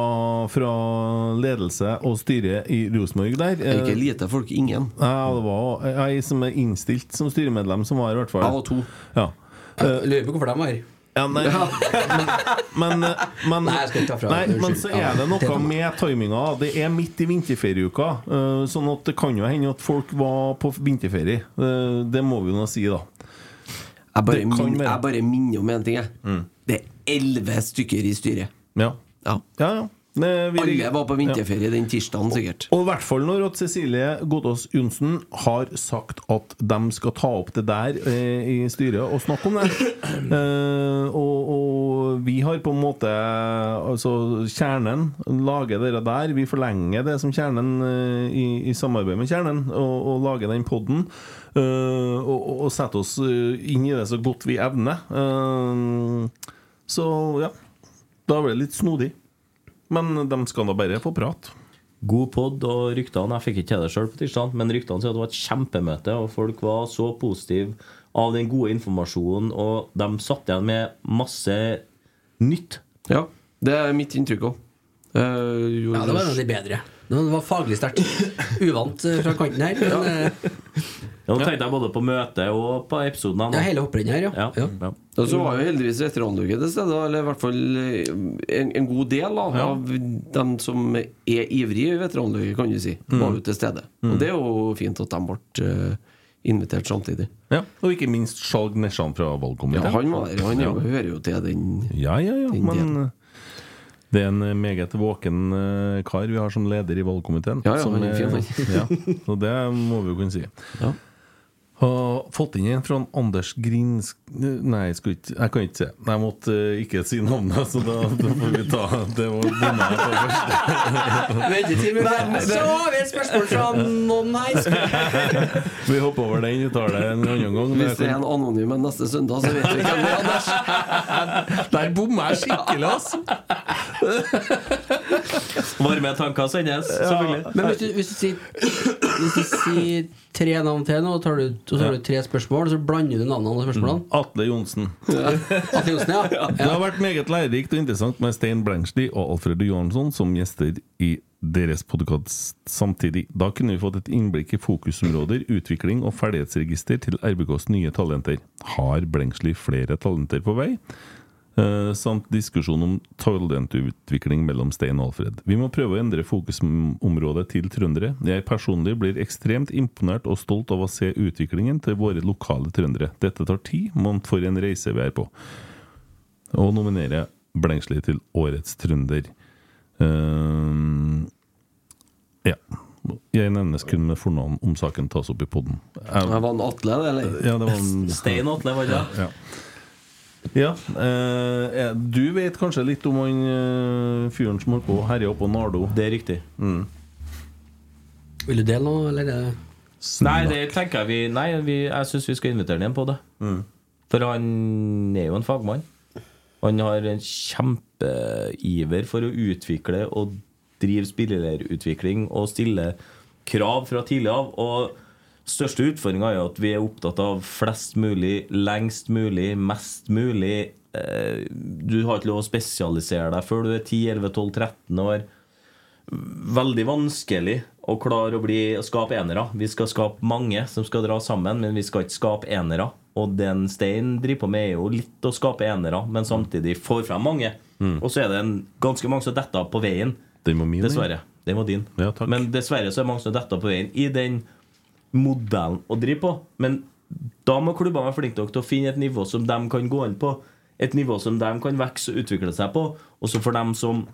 fra ledelse og styre i Rosenborg der. Eh, Ikke lite folk, ingen. Ja, det var ei som er innstilt som styremedlem, som var her, i hvert fall. Jeg var to. Ja. Jeg lurer på hvorfor de var her. Ja, nei, men, men, men, Nei, jeg skal ikke ta fra nei, deg. men Unnskyld. så Ja, er det det noe var- med timinga. Det er midt i vinterferieuka, eh, sånn at det kan jo hende at folk var på vinterferie. Eh, Det må vi jo nå si, da. Jeg bare, Det kan min, være. jeg bare minner om en ting, jeg. Det er elleve stykker i styret. Ja. Ja, ja. Alle var på vinterferie den tirsdagen, sikkert. Og i hvert fall når at Cecilie Godås Johnsen har sagt at de skal ta opp det der eh, i styret og snakke om det. Eh, og, og vi har på en måte Altså, kjernen lager det der. Vi forlenger det som kjernen eh, i, i samarbeid med kjernen, og, og lager den poden. og, og, og setter oss eh, inn i det så godt vi evner. Eh, så ja. Da blir det litt snodig. Men de skal da bare få prate. God pod og ryktene. Jeg fikk ikke til det sjøl på tirsdag, men ryktene sier at det var et kjempemøte, og folk var så positive av den gode informasjonen, og de satt igjen med masse nytt. Ja, det er mitt inntrykk Eh, òg. Ja, det var en av de bedre. Det var faglig sterkt. Uvant eh, fra kanten her. Men, eh, Ja, Nå tenkte jeg både på møtet og på episoden. her nå. Ja, hele hopprennet her, ja. ja. ja. Og så var jo heldigvis veteranlaget til stede, eller i hvert fall eh, en, en god del da, av dem som er ivrige i veteranlaget, kan du si, var jo til stede. Og det er jo fint at de ble eh, invitert samtidig. Ja, Og ikke minst Skjalg Nesjan fra valgkomiteen. Ja, han var der, han er jo- hører jo til den Ja, ja, ja. den Men eh, det er en eh, meget våken eh, kar vi har som leder i valgkomiteen. Ja, ja, som, han er eh, fin, ja, han. så det må vi jo kunne si. Ja. Har fått inn en fra han Anders Grinsk... Nei, jeg, skulle ikke, jeg kan ikke si Jeg måtte eh, ikke si navnet, så da, da får vi ta Det var bomma jeg på først. Ventetid med verden. Så har vi et spørsmål fra noen her. Vi hopper over den. Vi tar det en annen gang. Hvis det er en anonym en neste søndag, så vet vi hvem det er. Anders. Der bommer jeg skikkelig, altså! Varme tanker sendes, selvfølgelig. Men hvis du, hvis, du sier, hvis du sier tre navn til nå, og tar du, og så har du tre spørsmål, og så blander du navnene og spørsmålene Atle Johnsen. Atle Johnsen, ja. Det har vært meget lærerikt og interessant med Stein Blengsli og Alfred Johansson som gjester i deres podkast samtidig. Da kunne vi fått et innblikk i fokusområder, utvikling og ferdighetsregister til RBKs nye talenter. Har Blengsli flere talenter på vei? Eh, samt diskusjon om talentutvikling mellom Stein og Alfred. Vi må prøve å endre fokusområdet til trøndere. Jeg personlig blir ekstremt imponert og stolt av å se utviklingen til våre lokale trøndere. Dette tar tid, men for en reise vi er på og nominere Blengsli til Årets trønder. Ehm, ja. Jeg nevnes kun med fornavn om saken tas opp i poden. Det var en Atle, det, eller? Ja, det var en- Stein Atle, var det det? Ja. ja. eh, du vet kanskje litt om han eh, fyren som holdt på å herje oppå Nardo? Det er riktig. Mm. Vil du dele noe, eller? er det- Nei, det tenker jeg vi Nei, vi, jeg syns vi skal invitere ham igjen på det. For han er jo en fagmann. Han har en kjempeiver for å utvikle og drive spillerutvikling og stille krav fra tidlig av. Og største utfordringa er jo at vi er opptatt av flest mulig, lengst mulig, mest mulig. Eh, Du har ikke lov å spesialisere deg før du er 10-11-12-13 år veldig vanskelig å klare å bli, å skape enere. Vi skal skape mange som skal dra sammen, men vi skal ikke skape enere. Og den Stein driver på med, er jo litt å skape enere, men samtidig får frem mange. Mm. Og så er det en, ganske mange som detter av på veien. Den var min. den. Dessverre. Den var din. Ja, takk. Men dessverre så er det mange som detter av på veien i den modellen å drive på. Men da må klubbene være flinke nok til å finne et nivå som de kan gå inn på. Et nivå som de kan vokse og utvikle seg på. Og så for dem som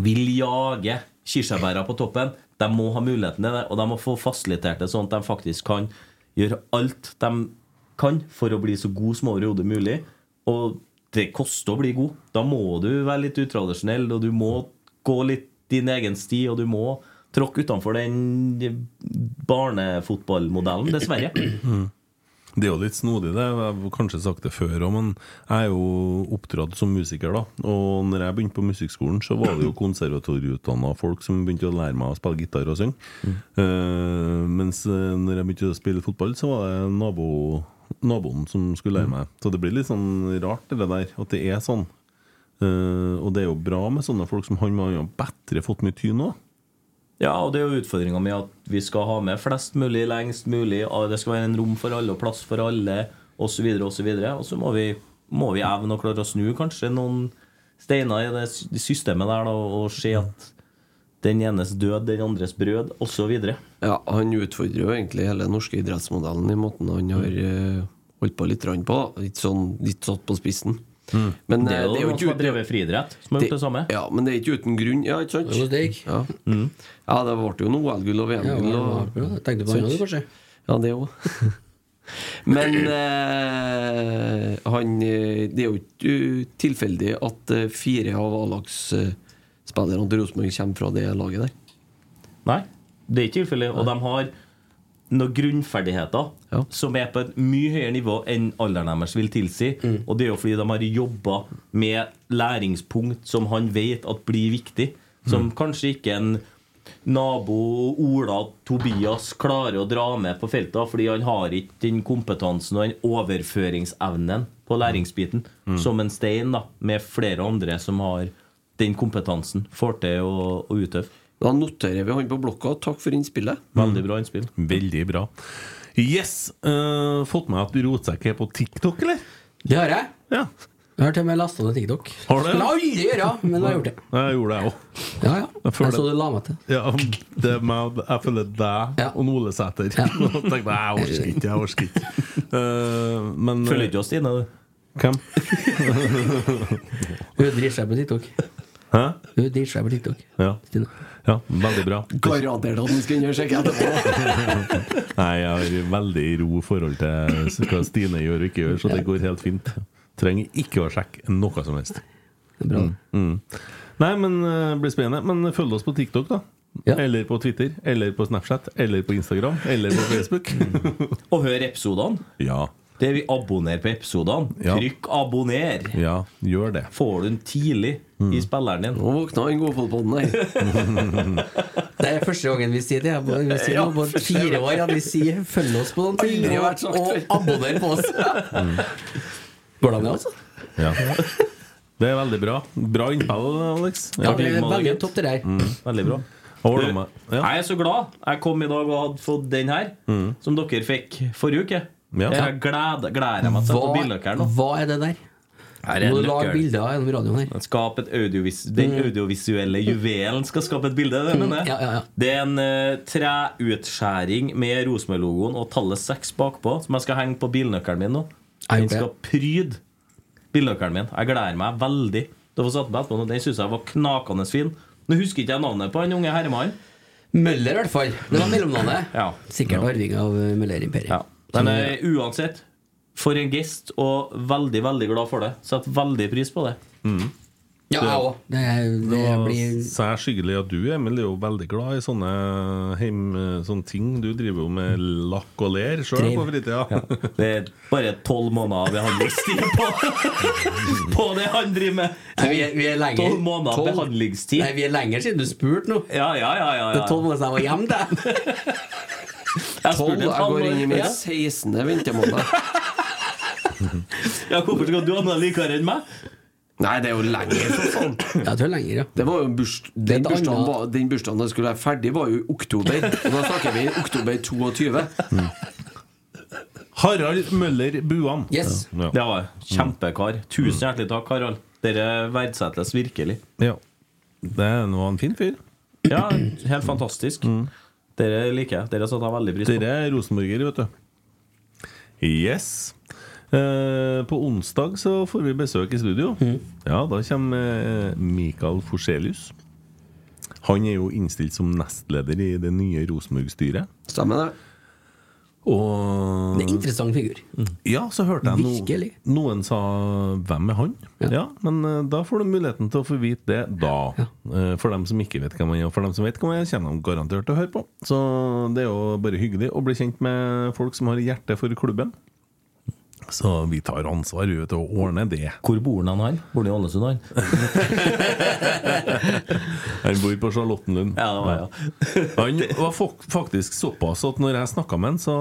vil jage kirsebæra på toppen, de må ha muligheten til det. Og de må få fasilitert det sånn at de faktisk kan gjøre alt de kan for å bli så god som overhodet mulig. Og det koster å bli god. Da må du være litt utradisjonell, og du må gå litt din egen sti, og du må tråkke utenfor den barnefotballmodellen, dessverre. Mm. Det er jo litt snodig, det. Jeg har kanskje sagt det før òg, men jeg er jo oppdratt som musiker, da. Og når jeg begynte på musikkskolen, så var det jo konservatorieutdanna folk som begynte å lære meg å spille gitar og synge. Eh, mens eh, når jeg begynte å spille fotball, så var det nabo, naboen som skulle lære meg. Så det blir litt sånn rart, det der. At det er sånn. Eh, og det er jo bra med sånne folk som han, men han har bedre fått mye tyn òg. Ja, og det er jo utfordringa med at vi skal ha med flest mulig lengst mulig, og det skal være en rom for alle og plass for alle, osv., osv. Og så må vi, må vi evne å klare å snu kanskje noen steiner i det sy- systemet der da, og se at den enes død, den andres brød, osv. Ja, Han utfordrer jo egentlig hele den norske idrettsmodellen i måten han har Mm. eh, holdt på litt rann på. da. Litt sånn litt satt på spissen. Men, Mm. det er eh, jo noen som har drevet friidrett, som har Det- gjort det samme. Mm. Ja, men det er ikke uten grunn. Ja, ikke sant? Det var det Ja. ja, det ble jo noe OL-gull og Ja, VM-gull. det var og- bra. Jeg tenkte på det, Sant? kanskje. Ja, det òg. men eh, han eh, Det er jo ikke eh, tilfeldig at eh, fire av A-lagsspillerne til Rosenborg kommer fra det laget der. Nei, det er ikke tilfellet. Og de har noen grunnferdigheter som er på et mye høyere nivå enn alderen deres vil tilsi. Mm. Og det er jo fordi de har jobba med læringspunkt som han vet at blir viktig. Mm. Som kanskje ikke en nabo Ola Tobias klarer å dra med på feltet, fordi han har ikke den kompetansen og den overføringsevnen på læringsbiten Mm. som en stein, da, med flere andre som har den kompetansen, får til å, å utøve. Da noterer vi han på blokka. Takk for innspillet. Veldig bra innspill. Veldig bra. Yes! eh, fått med at rotsekk er på TikTok, eller? Det har jeg. Ja. Jeg har til og med lasta ned TikTok. Har du? Skulle aldri gjøre, men jeg har gjort det. Nei, Jeg gjorde det, jeg òg. Ja, ja. Jeg, føler- Jeg så du la meg til. Ja, det er meg, jeg føler deg og Ole Sæter. Og tenkte jeg orker ikke, jeg orker ikke. Eh, men Følger ikke oss, Stine? du? Hvem? Hun driter seg på TikTok. Hæ? Hun driter seg på TikTok. Ja. ja, veldig bra. Garantert at han skal inn og sjekke etterpå. Nei, jeg har veldig ro forhold til hva Stine gjør og ikke gjør, så det går helt fint. Trenger ikke å sjekke noe som helst. Mm. Mm. Nei, men eh, blir spennende. Men følg oss på TikTok, da. Eller på Twitter, eller på Snapchat, eller på Instagram, eller på Facebook. Og hør episodene. Ja. Det vi abonnerer på episodene. Ja. Trykk 'abonner'. Ja, gjør det. Får du den tidlig Mm. i spilleren din. Nå våkna den godfotballen der. Det er første gangen vi sier det. Jeg må- Vi sier Ja, nå på første fire gang. år at vi sier 'følg oss på noen ting'. Aldri vært sagt Og før. abonner på oss. Går det an, det, altså? Ja. Det er veldig bra. Bra innspill, Alex. Ja, det er veldig topp, det der. Mm. Veldig bra. Ordner meg. Jeg er så glad jeg kom i dag og hadde fått den her, Mm. som dere fikk forrige uke. Ja. Jeg gleder, gleder meg til å se på bildøkkeren nå. hva er det der? Her er Må en du lage nøkkel. bilder gjennom radioen her. Den, skaper et audiovis den Mm. audiovisuelle juvelen skal skape et bilde. Det, mener jeg. Ja, ja, ja. det er en eh, treutskjæring med Rosenborg-logoen og tallet 6 bakpå, som jeg skal henge på bilnøkkelen min nå. Er Den det? skal pryde bilnøkkelen min. Jeg gleder meg veldig. Det var satt meg etterpå, og Den syns jeg var knakende fin. Nå husker ikke jeg navnet på den unge herremannen. Møller, i hvert fall. Det var mellomnavnet. Ja. Sikkert arving av eh, Møller-imperiet. Men eh, uansett, for en gest, og veldig, veldig glad for det. Setter veldig pris på det. Mm. Ja, jeg òg. Det, det Det var blir særs hyggelig at du, Emil, er jo veldig glad i sånne, heim, sånne ting. Du driver jo med lakk og ler sjøl på fritida. Det er bare tolv måneder behandlingstid på, på det han driver med. Nei, vi er- vi er lenger- Tolv måneder tolv- behandlingstid. Nei, vi er lenger siden du spurte nå. Ja, ja, ja, ja, Det ja. er tolv måneder siden jeg var hjemme, det. Tolv, jeg går inn i min Ja. 16. ventemåned. Ja, hvorfor skal du ha noe likere enn meg? Nei, det er jo lenger, for faen. Jeg tror lenger, ja. Det var jo burs, den, et bursdagen annet- var, den bursdagen jeg skulle være ferdig, var jo i oktober. Og da snakker vi oktober 22. Harald Møller Buan. Yes. Ja. Det var jeg. kjempekar. Mm. Tusen hjertelig takk, Harald. Dere verdsettes virkelig. Ja. Det er nå en fin fyr. Ja, helt fantastisk. Mm. Dere liker jeg. Dere satte jeg veldig pris på. Dere er rosenborgere, vet du. Yes. Eh, på onsdag så får vi besøk i studio. Ja, da kommer eh, Mikael Forselius. Han er jo innstilt som nestleder i det nye Rosenborg-styret. Stemmer det. Og Det er en interessant figur. Ja, så hørte jeg Virkelig. no, noen sa 'Hvem er han?' Ja. Men eh, da får du muligheten til å få vite det da. Eh, For dem som ikke vet hvem han er, og for dem som vet hvem han er, kommer de garantert til å høre på. Så det er jo bare hyggelig å bli kjent med folk som har hjerte for klubben. Så vi tar ansvar vi vet, du, og ordner det. Hvor bor han her? Bor han i Ålesund, han? Han bor på Charlottenlund. Ja, det var, ja. Han var fak- faktisk såpass at når jeg snakka med han, så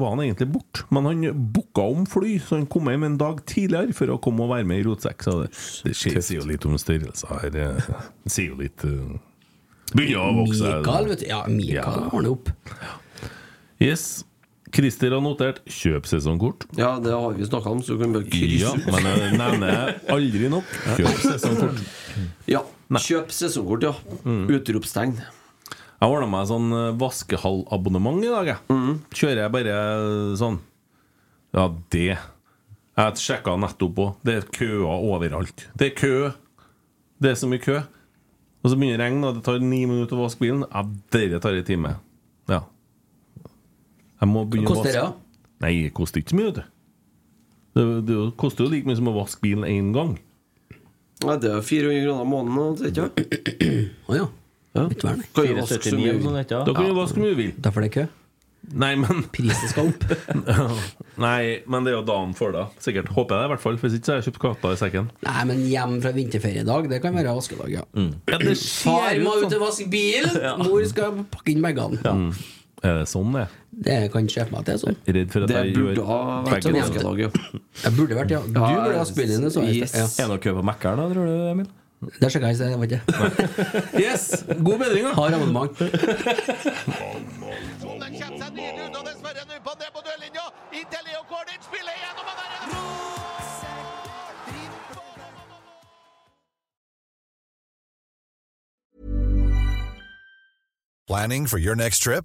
var han egentlig borte. Men han booka om fly, så han kom hjem en dag tidligere for å komme og være med i Rotsekk. Så det, det skjer, sier jo litt om størrelser her. eh, Det sier jo litt eh, Begynner å vokse. Mikael, vet du. Ja, Mikael Ja. ordner opp. Yes. Christer har notert 'kjøp sesongkort'. Ja, det har vi snakka om, så du kan bare Ja, krysse ut. men jeg nevner aldri nok. Kjøp sesongkort. Ja. Kjøp sesongkort, ja. Utropstegn. Jeg ordna meg sånn eh, vaskehallabonnement i dag, jeg. Mm. Kjører jeg bare eh, sånn Ja, det Jeg sjekka nettopp òg. Det er køer overalt. Det er kø. Det er så mye kø. Og så begynner det å regne, og det tar ni minutter å vaske bilen. Ja, dette tar en time. Ja. Jeg må begynne Koster å det, ja? vaske. Nei, det koster ikke så mye, vet du. Det, det koster jo like mye som å vaske bilen én gang. Nei, det er 400 kroner i måneden. og det er ikke Å ja. Vet du hva det er? Kan jo vaske så mye vi sånn vil. Da kan du vaske mye du vil. Derfor er det kø. Nei, men Prisen skal opp. Nei, men det er jo dagen før, da. Sikkert. Håper jeg det, i hvert fall. Hvis ikke så har jeg kjøpt katta i sekken. Nei, men hjem fra vinterferiedag, det kan være vaskedag, ja. Ja, det Far ser må ut ut og sånn. vaske bilen! Ja. Mor skal pakke inn bagene. Mm. Er det sånn det er? Det kan jeg kjøpe meg til, sånn. Redd for at Det jeg burde gjør ha vært begge en deler. vaskedag, ja. Jeg burde vært, ja. Du Ja, burde vaske bilen din, så jeg yes. ja. Er det noe kø på Mækkern, da, tror du, Emil? Det sjekka jeg i sted, det var ikke Yes! God bedring, da! Har abonnement. Den kommer seg nydelig ut, og dessverre nå på det på dørlinja. Inntil Leo Kårdic spiller gjennom og der er det Planning for your next trip?